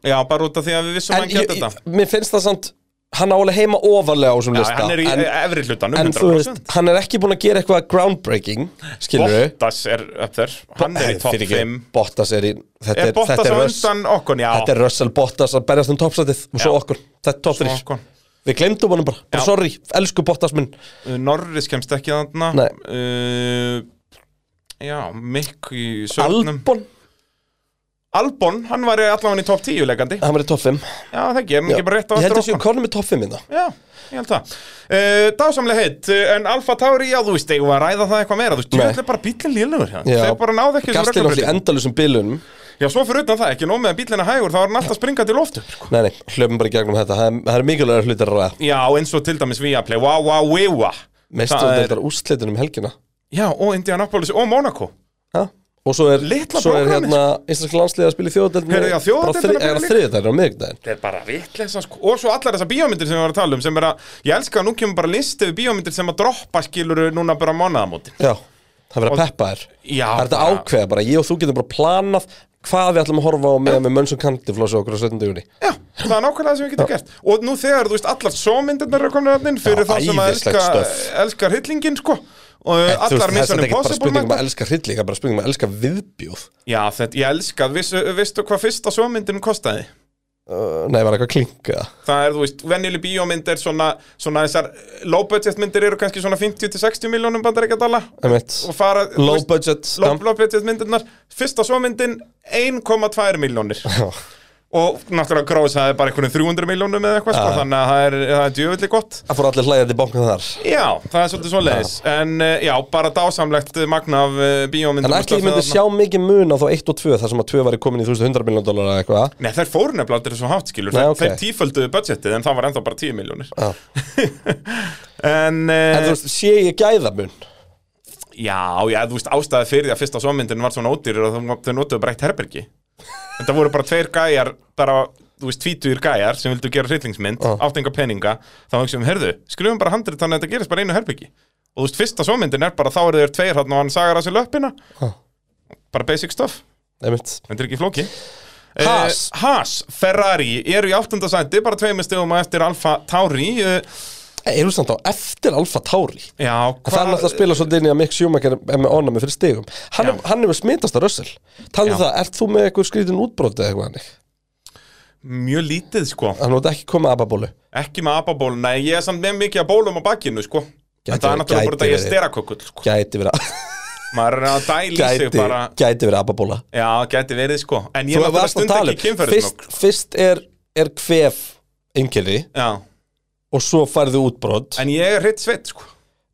Speaker 5: Já, bara út af því að við vissum að
Speaker 4: En
Speaker 5: hann
Speaker 4: ég,
Speaker 5: geta þetta
Speaker 4: mér finnst það samt Hann álega heima ofarlega á þessum
Speaker 5: Já,
Speaker 4: lista
Speaker 5: hann er í
Speaker 4: en,
Speaker 5: efri hlutanum
Speaker 4: en þú veist,
Speaker 5: 100%
Speaker 4: hann er ekki búin að gera eitthvað groundbreaking Skilur við
Speaker 5: Bottas er upp þér, hann er í topp 5
Speaker 4: Bottas er í Þetta er,
Speaker 5: Er
Speaker 4: þetta
Speaker 5: Bottas á
Speaker 4: er, Russ,
Speaker 5: undan okkur, já
Speaker 4: þetta er Russell Bottas að berjast um topsætið Og svo
Speaker 5: Já.
Speaker 4: okkur, þetta er top 3
Speaker 5: Ocon.
Speaker 4: Við glemdum honum bara, bara
Speaker 5: Já.
Speaker 4: sorry, elsku Bottas minn
Speaker 5: Uh, Norris kemst ekki þarna
Speaker 4: Nei.
Speaker 5: uh, Já, Mick í sörnum
Speaker 4: Albon,
Speaker 5: Albon, hann var allavega í topp 10 leikandi Já,
Speaker 4: hann var í top 5
Speaker 5: það ekki, er hann
Speaker 4: Já.
Speaker 5: ekki bara rétt á
Speaker 4: Ég held
Speaker 5: eftir
Speaker 4: að séu
Speaker 5: okkur
Speaker 4: konum í top hérna. 5 minna
Speaker 5: Já, ég held það uh, Dásamlega heitt, uh, en Alfa Tauri, já þú veist, eigum við að ræða það eitthvað meira Þú veist,
Speaker 4: Nei.
Speaker 5: djöfull er bara bílinn lélugur hérna
Speaker 4: Já.
Speaker 5: Þeir bara náðu ekki
Speaker 4: Gastil á því
Speaker 5: reglubreytingum.
Speaker 4: endalusum bilunum
Speaker 5: Já, svo fyrir utan það, ekki nóg með að bílinn er hægur, þá er hann alltaf springandi í loftu sko.
Speaker 4: Nei, nei, hljöfum bara í gegnum þetta Það er, það er mikilvægur hlutir að ræða
Speaker 5: Já, eins og til dæmis Viaplay, wow, wow, wow
Speaker 4: Meistur þetta úrslitin um helgina
Speaker 5: Já, og Indianapolis og Monaco
Speaker 4: ha? Og svo er,
Speaker 5: Litla
Speaker 4: svo er
Speaker 5: prógramið.
Speaker 4: hérna Íslensk landsliða að spila í þjóðadeldinu
Speaker 5: Heyrðu, já, þjóðadeildin er að byrja
Speaker 4: er
Speaker 5: líka.
Speaker 4: þriðið þær á miðvikudaginn
Speaker 5: Þetta er bara vitleisa sko Og svo allar þessar bíómyndir sem við varum að tala um sem er að, ég elska að nú kemur bara listi við bíómyndir sem að droppa skiluru núna bara mánaðamótin
Speaker 4: Já, það verður að
Speaker 5: Og-
Speaker 4: peppa þér
Speaker 5: Já,
Speaker 4: Það er þetta
Speaker 5: bara-
Speaker 4: ákveða bara, ég og þú getum bara planað hvað við ætlum að horfa á með með mönn sem kanti flósa okkur á 17. júni
Speaker 5: Já, það er nákvæmlega sem við getum gert Og nú þegar, þú veist, allar sómyndirnar eru komin inn fyrir
Speaker 4: Já,
Speaker 5: þá sem að
Speaker 4: æðislegt
Speaker 5: elska,
Speaker 4: stöff.
Speaker 5: elskar hyllingin sko og
Speaker 4: Þú veist,
Speaker 5: allar
Speaker 4: það er
Speaker 5: missan
Speaker 4: þetta ekki bara
Speaker 5: impossible
Speaker 4: spurningum
Speaker 5: mæta
Speaker 4: að elska hrylli, það er bara spurningum að elska viðbjóð
Speaker 5: Já, þetta, ég elska, Viss, veistu hvað fyrsta sómyndin kostaði?
Speaker 4: Uh, Nei, var eitthvað klinka
Speaker 5: Það er, þú veist, venjuleg bíómynd er svona, svona þessar low budget myndir eru kannski svona 50-60 miljónum bandaríkjadala
Speaker 4: Einmitt.
Speaker 5: og fara, þú
Speaker 4: Low
Speaker 5: veist,
Speaker 4: budget
Speaker 5: Lofblóðbjöðsmyndirnar, fyrsta svo myndin 1,2 miljónir og náttúrulega Gróis það er bara einhvern 300 miljónum eða eitthvað sko, þannig að það er, það er djöfulli gott
Speaker 4: Það fór allir hlæðið í bankan þar
Speaker 5: já, það er svolítið svo leiðis en eh, já, bara dásamlegt magna af eh, bíómyndum
Speaker 4: En
Speaker 5: og
Speaker 4: ekki ég
Speaker 5: stöfnum
Speaker 4: myndi
Speaker 5: þarna.
Speaker 4: sjá mikið mun á þá 1 og 2 þar sem að 2 var í komin í 1100 miljón dólar eða eitthvað
Speaker 5: Nei, þær fóru nefnilega aldrei svo hátt, skilur
Speaker 4: Nei,
Speaker 5: Nei,
Speaker 4: ok.
Speaker 5: Þeir tífölduðu budgetið, en það var ennþá bara 10 miljónir
Speaker 4: Já.
Speaker 5: En,
Speaker 4: En þú
Speaker 5: eh,
Speaker 4: veist, sé ég gæða mun
Speaker 5: já, já, þú veist, ástæði fyrir því að fyrsta sómyndin var svona ódýrir og þau- þau notuðu bara eitt herbergi Þetta voru bara tveir gæjar, bara, þú veist, tvítugir gæjar sem vildu gera hryllingsmynd,
Speaker 4: Já.
Speaker 5: áttinga peninga Þá hugsaðum, heyrðu, skrifum bara handrið þannig að þetta gerist bara í einu herbergi Og þú veist, fyrsta sómyndin er bara, þá eru þeir tveir hann og hann sagar að sér löppina
Speaker 4: Já.
Speaker 5: Bara basic stuff
Speaker 4: Einmitt.
Speaker 5: Þetta er ekki flóki
Speaker 4: Haas.
Speaker 5: Eh, Haas, Ferrari, eru í áttundasæti bara tveimur stegum að eftir Alfa Tauri eh,
Speaker 4: Ég eru samt á eftir Alfa Tauri
Speaker 5: Já,
Speaker 4: En það er náttúrulega að spila svolítið inn í að Mick Schumacher er með ónæmi fyrir stigum Hann,
Speaker 5: Já.
Speaker 4: hann hefur smitast að rössal
Speaker 5: Já.
Speaker 4: Talið það, ert þú með eitthvað skrítin útbrótið eða eitthvað hannig?
Speaker 5: mjög lítið sko
Speaker 4: Hann hótt ekki komið að ababólu
Speaker 5: Ekki með ababól, nei, ég er samt með mikið að bólum á bakinu sko
Speaker 4: Gæti-
Speaker 5: En það er
Speaker 4: gæti
Speaker 5: náttúrulega bara þetta ég
Speaker 4: verið.
Speaker 5: sterakökull sko
Speaker 4: Gæti verið,
Speaker 5: Maður er að dæla í sig
Speaker 4: gæti,
Speaker 5: bara
Speaker 4: gæti verið ababóla
Speaker 5: Já, gæti verið sko En ég
Speaker 4: Þú
Speaker 5: er náttúrulega
Speaker 4: varst að
Speaker 5: stund
Speaker 4: tala
Speaker 5: ekki
Speaker 4: um
Speaker 5: kynferðisnokk
Speaker 4: Fyrst, fyrst er, er kvef einkenni
Speaker 5: Já,
Speaker 4: og svo færðu útbrót
Speaker 5: en ég er hreitt sveitt sko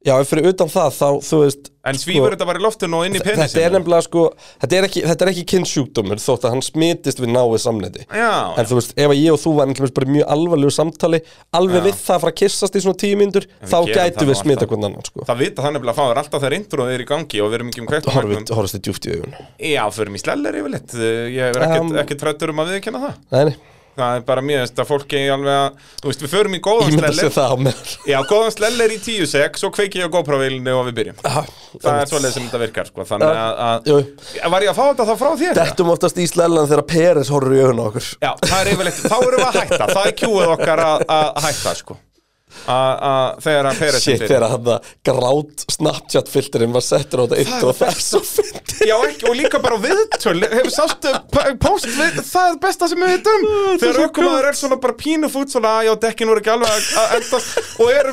Speaker 4: Já, ef fyrir utan það þá, þú veist sko,
Speaker 5: En svífur þetta bara í loftinu og inn í penisinu
Speaker 4: Þetta er nefnilega sko, þetta er ekki, þetta er ekki kynnsjúkdómur þótt að hann smitist við náið samneiti
Speaker 5: Já,
Speaker 4: En þú veist, ef að ég og þú varum kemur bara í mjög alvarlegu samtali alveg við það að fara að kissast í svona tíu myndur þá
Speaker 5: gerum það
Speaker 4: gætu við
Speaker 5: nú
Speaker 4: smita
Speaker 5: alltaf.
Speaker 4: hvernig annan sko
Speaker 5: það vita þannig að fáður alltaf þegar introð er í gangi og við erum ekki um kveikt á
Speaker 4: Horfið-
Speaker 5: margnum.
Speaker 4: Horfist þið djúpt í augun Nei,
Speaker 5: Já, förum í sleller yfirleitt Eh, Ég er ekkert
Speaker 4: Um,
Speaker 5: um, ekki trættur um að viðkynna það
Speaker 4: nei,
Speaker 5: Það er bara mjög veist að fólk er alveg að Þú veist, við förum í góðan
Speaker 4: ég mynda sér
Speaker 5: sleller
Speaker 4: það á meðan
Speaker 5: Já, góðan sleller í tíu sek Svo kveiki ég á GoPro-vilni og við byrjum
Speaker 4: Ah,
Speaker 5: Það
Speaker 4: einmitt. Ah,
Speaker 5: er svoleið sem þetta virkar, sko Þannig að, að
Speaker 4: Jú,
Speaker 5: Var ég að fá þetta þá frá þér?
Speaker 4: dettum oftast í slennan þegar Peres horfir í augun á okkur
Speaker 5: Já, það er yfirleitt Þá erum við að hætta Það er kjúið okkar að, að hætta, sko Að- að- Þegar að Peres
Speaker 4: Shit, þegar hann það grát Snapchat filterinn var settur á þetta eitt og það er svo fyndið
Speaker 5: Já, ekki, og líka bara á viðtöl Hefur sástu p- post við, Það er besta sem við vitum Þegar aukumaður er svona bara pínu fút Svona, já, dekkin voru ekki alveg að- að endast Og eru,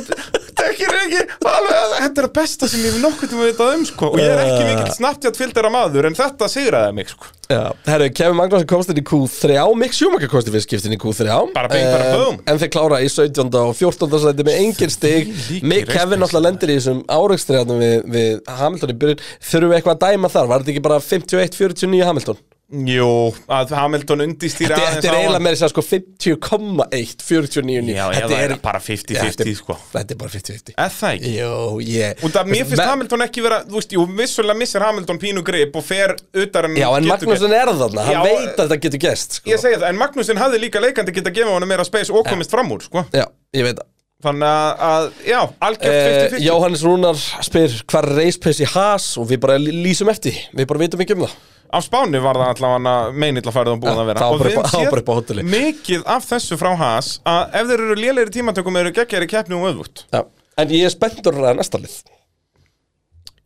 Speaker 5: dekkin er ekki alveg að- Þetta er það besta sem ég hef nokkuð tíma vitað um sko. Og ég er ekki mikill snabbtjátt fylgdara maður En þetta sigraði mig sko.
Speaker 4: Já, herru, Kevin Magnússon komst inn í Q3 Mick Schumacher komst í fyrstskiptin í Q3
Speaker 5: Bara bing, bara
Speaker 4: Eh,
Speaker 5: boom.
Speaker 4: En þeir klára í 17. og 14. sæti með engin stig
Speaker 5: Þvílíkir
Speaker 4: Mick Kevin
Speaker 5: reistir.
Speaker 4: náttúrulega lendir í þessum áreikstriðanum við, við Hamilton í byrjun Þurfum við eitthvað að dæma þar? Var þetta ekki bara 51-49 Hamilton?
Speaker 5: Jú, að Hamilton undistýra
Speaker 4: Þetta er eiginlega með þess að sko 50,1-49
Speaker 5: Já,
Speaker 4: Þetta
Speaker 5: eða
Speaker 4: er
Speaker 5: bara 50-50 sko.
Speaker 4: Þetta er bara 50-50
Speaker 5: Er það ekki?
Speaker 4: Jó, ég
Speaker 5: Og það, mér finnst
Speaker 4: Men-
Speaker 5: Hamilton ekki vera, þú veist, jú, vissulega missir Hamilton pínu grip og fer utar en
Speaker 4: Já, en
Speaker 5: getur gert.
Speaker 4: Magnússon er þarna, hann
Speaker 5: Já, eh,
Speaker 4: veit að þetta getur gest sko.
Speaker 5: Ég segi það, en Magnúsin hafði líka leikandi geta gefið honum meira space og komist fram úr, sko
Speaker 4: Já, ég veit það
Speaker 5: Þannig að, að já, algjört
Speaker 4: Eh,
Speaker 5: 50-50
Speaker 4: Jóhannes Rúnar spyr hvað er reispessi has og við bara lý- lýsum eftir því. við bara vitum ekki um það
Speaker 5: Á Spáni var það allavega meinill að færa það
Speaker 4: Ja,
Speaker 5: búin að vera
Speaker 4: það var
Speaker 5: Og
Speaker 4: bara
Speaker 5: við
Speaker 4: upp á- það var
Speaker 5: séð
Speaker 4: bara upp á hóteli.
Speaker 5: Mikið af þessu frá Haas að ef þeir eru lélegri í tímatökum eru geggjari keppni um og öðvut
Speaker 4: Já. en ég er spenntur að ræða næsta lið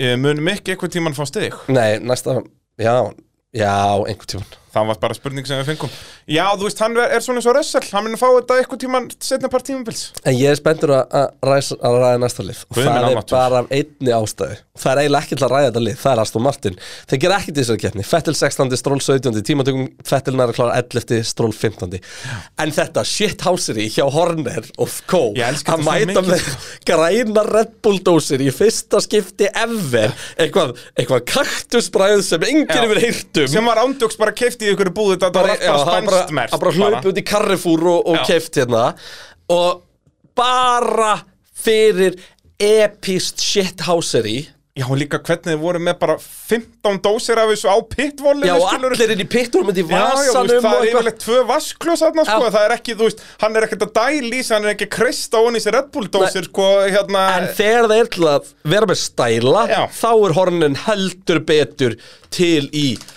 Speaker 5: Eh, Mun mikið eitthvað tíman fá stig
Speaker 4: nei, næsta, já, já, einhvern tíman
Speaker 5: Það var bara spurning sem við fengum Já, þú veist, hann er, er svona eins og Russell Hann mun fá þetta eitthvað tíman setna par tímabils
Speaker 4: en ég er spenntur að, að, ræsa, að ræða næsta lið og
Speaker 5: Guð minn
Speaker 4: það er
Speaker 5: almáttugur.
Speaker 4: bara af einni ástæðu og það er eiginlega ekki til að ræða þetta lið, það er Aston Martin þeir gera ekkert í þessari keppni, Fettil 16 Stról 17, tímatökum Fettil næra klára 11 Stról 15 en þetta shithousery hjá Horner of Co
Speaker 5: Ég elska
Speaker 4: að
Speaker 5: þetta
Speaker 4: mæta
Speaker 5: svo mikið, sko.
Speaker 4: með græna Red Bull dósir í fyrsta skipti ever eitthvað, eitthvað kaktusbræð sem enginn
Speaker 5: Já.
Speaker 4: hefur heyrt um
Speaker 5: Sem var ándjóks bara keift í ykkur búið Þetta var
Speaker 4: bara,
Speaker 5: allt bara spænst
Speaker 4: bara,
Speaker 5: merkt
Speaker 4: að bara hlaupa út í karrifúr og, og
Speaker 5: Já.
Speaker 4: keft hérna og bara fyrir epist shithousery
Speaker 5: Já, og líka hvernig þið voru með bara 15 dósir af þessu á pitvollinu
Speaker 4: já og allir inn í pittur með því
Speaker 5: Já, já, þú veist,
Speaker 4: vasanum og
Speaker 5: það er
Speaker 4: eitthvað
Speaker 5: yfirleitt tvö vaskljós þarna, sko,
Speaker 4: Já.
Speaker 5: það er ekki, þú veist, hann er ekkert að dæla í sig, hann er ekki að kreista honi sér Red Bull dósir, sko, hérna,
Speaker 4: En þegar það er til að vera með stæla
Speaker 5: Já.
Speaker 4: þá er hornin heldur betur til í hérna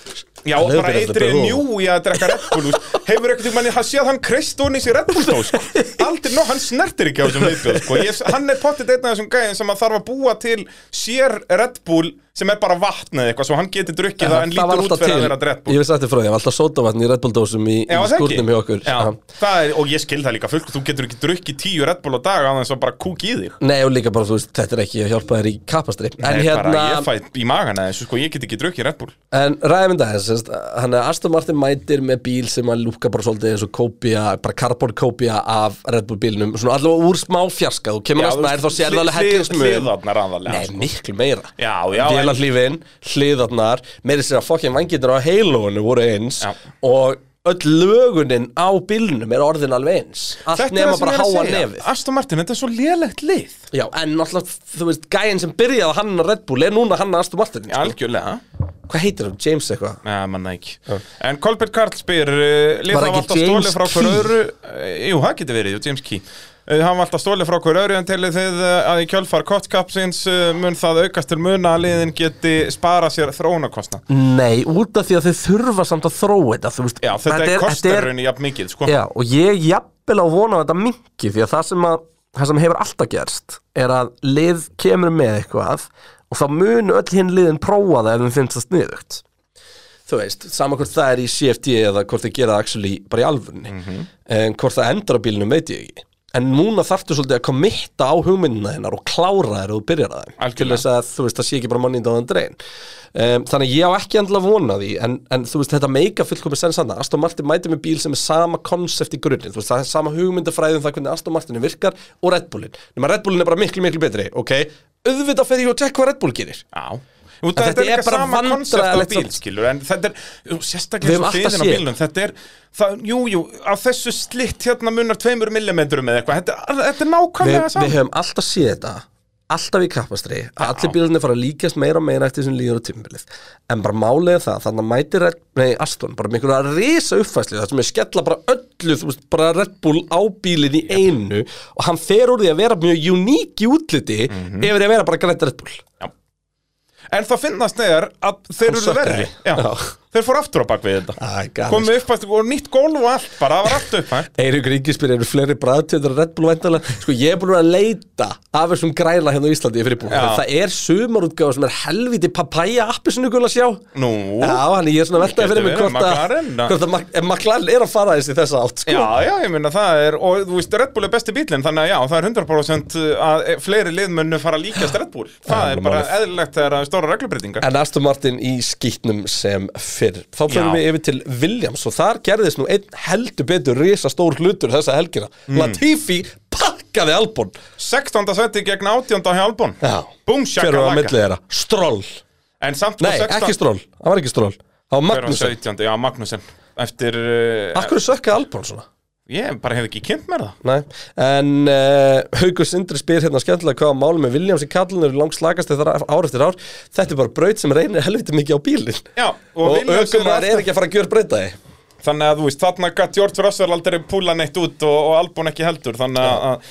Speaker 5: já,
Speaker 4: Heldur
Speaker 5: bara
Speaker 4: betur,
Speaker 5: eitri
Speaker 4: bú.
Speaker 5: njú í að drekka Red Bull, þú veist, hefur ekkert tímann, hann sé að hann kreista honi sér Red Bull dós, sko, aldrei, no, hann snertir ekki á þessum viðbjóð, sko, ég, hann er pottið einn af þessum gæðin sem að þarf að búa til sér Red Bull sem er bara vatn eða eitthvað svo hann getur drukkið það, en
Speaker 4: var
Speaker 5: lítur út
Speaker 4: alltaf
Speaker 5: fyrir
Speaker 4: til.
Speaker 5: að vera Red Bull
Speaker 4: Ég veist eftir frá því, það var alltaf sótavatn í Red Bull dósum í,
Speaker 5: Já,
Speaker 4: í
Speaker 5: það ekki.
Speaker 4: skúrnum hjá okkur
Speaker 5: Já,
Speaker 4: Já.
Speaker 5: það er, og ég skil það líka fullt þú getur ekki drukkið tíu Red Bull á dag að þess að bara kúk í þig
Speaker 4: Nei og líka bara þú veist, þetta er ekki að hjálpa þér í kapastri En
Speaker 5: Nei,
Speaker 4: hérna,
Speaker 5: bara, ég fæ í magan eða þessu sko, ég get ekki drukkið Red Bull
Speaker 4: en ræðum þetta þess semst, Hann er Aston Martin mætir með bíl sem að lúka bara svolítið eins og kópía Bara carbon kópía af Red Bull bílnum Svona allavega úr smá fjarska Þú kemur að snær þá sér það alveg hellingsmöð
Speaker 5: Hliðarnar aðalega
Speaker 4: Nei, miklu meira
Speaker 5: Já, já, en-
Speaker 4: Vélahlífin, hliðarnar Meiri sér að fokkin vangitur á heilóinu voru eins
Speaker 5: Já.
Speaker 4: Og öll lögunin á bílnum er orðin alveg eins Allt
Speaker 5: Þetta er
Speaker 4: nema
Speaker 5: það sem
Speaker 4: bara
Speaker 5: ég er að
Speaker 4: háa
Speaker 5: segja.
Speaker 4: nefið
Speaker 5: Aston Martin, þetta er svo lélegt lið
Speaker 4: Já, en náttúrulega, þú veist, gæinn sem byrjaði að hanna Red Bull er núna að hanna Aston Martin sko.
Speaker 5: Algjörlega
Speaker 4: Hvað heitir hann? James eitthvað?
Speaker 5: Já, manna ekki En Kolbert Karl spyr uh, Lið
Speaker 4: Var
Speaker 5: hafa
Speaker 4: ekki
Speaker 5: alltaf
Speaker 4: James
Speaker 5: stólið frá hver
Speaker 4: Key?
Speaker 5: öðru uh, Jú, það getur verið, jú, James Key Uh, Hann var alltaf stólið frá hver öðru en telið þið uh, að í kjölfar kottkapsins uh, mun það aukast til muna að liðin geti spara sér þróunarkostna.
Speaker 4: Nei, út af því að þið þurfa samt að þróa þetta, þú veist
Speaker 5: Já, þetta er kostarunni jafn mikið, sko.
Speaker 4: Já, og ég jafnvel á vona þetta mingi því að það sem, að, það sem hefur alltaf gerst er að lið kemur með eitthvað og þá mun öll hinn liðin prófa það ef þeim finnst það sniðugt Þú veist, sama hvort það er í CFD eða hvort þið gera það actually bara í alvunni en hvort það endar á bílnum veit ég ekki en núna þarftu svolítið að kommitta á hugmyndina hennar og klára þér og byrjar að þeim til
Speaker 5: Algjörlega.
Speaker 4: þess að þú veist, það sé ekki bara manni í dáðan drein um, þannig að ég á ekki endilega vona því en, en þú veist, þetta meika fullkomi sens hann Aston Martin mætir með bíl sem er sama konsept í grunninn, þú veist, það er sama hugmyndafræði um það hvernig Aston Martin virkar og Red Bullin nema Red Bullin er bara miklu, miklu betri, ok auðvitað fer ég og tek hvað Red Bull gerir
Speaker 5: Já. Út,
Speaker 4: En þetta
Speaker 5: þetta, er
Speaker 4: er
Speaker 5: líka
Speaker 4: bara
Speaker 5: sama konsept á
Speaker 4: vandræðalegt
Speaker 5: bíl,
Speaker 4: samt.
Speaker 5: skilur, en þetta er, jú,
Speaker 4: Við
Speaker 5: sérstaklega
Speaker 4: höfum
Speaker 5: svo
Speaker 4: alltaf
Speaker 5: hliðin á
Speaker 4: séð.
Speaker 5: bílnum, þetta er, það, jú, jú, á þessu slitt hérna munar tveimur millimetrum eða eitthvað, þetta, er- þetta er
Speaker 4: við,
Speaker 5: nákvæmlega
Speaker 4: við
Speaker 5: saman.
Speaker 4: höfum alltaf séð þetta alltaf í kappastri að allir bílarnir fara að líkjast meira og meira eftir þessum líður og tímbilið en bara málið er það, þannig að mæti Red, nei, Aston, bara með einhverja risa uppfæsli það sem er skella bara öllu þú veist, bara Red Bull á bílinn í einu og hann fer úr því að vera mjög uník í útliti yfir í að vera bara grænt Red Bull
Speaker 5: En það finnast þegar að þeir eru
Speaker 4: sökkaði.
Speaker 5: verri. Já. sko.
Speaker 4: Já.
Speaker 5: Þeir fór aftur á bak við þetta.
Speaker 4: Æ, galið,
Speaker 5: Komið upp að og nýtt gólf og allt bara, það var allt upp hægt.
Speaker 4: Eiríkur Ingisbyr eru fleiri bræðtjöndur Red Bull væntanlega, sko ég er búin að leita af þessum græla hérna á Íslandi í fyrirbúð
Speaker 5: Já.
Speaker 4: það er sumarútgáfa sem er helviti papæja appi sem að sjá
Speaker 5: Nú.
Speaker 4: Já, hann ég er svona veltað
Speaker 5: Getur
Speaker 4: fyrir mig
Speaker 5: verið,
Speaker 4: hvort að
Speaker 5: McLaren, da.
Speaker 4: hvort að Mac- ef McLaren er að fara þessi þessa átt sko.
Speaker 5: Já, já, ég meina það er, og þú veist, Red Bull er besti bílinn, þannig að já, það er 100% að fleiri liðmönnu fara að líkast Red Bull. Það er bara eðlilegt þegar það er stóra reglubreitingar.
Speaker 4: En Aston Martin í skýtnum sem fyrr Þá fyrir
Speaker 5: Já.
Speaker 4: við yfir til Williams og þar gerðist nú einn heldur betur risastór hlutur þessa helgina
Speaker 5: Mm.
Speaker 4: Latifi pakkaði Albon
Speaker 5: 16. seti gegn 18. hjá Albon
Speaker 4: Já,
Speaker 5: Búm,
Speaker 4: hver var
Speaker 5: sjakka
Speaker 4: að milli
Speaker 5: laka
Speaker 4: þeirra? Stroll
Speaker 5: En samt
Speaker 4: Nei, ekki Stroll, það var ekki Stroll Það var
Speaker 5: Hver var
Speaker 4: Magnussen
Speaker 5: 17. Já, Magnussen Eftir uh,
Speaker 4: Akkur sökkaði Albon svona?
Speaker 5: Ég bara hef ekki kynnt mér það
Speaker 4: Nei, en uh, Haukur Sindri spyr hérna skemmtilega hvað á málum með Williams í kallinu eru langt slagast þegar ár eftir ár Þetta er bara braut sem reynir helviti mikið á bílinn
Speaker 5: Já,
Speaker 4: Og, og
Speaker 5: Williams eru
Speaker 4: aukumar
Speaker 5: aftur-
Speaker 4: er ekki að fara að gjör breyta því
Speaker 5: Þannig að þú veist, þarna gætt George Russell aldrei púla neitt út og, og Albon ekki heldur Þannig að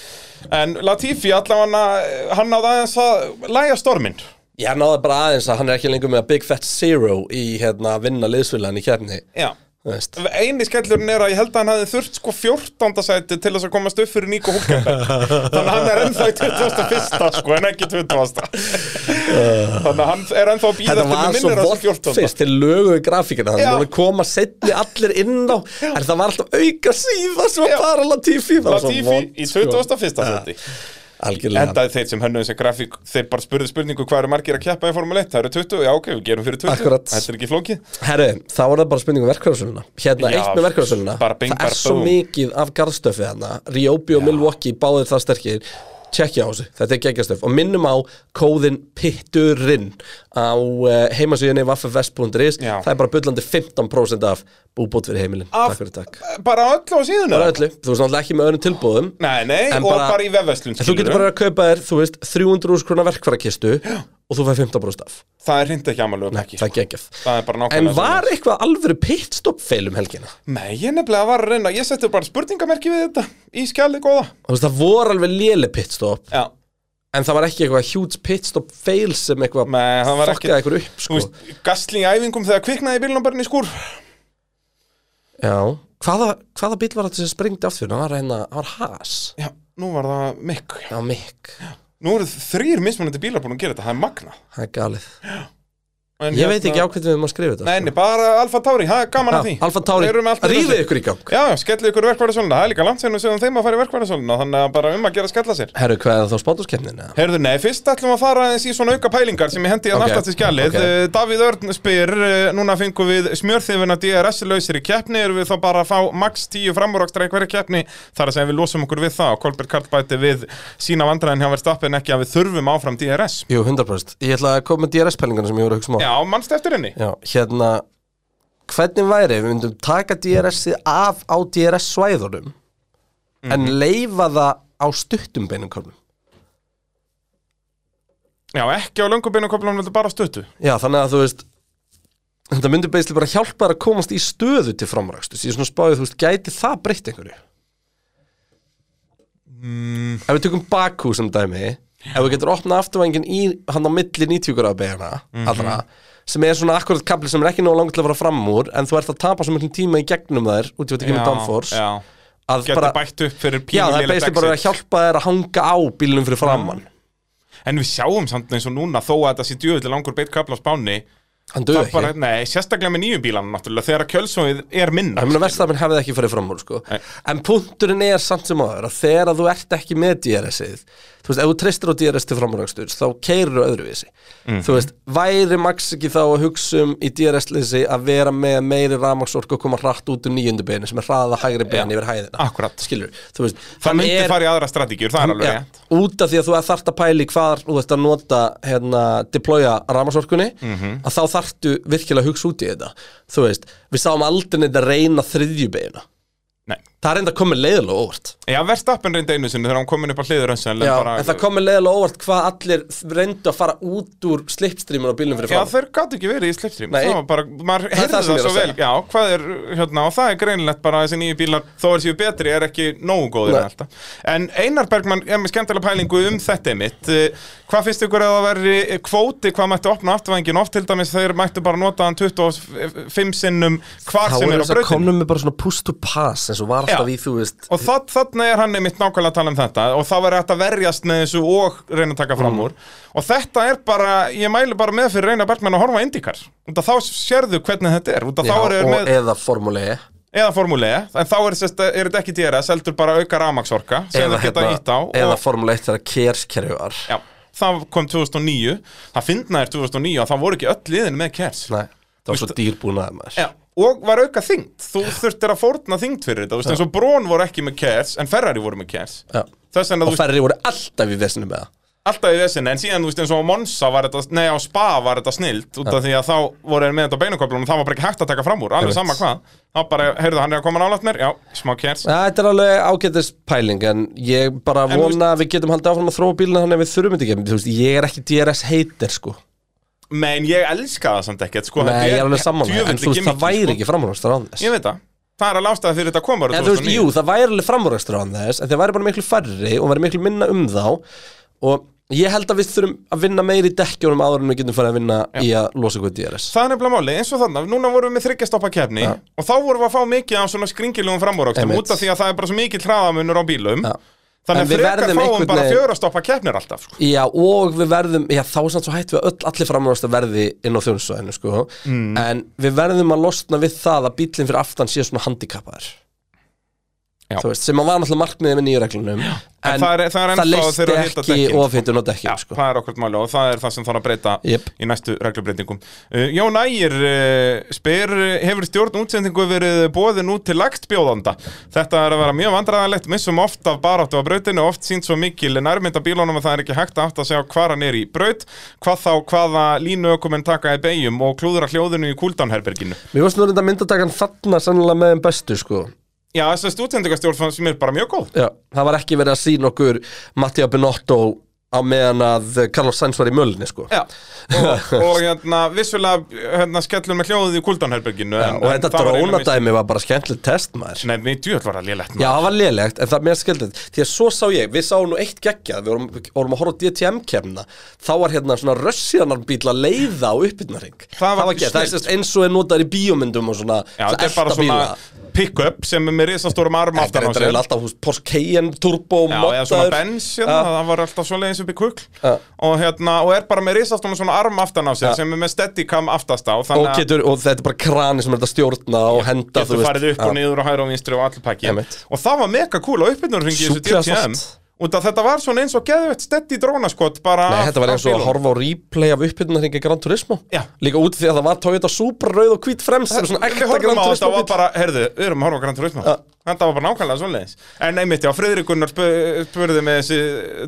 Speaker 5: En Latifi allavega hann náði aðeins að læja stormin
Speaker 4: Ég náði bara aðeins að hann er ekki lengur með Big Fat Zero í hérna að vinna liðsvillan í kefni
Speaker 5: Já
Speaker 4: Þú veist
Speaker 5: Eini skellurinn er að ég held að hann hafði þurft sko 14. sæti til þess að komast upp fyrir Nico Hulkenberg Þannig að hann er ennþá í 21. sko en ekki 20. Þannig að hann er ennþá að býða
Speaker 4: Þetta
Speaker 5: eftir
Speaker 4: var
Speaker 5: með
Speaker 4: svo
Speaker 5: minnir þessi 14.
Speaker 4: vortfist til lögu í grafíkina
Speaker 5: Já.
Speaker 4: Þannig að koma setni allir inn á En það var alltaf auka síða sem
Speaker 5: Já.
Speaker 4: var bara Latifi Það var svo
Speaker 5: Latifi
Speaker 4: vont,
Speaker 5: í
Speaker 4: sko.
Speaker 5: 21. sæti
Speaker 4: Algjörlega
Speaker 5: Endaði þeir sem hönnuðu þessi grafík Þeir bara spurðu spurningu hvað eru margir að keppa í Formule 1 Það eru 20, já ok, við gerum fyrir 20
Speaker 4: Akkurat.
Speaker 5: Þetta er ekki flókið
Speaker 4: Herru, þá er það bara spurning um verkvæðarsöluna Hérna,
Speaker 5: Já,
Speaker 4: eitt með verkvæðarsöluna
Speaker 5: bara bing,
Speaker 4: Það er
Speaker 5: bara
Speaker 4: svo
Speaker 5: boom.
Speaker 4: mikið af garðstöfi þarna Riobi og Milwaukee, báðir það sterkir Tjekkja á þessu, þetta er geggjastöf Og minnum á kóðin pitturinn Á uh, heimasíðinni vaffefest.is
Speaker 5: Já.
Speaker 4: Það er bara bullandi 15% af búbót fyrir heimilin
Speaker 5: Af-
Speaker 4: Takk fyrir takk
Speaker 5: Bara öllu á síðuna
Speaker 4: Bara öllu, þú veist náttúrulega ekki með öðrum tilbúðum
Speaker 5: Nei, nei,
Speaker 4: En
Speaker 5: og
Speaker 4: bara-
Speaker 5: bara, í vefverslun
Speaker 4: En þú getur bara að kaupa þér, þú veist, 300 úrs krona verkvæðarkistu Og þú fær 15% af
Speaker 5: Það er hreint ekki amalög
Speaker 4: Nei, það er geggjaf
Speaker 5: Það er bara nákvæmlega
Speaker 4: En
Speaker 5: svoleiðis.
Speaker 4: var eitthvað alvöru pitstopfeilum helgina?
Speaker 5: Nei, ég nefnilega var að reyna, ég setti bara spurningamerki við þetta í skjalið góða.
Speaker 4: Þú veist, það voru alveg léli pitstop
Speaker 5: Já.
Speaker 4: En það var ekki eitthvað huge pitstop fail sem eitthvað
Speaker 5: Nei, það var ekki-
Speaker 4: fokkaði eitthvað upp
Speaker 5: Þú
Speaker 4: sko.
Speaker 5: veist, gasli í æfingum þegar kviknaði bílunum bara inn í skúr.
Speaker 4: Já Hvaða, hvaða bíl var þetta sem springdi aftur? Það var hérna, það var Haas
Speaker 5: Já, nú var það mikk.
Speaker 4: Já, Mick
Speaker 5: Nú eru þrýr mismunandi bílar búin að gera þetta, það er magna.
Speaker 4: Það er galið
Speaker 5: En
Speaker 4: Ég veit ekki á hvernig við erum að skrifa þetta
Speaker 5: hérna-
Speaker 4: sko.
Speaker 5: Nei, nei, bara Alfa Tauri, það er gaman
Speaker 4: Já,
Speaker 5: að því
Speaker 4: Alfa Tauri,
Speaker 5: Þeir eru með allt í
Speaker 4: rífið
Speaker 5: þessu.
Speaker 4: ykkur í gang
Speaker 5: Já, skellið ykkur verkvæðarsöluna, það er líka langt sérnum sem þeim að fara í verkvæðarsöluna Þannig að bara um að gera að skella sér
Speaker 4: Herru, hvað er það þá spátumskefnin?
Speaker 5: Heyrðu, nei, fyrst ætlum við að fara aðeins í svona auka pælingar sem ég hendi að
Speaker 4: Ok,
Speaker 5: okay. aftast í skjalið.
Speaker 4: ok.
Speaker 5: Okay. Davíð Örn spyr, eh, núna fengum við smjörþifuna DRS lausir í keppni, erum við þá bara að fá max 10 framúrakstra í hverja keppni, þar að segja við losum okkur við það og Kolbjörn Karl bæti við sína vandræðin hjá verðstappin ekki að við þurfum áfram DRS.
Speaker 4: Jú, 100% Ég ætla að koma með DRS-pælingarna sem ég voru að hugsa um á
Speaker 5: Já, mannst eftir henni.
Speaker 4: Já, hérna Hvernig væri, ef við myndum taka DRS-ið af á DRS-svæðunum En leifa það á stuttum beinum körnum
Speaker 5: Já, ekki á löngubeinu koplum, þetta bara á stuttu.
Speaker 4: Já, þannig að þú veist Þetta myndi beisli bara hjálpa þær að komast í stöðu til framrækstu Því svona spáðið, þú veist, gæti það breytt einhverju? Mm. Ef við tökum Bakú sem dæmi Ef við getur opnað afturvængin í hann á milli 90 gráða beina
Speaker 5: Mhm.
Speaker 4: allra sem er svona akkurat kapli sem er ekki nóg langt til að fara fram úr en þú ert að tapa svo mjög tíma í gegnum þær út í að þetta kemur Danfors
Speaker 5: Já,
Speaker 4: að
Speaker 5: getur
Speaker 4: bara,
Speaker 5: bætt upp fyrir
Speaker 4: já, það er
Speaker 5: pínulélegt
Speaker 4: beisli bara að
Speaker 5: exit.
Speaker 4: hjálpa þær að hanga á bílunum fyrir
Speaker 5: Mhm.
Speaker 4: framann
Speaker 5: En við sjáum samt eins og núna, þó að þetta sé djöfileg langur beitt kapla á spáni,
Speaker 4: Hann döði
Speaker 5: það er
Speaker 4: ekki
Speaker 5: bara, nei, sérstaklega með nýju bílanum náttúrulega, þegar að kjölsóið er minna.
Speaker 4: Ég meina verðstafinn hefði ekki farið fram úr sko En punkturinn er samt sem áður að þegar að þú ert ekki með DRS-ið Þú veist, ef þú treystir á DRS til framúrækstur þá keirir öðruvísi
Speaker 5: Mhm.
Speaker 4: Þú veist, væri Max ekki þá að hugsa um í DRS-leysi að vera með meiri rafmaksorku og koma hratt út úr nýjundu beinu sem er hraða hægri beinu yfir hæðina
Speaker 5: Akkúrat.
Speaker 4: Skilur, þú veist
Speaker 5: Það
Speaker 4: hann
Speaker 5: myndi
Speaker 4: er-
Speaker 5: fara í aðra strategíur, það er alveg
Speaker 4: Já,
Speaker 5: rétt.
Speaker 4: út af því að þú þarft að pæli hvar þú ert að nota, hérna, deploya rámasorkunni,
Speaker 5: Mhm.
Speaker 4: að þá þarftu virkilega að hugsa út í þetta þú veist, við sáum aldrei neitt að reyna þriðjubegina,
Speaker 5: Nei.
Speaker 4: það er enda komið leiðilega óvart
Speaker 5: Já, Verstappen reyndi einu sinni þegar hann kom inn upp á hliður hans en
Speaker 4: Já,
Speaker 5: bara...
Speaker 4: en það komið leiðilega óvart hvað allir reyndu að fara út úr slipstreamun á bílum fyrir
Speaker 5: Já,
Speaker 4: fram
Speaker 5: þeir gátt ekki verið í slipstream
Speaker 4: Nei.
Speaker 5: Það var bara, maður
Speaker 4: er það
Speaker 5: heyrði það,
Speaker 4: sem ég er
Speaker 5: svo
Speaker 4: að
Speaker 5: vel
Speaker 4: segja.
Speaker 5: Já, hvað er, hérna, og það er greinilegt bara að þessi nýju bílar, þó er séu betri, er ekki nógu góður
Speaker 4: Nei.
Speaker 5: en alltaf En Einar Bergmann er með skemmtilega pælingu um þetta mitt Hvað finnst ykkur að það veri kvóti, hvað mættu opna afturvængin Oft til dæmis þeir mættu bara nota hann 25 sinnum hvar
Speaker 4: þá
Speaker 5: sem
Speaker 4: er
Speaker 5: er á
Speaker 4: þess að
Speaker 5: brautinu
Speaker 4: komnum með bara svona push to pass eins og var alltaf
Speaker 5: Já.
Speaker 4: í þú veist
Speaker 5: Og það, þarna er hann einmitt nákvæmlega að tala um þetta og það var hægt að verjast með þessu og reyna að taka fram
Speaker 4: Mm.
Speaker 5: úr og þetta er bara, ég mælu bara með fyrir reyna Bergmann að horfa indikar út af þá sérðu hvernig þetta er út af
Speaker 4: Já,
Speaker 5: þá eru þeir
Speaker 4: og
Speaker 5: með,
Speaker 4: eða formulei
Speaker 5: eða formúli E, en þá er, sérst, er þetta ekki DRS, heldur bara auka ramagsorka sem
Speaker 4: eða, hérna-
Speaker 5: þeir geta ítt á
Speaker 4: eða
Speaker 5: og,
Speaker 4: formulei 1 þegar kerskerjuar
Speaker 5: já, það kom 2009 það fyndna er 2009 og það voru ekki öll liðin með kers
Speaker 4: Nei, það var svo dýrbúnaði maður
Speaker 5: Já, og var auka þyngd þú þurftir að fórna þyngd fyrir þetta þú veist, eins og Brón voru ekki með kers en Ferrari voru með kers
Speaker 4: Já.
Speaker 5: þess vegna þú
Speaker 4: og ferri voru alltaf í vesinu með það
Speaker 5: alltaf í vesinni, en síðan þú veist eins og á Monsa var þetta, nei á Spa var þetta snilt út af því að þá voru þeir með þetta á beinuköflunum og það var bara ekki hægt að taka fram úr, alveg
Speaker 4: Einmitt.
Speaker 5: sama hvað þá bara, heyrðu hann er að koma nálægt mér, já, smá kjærs
Speaker 4: Ja, þetta er alveg ágætis pæling en ég bara
Speaker 5: En þú veist-
Speaker 4: vona að við getum haldið áfram að þróa bílina þannig að við þurfum þetta ekki Þú veist, ég er ekki DRS heitir sko
Speaker 5: menn ég elska það samt ekkert, sko
Speaker 4: Nei,
Speaker 5: þetta
Speaker 4: ég er alveg samanlega En þú veist, það
Speaker 5: djöfulli gimmick,
Speaker 4: væri
Speaker 5: sko.
Speaker 4: ekki framúrækstur án þess
Speaker 5: ég veit það, það er að lásta fyrir þetta komur
Speaker 4: En þú veist, jú, það væri alveg framúrækstur án þess en það væri bara miklu færri og væri miklu minna um þá og ég held að við þurfum að vinna meiri í dekkjónum áður en við getum farið að vinna í að losa ykkur DRS
Speaker 5: Það er nefnilega máli, eins og þannig, núna vorum við með þryggjastoppa kefni og þá vorum við að fá mikið af svona skringilegum framúrökstum
Speaker 4: Einmitt.
Speaker 5: út af því að það er bara svo mikill hraðamunur á bílum
Speaker 4: Já. En
Speaker 5: Þannig
Speaker 4: við
Speaker 5: að frekar
Speaker 4: verðum einhvern
Speaker 5: fáum bara
Speaker 4: veginn-
Speaker 5: fjörastoppa keppnir alltaf sko.
Speaker 4: Já, og við verðum, já þá er samt svo hætt við að öll, allir framræðast að verði inn á þjónusvæðinu sko.
Speaker 5: Mm.
Speaker 4: en við verðum að losna við það að bílinn fyrir aftan sé svona handikappaður
Speaker 5: Já.
Speaker 4: Þú veist, sem að var náttúrulega markmiðið með nýju reglunum en,
Speaker 5: En það er- það er ennþá
Speaker 4: leysti
Speaker 5: þegar að hitta dekkin,
Speaker 4: ekki
Speaker 5: sko.
Speaker 4: ofhittun á dekkjum
Speaker 5: Já,
Speaker 4: sko.
Speaker 5: það er okkur máli og það er það sem þarf að breyta
Speaker 4: Jep.
Speaker 5: í næstu reglubreitingum. Uh, Jón Ægir uh, spyr, uh, hefur stjórn útsendingu verið bóðin út til lagtbjóðanda? Þetta er að vera mjög vandræðanlegt, missum oft af baráttu á brautinu, oft sínt svo mikil nærmynda bílunum að það er ekki hægt að átt að segja hvað hann er í braut, hvað þá hvaða línu ökumenn taka í beigjum og klúðra hljóðinu í kúldánherberginu.
Speaker 4: Mér varst nú reynda myndatakan þarna sannlega með þeim bestu sko.
Speaker 5: Já, þessi útsendingastjórn sem er bara mjög góð.
Speaker 4: já, það var ekki verið að sína okkur Mattia Benotto á meðan að Carlos Sainz var í mölinni sko.
Speaker 5: Já, og, og hérna, vissulega hérna, skellum með hljóðið í kuldanherberginu
Speaker 4: Já, og þetta drónadæmi var bara skemmtilegt test maður
Speaker 5: Nei, við djúðl var það lélegt maður.
Speaker 4: Já, það var lélegt, en það er mér skildið Því að svo sá ég, við sáum nú eitt geggjað Við vorum, vorum að horfa á DTM-kemna Þá var hérna svona rössiðanar bíl að leiða á uppbyrnaring
Speaker 5: Það var
Speaker 4: það, var gert. það er
Speaker 5: snillt.
Speaker 4: sérst eins og er notaður í bíómyndum og svona
Speaker 5: Já, þetta er bara svona pick-up sem er með risastórum arm
Speaker 4: Þetta
Speaker 5: aftan
Speaker 4: er
Speaker 5: á
Speaker 4: eitthvað
Speaker 5: sér
Speaker 4: alltaf hús Porsche Cayenne Turbo
Speaker 5: Já, eða svona Benz, hérna,
Speaker 4: Já.
Speaker 5: það var alltaf svo leiðins upp í kukl
Speaker 4: Já.
Speaker 5: og, hérna, og er bara með risastórum svona arm aftan á sér
Speaker 4: Já.
Speaker 5: sem er með steadicam aftast á
Speaker 4: og,
Speaker 5: þannig að
Speaker 4: getur, og þetta er bara krani sem er þetta stjórna og henda
Speaker 5: getur farið upp og niður og hæra og vinstri og allir pakki
Speaker 4: Einmitt.
Speaker 5: og það var mega cool á uppbyrnurringi þessu
Speaker 4: Sjúklega
Speaker 5: DTM
Speaker 4: soft.
Speaker 5: út af þetta var svona eins og geðvett steady drónaskott bara
Speaker 4: Nei,
Speaker 5: af-
Speaker 4: þetta var
Speaker 5: af
Speaker 4: eins og að
Speaker 5: bílum.
Speaker 4: horfa á replay af uppbyrnarhingi Gran Turismo
Speaker 5: Já.
Speaker 4: Líka út því að það var Toyota Supra rauð og hvít fremst sem er svona
Speaker 5: Við
Speaker 4: ekta
Speaker 5: horfum
Speaker 4: Gran
Speaker 5: á þetta
Speaker 4: Turismo
Speaker 5: var
Speaker 4: bíll.
Speaker 5: bara, heyrðu, við erum að horfa á Gran Turismo
Speaker 4: Ja.
Speaker 5: Þetta var bara nákvæmlega svoleiðis En einmitt, já, Friðrik Gunnar spu- spurði með þessi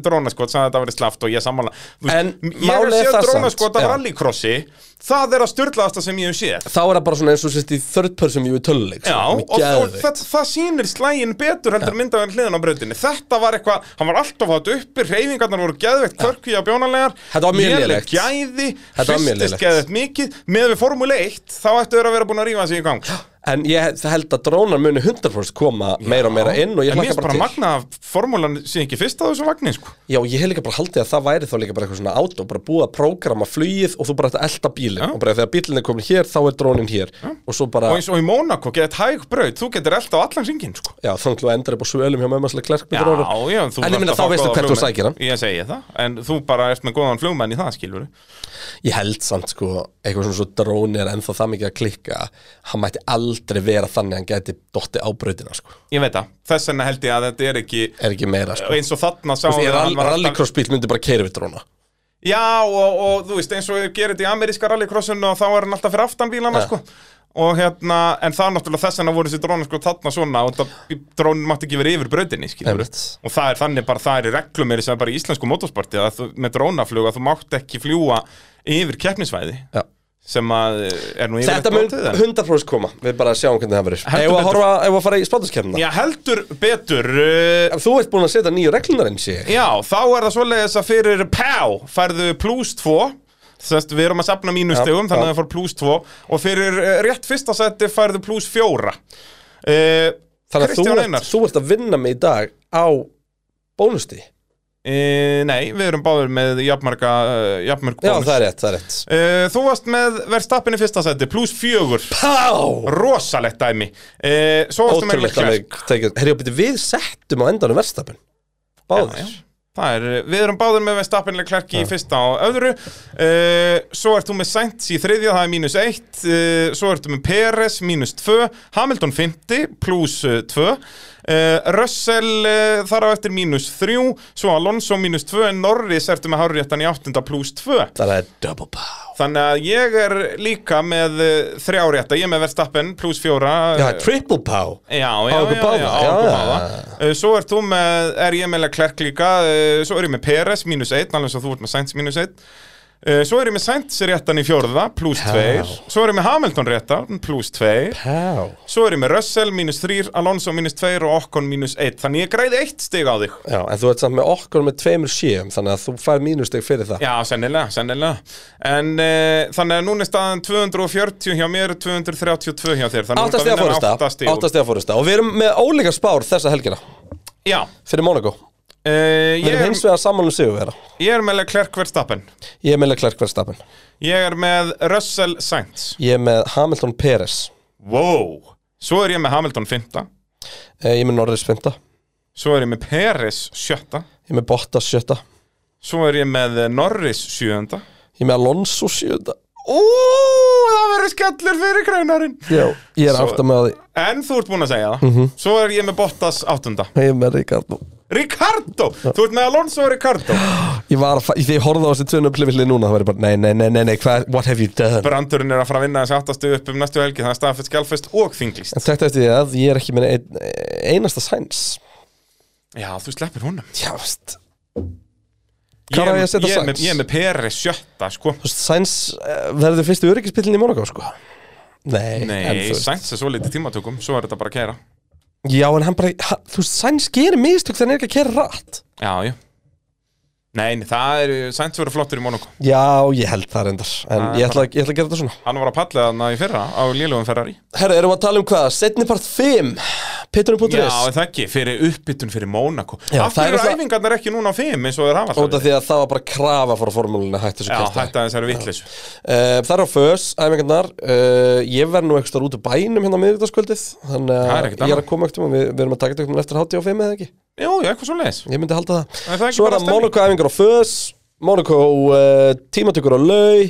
Speaker 5: drónaskot sem þetta verið slaft og ég sammála Þú veist,
Speaker 4: En
Speaker 5: Ég
Speaker 4: málið er
Speaker 5: hef séð
Speaker 4: það samt,
Speaker 5: drónaskot af
Speaker 4: já.
Speaker 5: rallycrossi Það er að styrlaðasta sem ég hef séð
Speaker 4: Þá er það bara svona eins og sérst í third person view í sko. töluleik
Speaker 5: Já,
Speaker 4: svona,
Speaker 5: og,
Speaker 4: með
Speaker 5: og
Speaker 4: geðveikt.
Speaker 5: það, það sýnir slægin betur heldur myndaðan hliðin á brautinni Þetta var eitthvað, hann var alltaf átt uppi Reyfingarnar voru geðvegt, körkví á bjónalegar
Speaker 4: Þetta var mjög
Speaker 5: léleg
Speaker 4: lélegt.
Speaker 5: gæði,
Speaker 4: Þetta var mjög
Speaker 5: hristist
Speaker 4: lélegt.
Speaker 5: geðvegt mikið Með við Formule 1, þá ættu þeir að vera búin að rífa sig í gang
Speaker 4: En ég held að drónar muni 100% koma meira og meira inn og ég
Speaker 5: En mér
Speaker 4: hlaka
Speaker 5: er bara
Speaker 4: bara til
Speaker 5: magna að formúlan sé ekki fyrst að þessu vagnin sko.
Speaker 4: Já, ég hef líka bara haldið að það væri þá líka bara eitthvað svona átó, bara búið að prógrama flugið og þú bara ætti að elda bílinn og bara þegar bílinn er komin hér, þá er drónin hér og svo bara,
Speaker 5: Og eins og í Mónako getur hæg braut, þú getur elda á allan ringin sko.
Speaker 4: já, þannig að enda upp á svölum hjá mömmaslega klerk með drónin
Speaker 5: já, þú
Speaker 4: En
Speaker 5: þarft
Speaker 4: ég minna þá
Speaker 5: að fá
Speaker 4: veistu
Speaker 5: góða
Speaker 4: hvert þú
Speaker 5: flugmenn.
Speaker 4: sækir hann
Speaker 5: Ég segi það, en þú bara ert með góðan flugmann í það skilur
Speaker 4: Ég held samt sko, eitthvað svona svo dróni er ennþá það mikið að klikka hann mætti aldrei vera þannig að hann gæti dotti á brautina sko,
Speaker 5: Ég veit það, þess vegna held ég að þetta er ekki
Speaker 4: er ekki meira sko
Speaker 5: eins og þarna sá
Speaker 4: Þú veist, rall- Rallycross bíl myndi bara keiri við dróna
Speaker 5: Já, og, og þú veist, eins og ég gerir þetta í ameríska rallycrossinu og þá er hann alltaf fyrir aftan bílana,
Speaker 4: Ja.
Speaker 5: sko og hérna, en það er náttúrulega þess að voru þessi drónar sko þarna svona og það drónin mátti ekki verið yfir brautinni, skilur
Speaker 4: Einmitt.
Speaker 5: og það er þannig bara, það er í reglum er þess að bara í íslensku motorsporti að þú, með drónaflug að þú mátt ekki fljúa yfir keppnisvæði
Speaker 4: Já.
Speaker 5: sem að eh, er nú yfir
Speaker 4: Þetta mun 100% koma, við bara sjáum hvernig það verður
Speaker 5: Heldur
Speaker 4: Ef að
Speaker 5: betur.
Speaker 4: horfa, ef að fara í spátuskernina
Speaker 5: Já, heldur betur uh,
Speaker 4: Þú ert búin að setja nýju reglunar eins ég
Speaker 5: Já, þá er það svoleiðis að fyrir PÁ færðu plus 2 Sest, við erum að safna mínustegum,
Speaker 4: Já,
Speaker 5: þannig að
Speaker 4: já.
Speaker 5: það fór plus 2 og fyrir eh, rétt fyrsta seti færðu plus 4 uh,
Speaker 4: Þannig að þú
Speaker 5: Kristján
Speaker 4: ert,
Speaker 5: Einar
Speaker 4: þú ert að vinna mig í dag á bónusti
Speaker 5: uh, Nei, við erum báður með jafnmarga, uh, jafnmarg
Speaker 4: Já, það
Speaker 5: bónus
Speaker 4: er rétt, það er rétt
Speaker 5: uh, Þú varst með verðstappin í fyrsta seti, plus 4
Speaker 4: Pá!
Speaker 5: Rosalegt dæmi uh, Svo varstu með
Speaker 4: Ótrúlegt að
Speaker 5: Leclerc.
Speaker 4: við tekið Herri, byrju, við settum á endanum verðstapin
Speaker 5: Já,
Speaker 4: Báðir
Speaker 5: já. Það er, eh, við erum báður með Verstappen Leclerc í fyrsta og öðru uh, Svo ert þú með Sainz í þriðja, það er mínus 1 uh, Svo ertu með Peres, mínus 2 Hamilton 50, pluss 2 uh, Russell uh, þar á eftir mínus 3 Svo Alonso mínus 2 En Norris ertu með Harriettan í 8. pluss 2
Speaker 4: Það er double pá
Speaker 5: Þannig að ég er líka með uh, þrjárétta Ég er með Verstappen, pluss 4
Speaker 4: Já, triple pá
Speaker 5: Já,
Speaker 4: Á
Speaker 5: já,
Speaker 4: okkur
Speaker 5: já,
Speaker 4: báða,
Speaker 5: já, á
Speaker 4: já,
Speaker 5: okkur
Speaker 4: já.
Speaker 5: báða. Uh, Svo er þú með, er ég með Leclerc líka uh, Svo er ég með Peres, mínus 1 Alveg svo þú ert með Sainz, mínus 1 uh, Svo er ég með Sainz réttan í fjórða, pluss 2 Svo er ég með Hamilton réttan, pluss 2
Speaker 4: Pá
Speaker 5: Svo er ég með Russell, mínus 3 Alonso, mínus 2 og Okkon, mínus 1 Þannig ég græði eitt stig á þig
Speaker 4: Já, en þú ert samt með okkur með tveimur sjöum Þannig að þú fær mínusteg fyrir það
Speaker 5: Já, sennilega, sennilega En uh, þannig að núna er staðan 240 hjá mér 232 hjá þér Þannig
Speaker 4: Áttastega fórusta
Speaker 5: Áttast
Speaker 4: Áttastega fórusta Og við erum með ólíka spár þessa helgina
Speaker 5: Já,
Speaker 4: Fyrir Monaco
Speaker 5: uh, ég,
Speaker 4: Við erum
Speaker 5: er,
Speaker 4: hins vegar saman um sigurvera
Speaker 5: ég er með Leclerc Verstappen
Speaker 4: Ég er með Leclerc verðstapin
Speaker 5: Ég er með Russell Sainz
Speaker 4: Ég er með Hamilton Peres
Speaker 5: Wow Svo er ég með Hamilton 5
Speaker 4: Eh, Ég er með Norris 5
Speaker 5: Svo er ég með Peres 7
Speaker 4: Ég er með Bottas sjötta
Speaker 5: Svo er ég með Norris 7
Speaker 4: Ég er með Alonso sjötta
Speaker 5: Ú, það verður skellur fyrir greinarinn
Speaker 4: Já, ég er
Speaker 5: Svo-
Speaker 4: átt að með á því
Speaker 5: En þú ert búinn að segja það
Speaker 4: Mhm.
Speaker 5: Svo er ég með Bottas 8
Speaker 4: Ég er með Ricardo
Speaker 5: Ricardo, þú ert með Alonso og Ricardo
Speaker 4: Ég var að fa- Þegar ég horfði á þessi tvönu upplifili núna Það væri bara Nei, nei, nei, nei, nei hva, What have you done?
Speaker 5: Brandurinn er að fara að vinna þessi 8 stu upp um næstu helgi Það er staðfest, skjálfest og þinglist
Speaker 4: En tekta eftir því að ég er ekki með ein, einasta sæns
Speaker 5: Já, þú sleppir honum
Speaker 4: Já, veist
Speaker 5: Ég
Speaker 4: Hvað
Speaker 5: er-
Speaker 4: á ég að setja
Speaker 5: ég er með-
Speaker 4: Sainz?
Speaker 5: Ég er með Peres 7 sko
Speaker 4: Þú veist, sæns verður fyrstu öryggispillin í Monaco, sko Nei, en
Speaker 5: Nei,
Speaker 4: þú veist
Speaker 5: Sainz er svo litið tímatökum Svo er þetta bara að kæra
Speaker 4: Já, en hann bara hann, Þú veist, sæns gerir mistök þegar hann er ekki að kera rætt
Speaker 5: Já, já Nei, nei, það er, Sainz verið flottur í Monaco
Speaker 4: Já, ég held það reyndar En
Speaker 5: Það er
Speaker 4: ég ætla, ég ætla að gera þetta svona
Speaker 5: Hann var að palla þarna í fyrra á lélugum Ferrari
Speaker 4: Herra, erum við að tala um hvað? Setni part 5
Speaker 5: Já,
Speaker 4: Pitturinn.is
Speaker 5: er það ekki, fyrir uppbytun fyrir Mónaco
Speaker 4: Já,
Speaker 5: Af
Speaker 4: það er
Speaker 5: hverju
Speaker 4: það-
Speaker 5: eru æfingarnar ekki núna á 5 eins og þeir hafa
Speaker 4: Út af því að það var bara krafa frá formúlunni að hætta þessu
Speaker 5: Já,
Speaker 4: kjaftaði.
Speaker 5: þetta er þessari vittlis
Speaker 4: Uh, það er á fös, æfingarnar uh, Ég verð nú eitthvað út úr bænum hérna á miðvikudagskvöldið Þannig
Speaker 5: Það er
Speaker 4: að
Speaker 5: ekkert
Speaker 4: ég er
Speaker 5: annað.
Speaker 4: að koma ekkert um Við, við erum að taka eitthvað eftir hátíð á fimm eða ekki
Speaker 5: Jú, jú, eitthvað svo leis
Speaker 4: Ég myndi halda það,
Speaker 5: Er það ekki
Speaker 4: Svo
Speaker 5: bara
Speaker 4: er það
Speaker 5: stemning?
Speaker 4: Monaco æfingar á fös Monaco uh, tímatökur á lau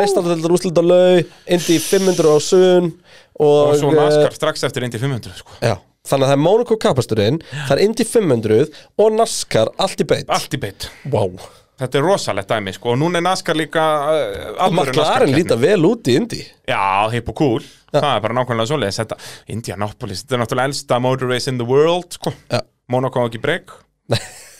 Speaker 4: Mestardeldar úslit á lau Indi 500 á sun Og,
Speaker 5: Og svo
Speaker 4: eh,
Speaker 5: naskar strax eftir Indy 500 sko.
Speaker 4: já, Þannig að það er Monaco kapasturinn Það er Indi 500 og naskar allt í beitt
Speaker 5: Allt í beitt
Speaker 4: wow.
Speaker 5: Þetta er rosalegt dæmi, sko, og núna er naskar líka uh,
Speaker 4: Og McLaren líta vel út í Indi
Speaker 5: Já, hip og cool, það er bara nákvæmlega svoleiðis þetta, Indianapolis, þetta er náttúrulega elsta motor race in the world, sko
Speaker 4: Já.
Speaker 5: Monaco á ekki breyk,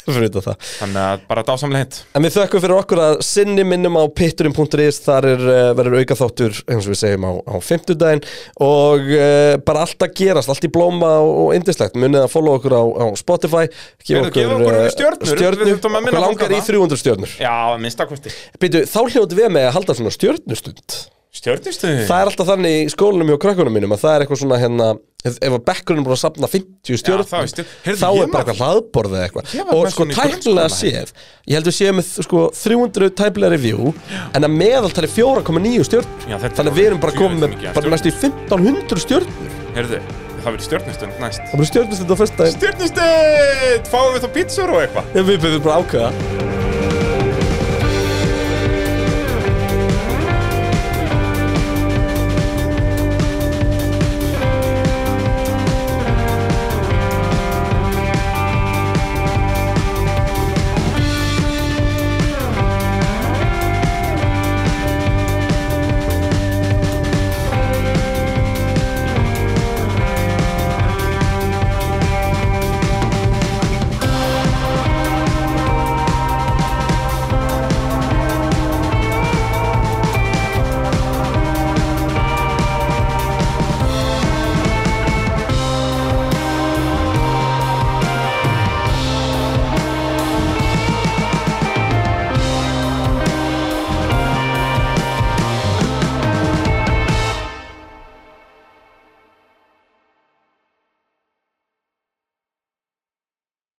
Speaker 4: Fyrir utan það
Speaker 5: þannig að bara dásamlega hint
Speaker 4: En við þökkum fyrir okkur að sinni minnum á pitturinn.is, þar er, uh, verður aukaþáttur, eins og við segjum, á, á fimmtudaginn og uh, bara allt að gerast, allt í blóma og, og indislegt. Munið að follow okkur á, á Spotify,
Speaker 5: Heyrðu, gefa okkur
Speaker 4: eh,
Speaker 5: stjörnur, við
Speaker 4: stjörnur
Speaker 5: þurftum að minna
Speaker 4: okkur
Speaker 5: fólk á
Speaker 4: langar í
Speaker 5: það.
Speaker 4: 300 stjörnur.
Speaker 5: Já, að minnsta kosti
Speaker 4: Býtu, þá hljótu við með að halda svona stjörnustund.
Speaker 5: Stjörnustu
Speaker 4: Það er alltaf þannig í skólanum hjá krökkunum mínum að það er eitthvað svona hérna ef ef að bekkurinn er búin að sapna 50 stjórnum
Speaker 5: þá er stjörn- Heyrðu,
Speaker 4: þá er
Speaker 5: ég
Speaker 4: bara
Speaker 5: var-
Speaker 4: eitthvað hlaðborð eða eitthvað
Speaker 5: Ég var
Speaker 4: og
Speaker 5: með
Speaker 4: sko
Speaker 5: svona í
Speaker 4: tæknilega séð ég held við séum með sko 300 tæmlega review en að meðaltali 4,9 stjórn
Speaker 5: Já, þetta er
Speaker 4: þannig að við erum bara
Speaker 5: djöfull
Speaker 4: komið með
Speaker 5: mikið af
Speaker 4: bara
Speaker 5: stjörnum.
Speaker 4: næstu í 1500 stjórnur
Speaker 5: Heyrðu, það verður stjörnustund næst
Speaker 4: það er stjórnustund á fyrsta
Speaker 5: Stjörnustund, fáum við þá pizzur og eitthvað
Speaker 4: við byrjum bara að ákveða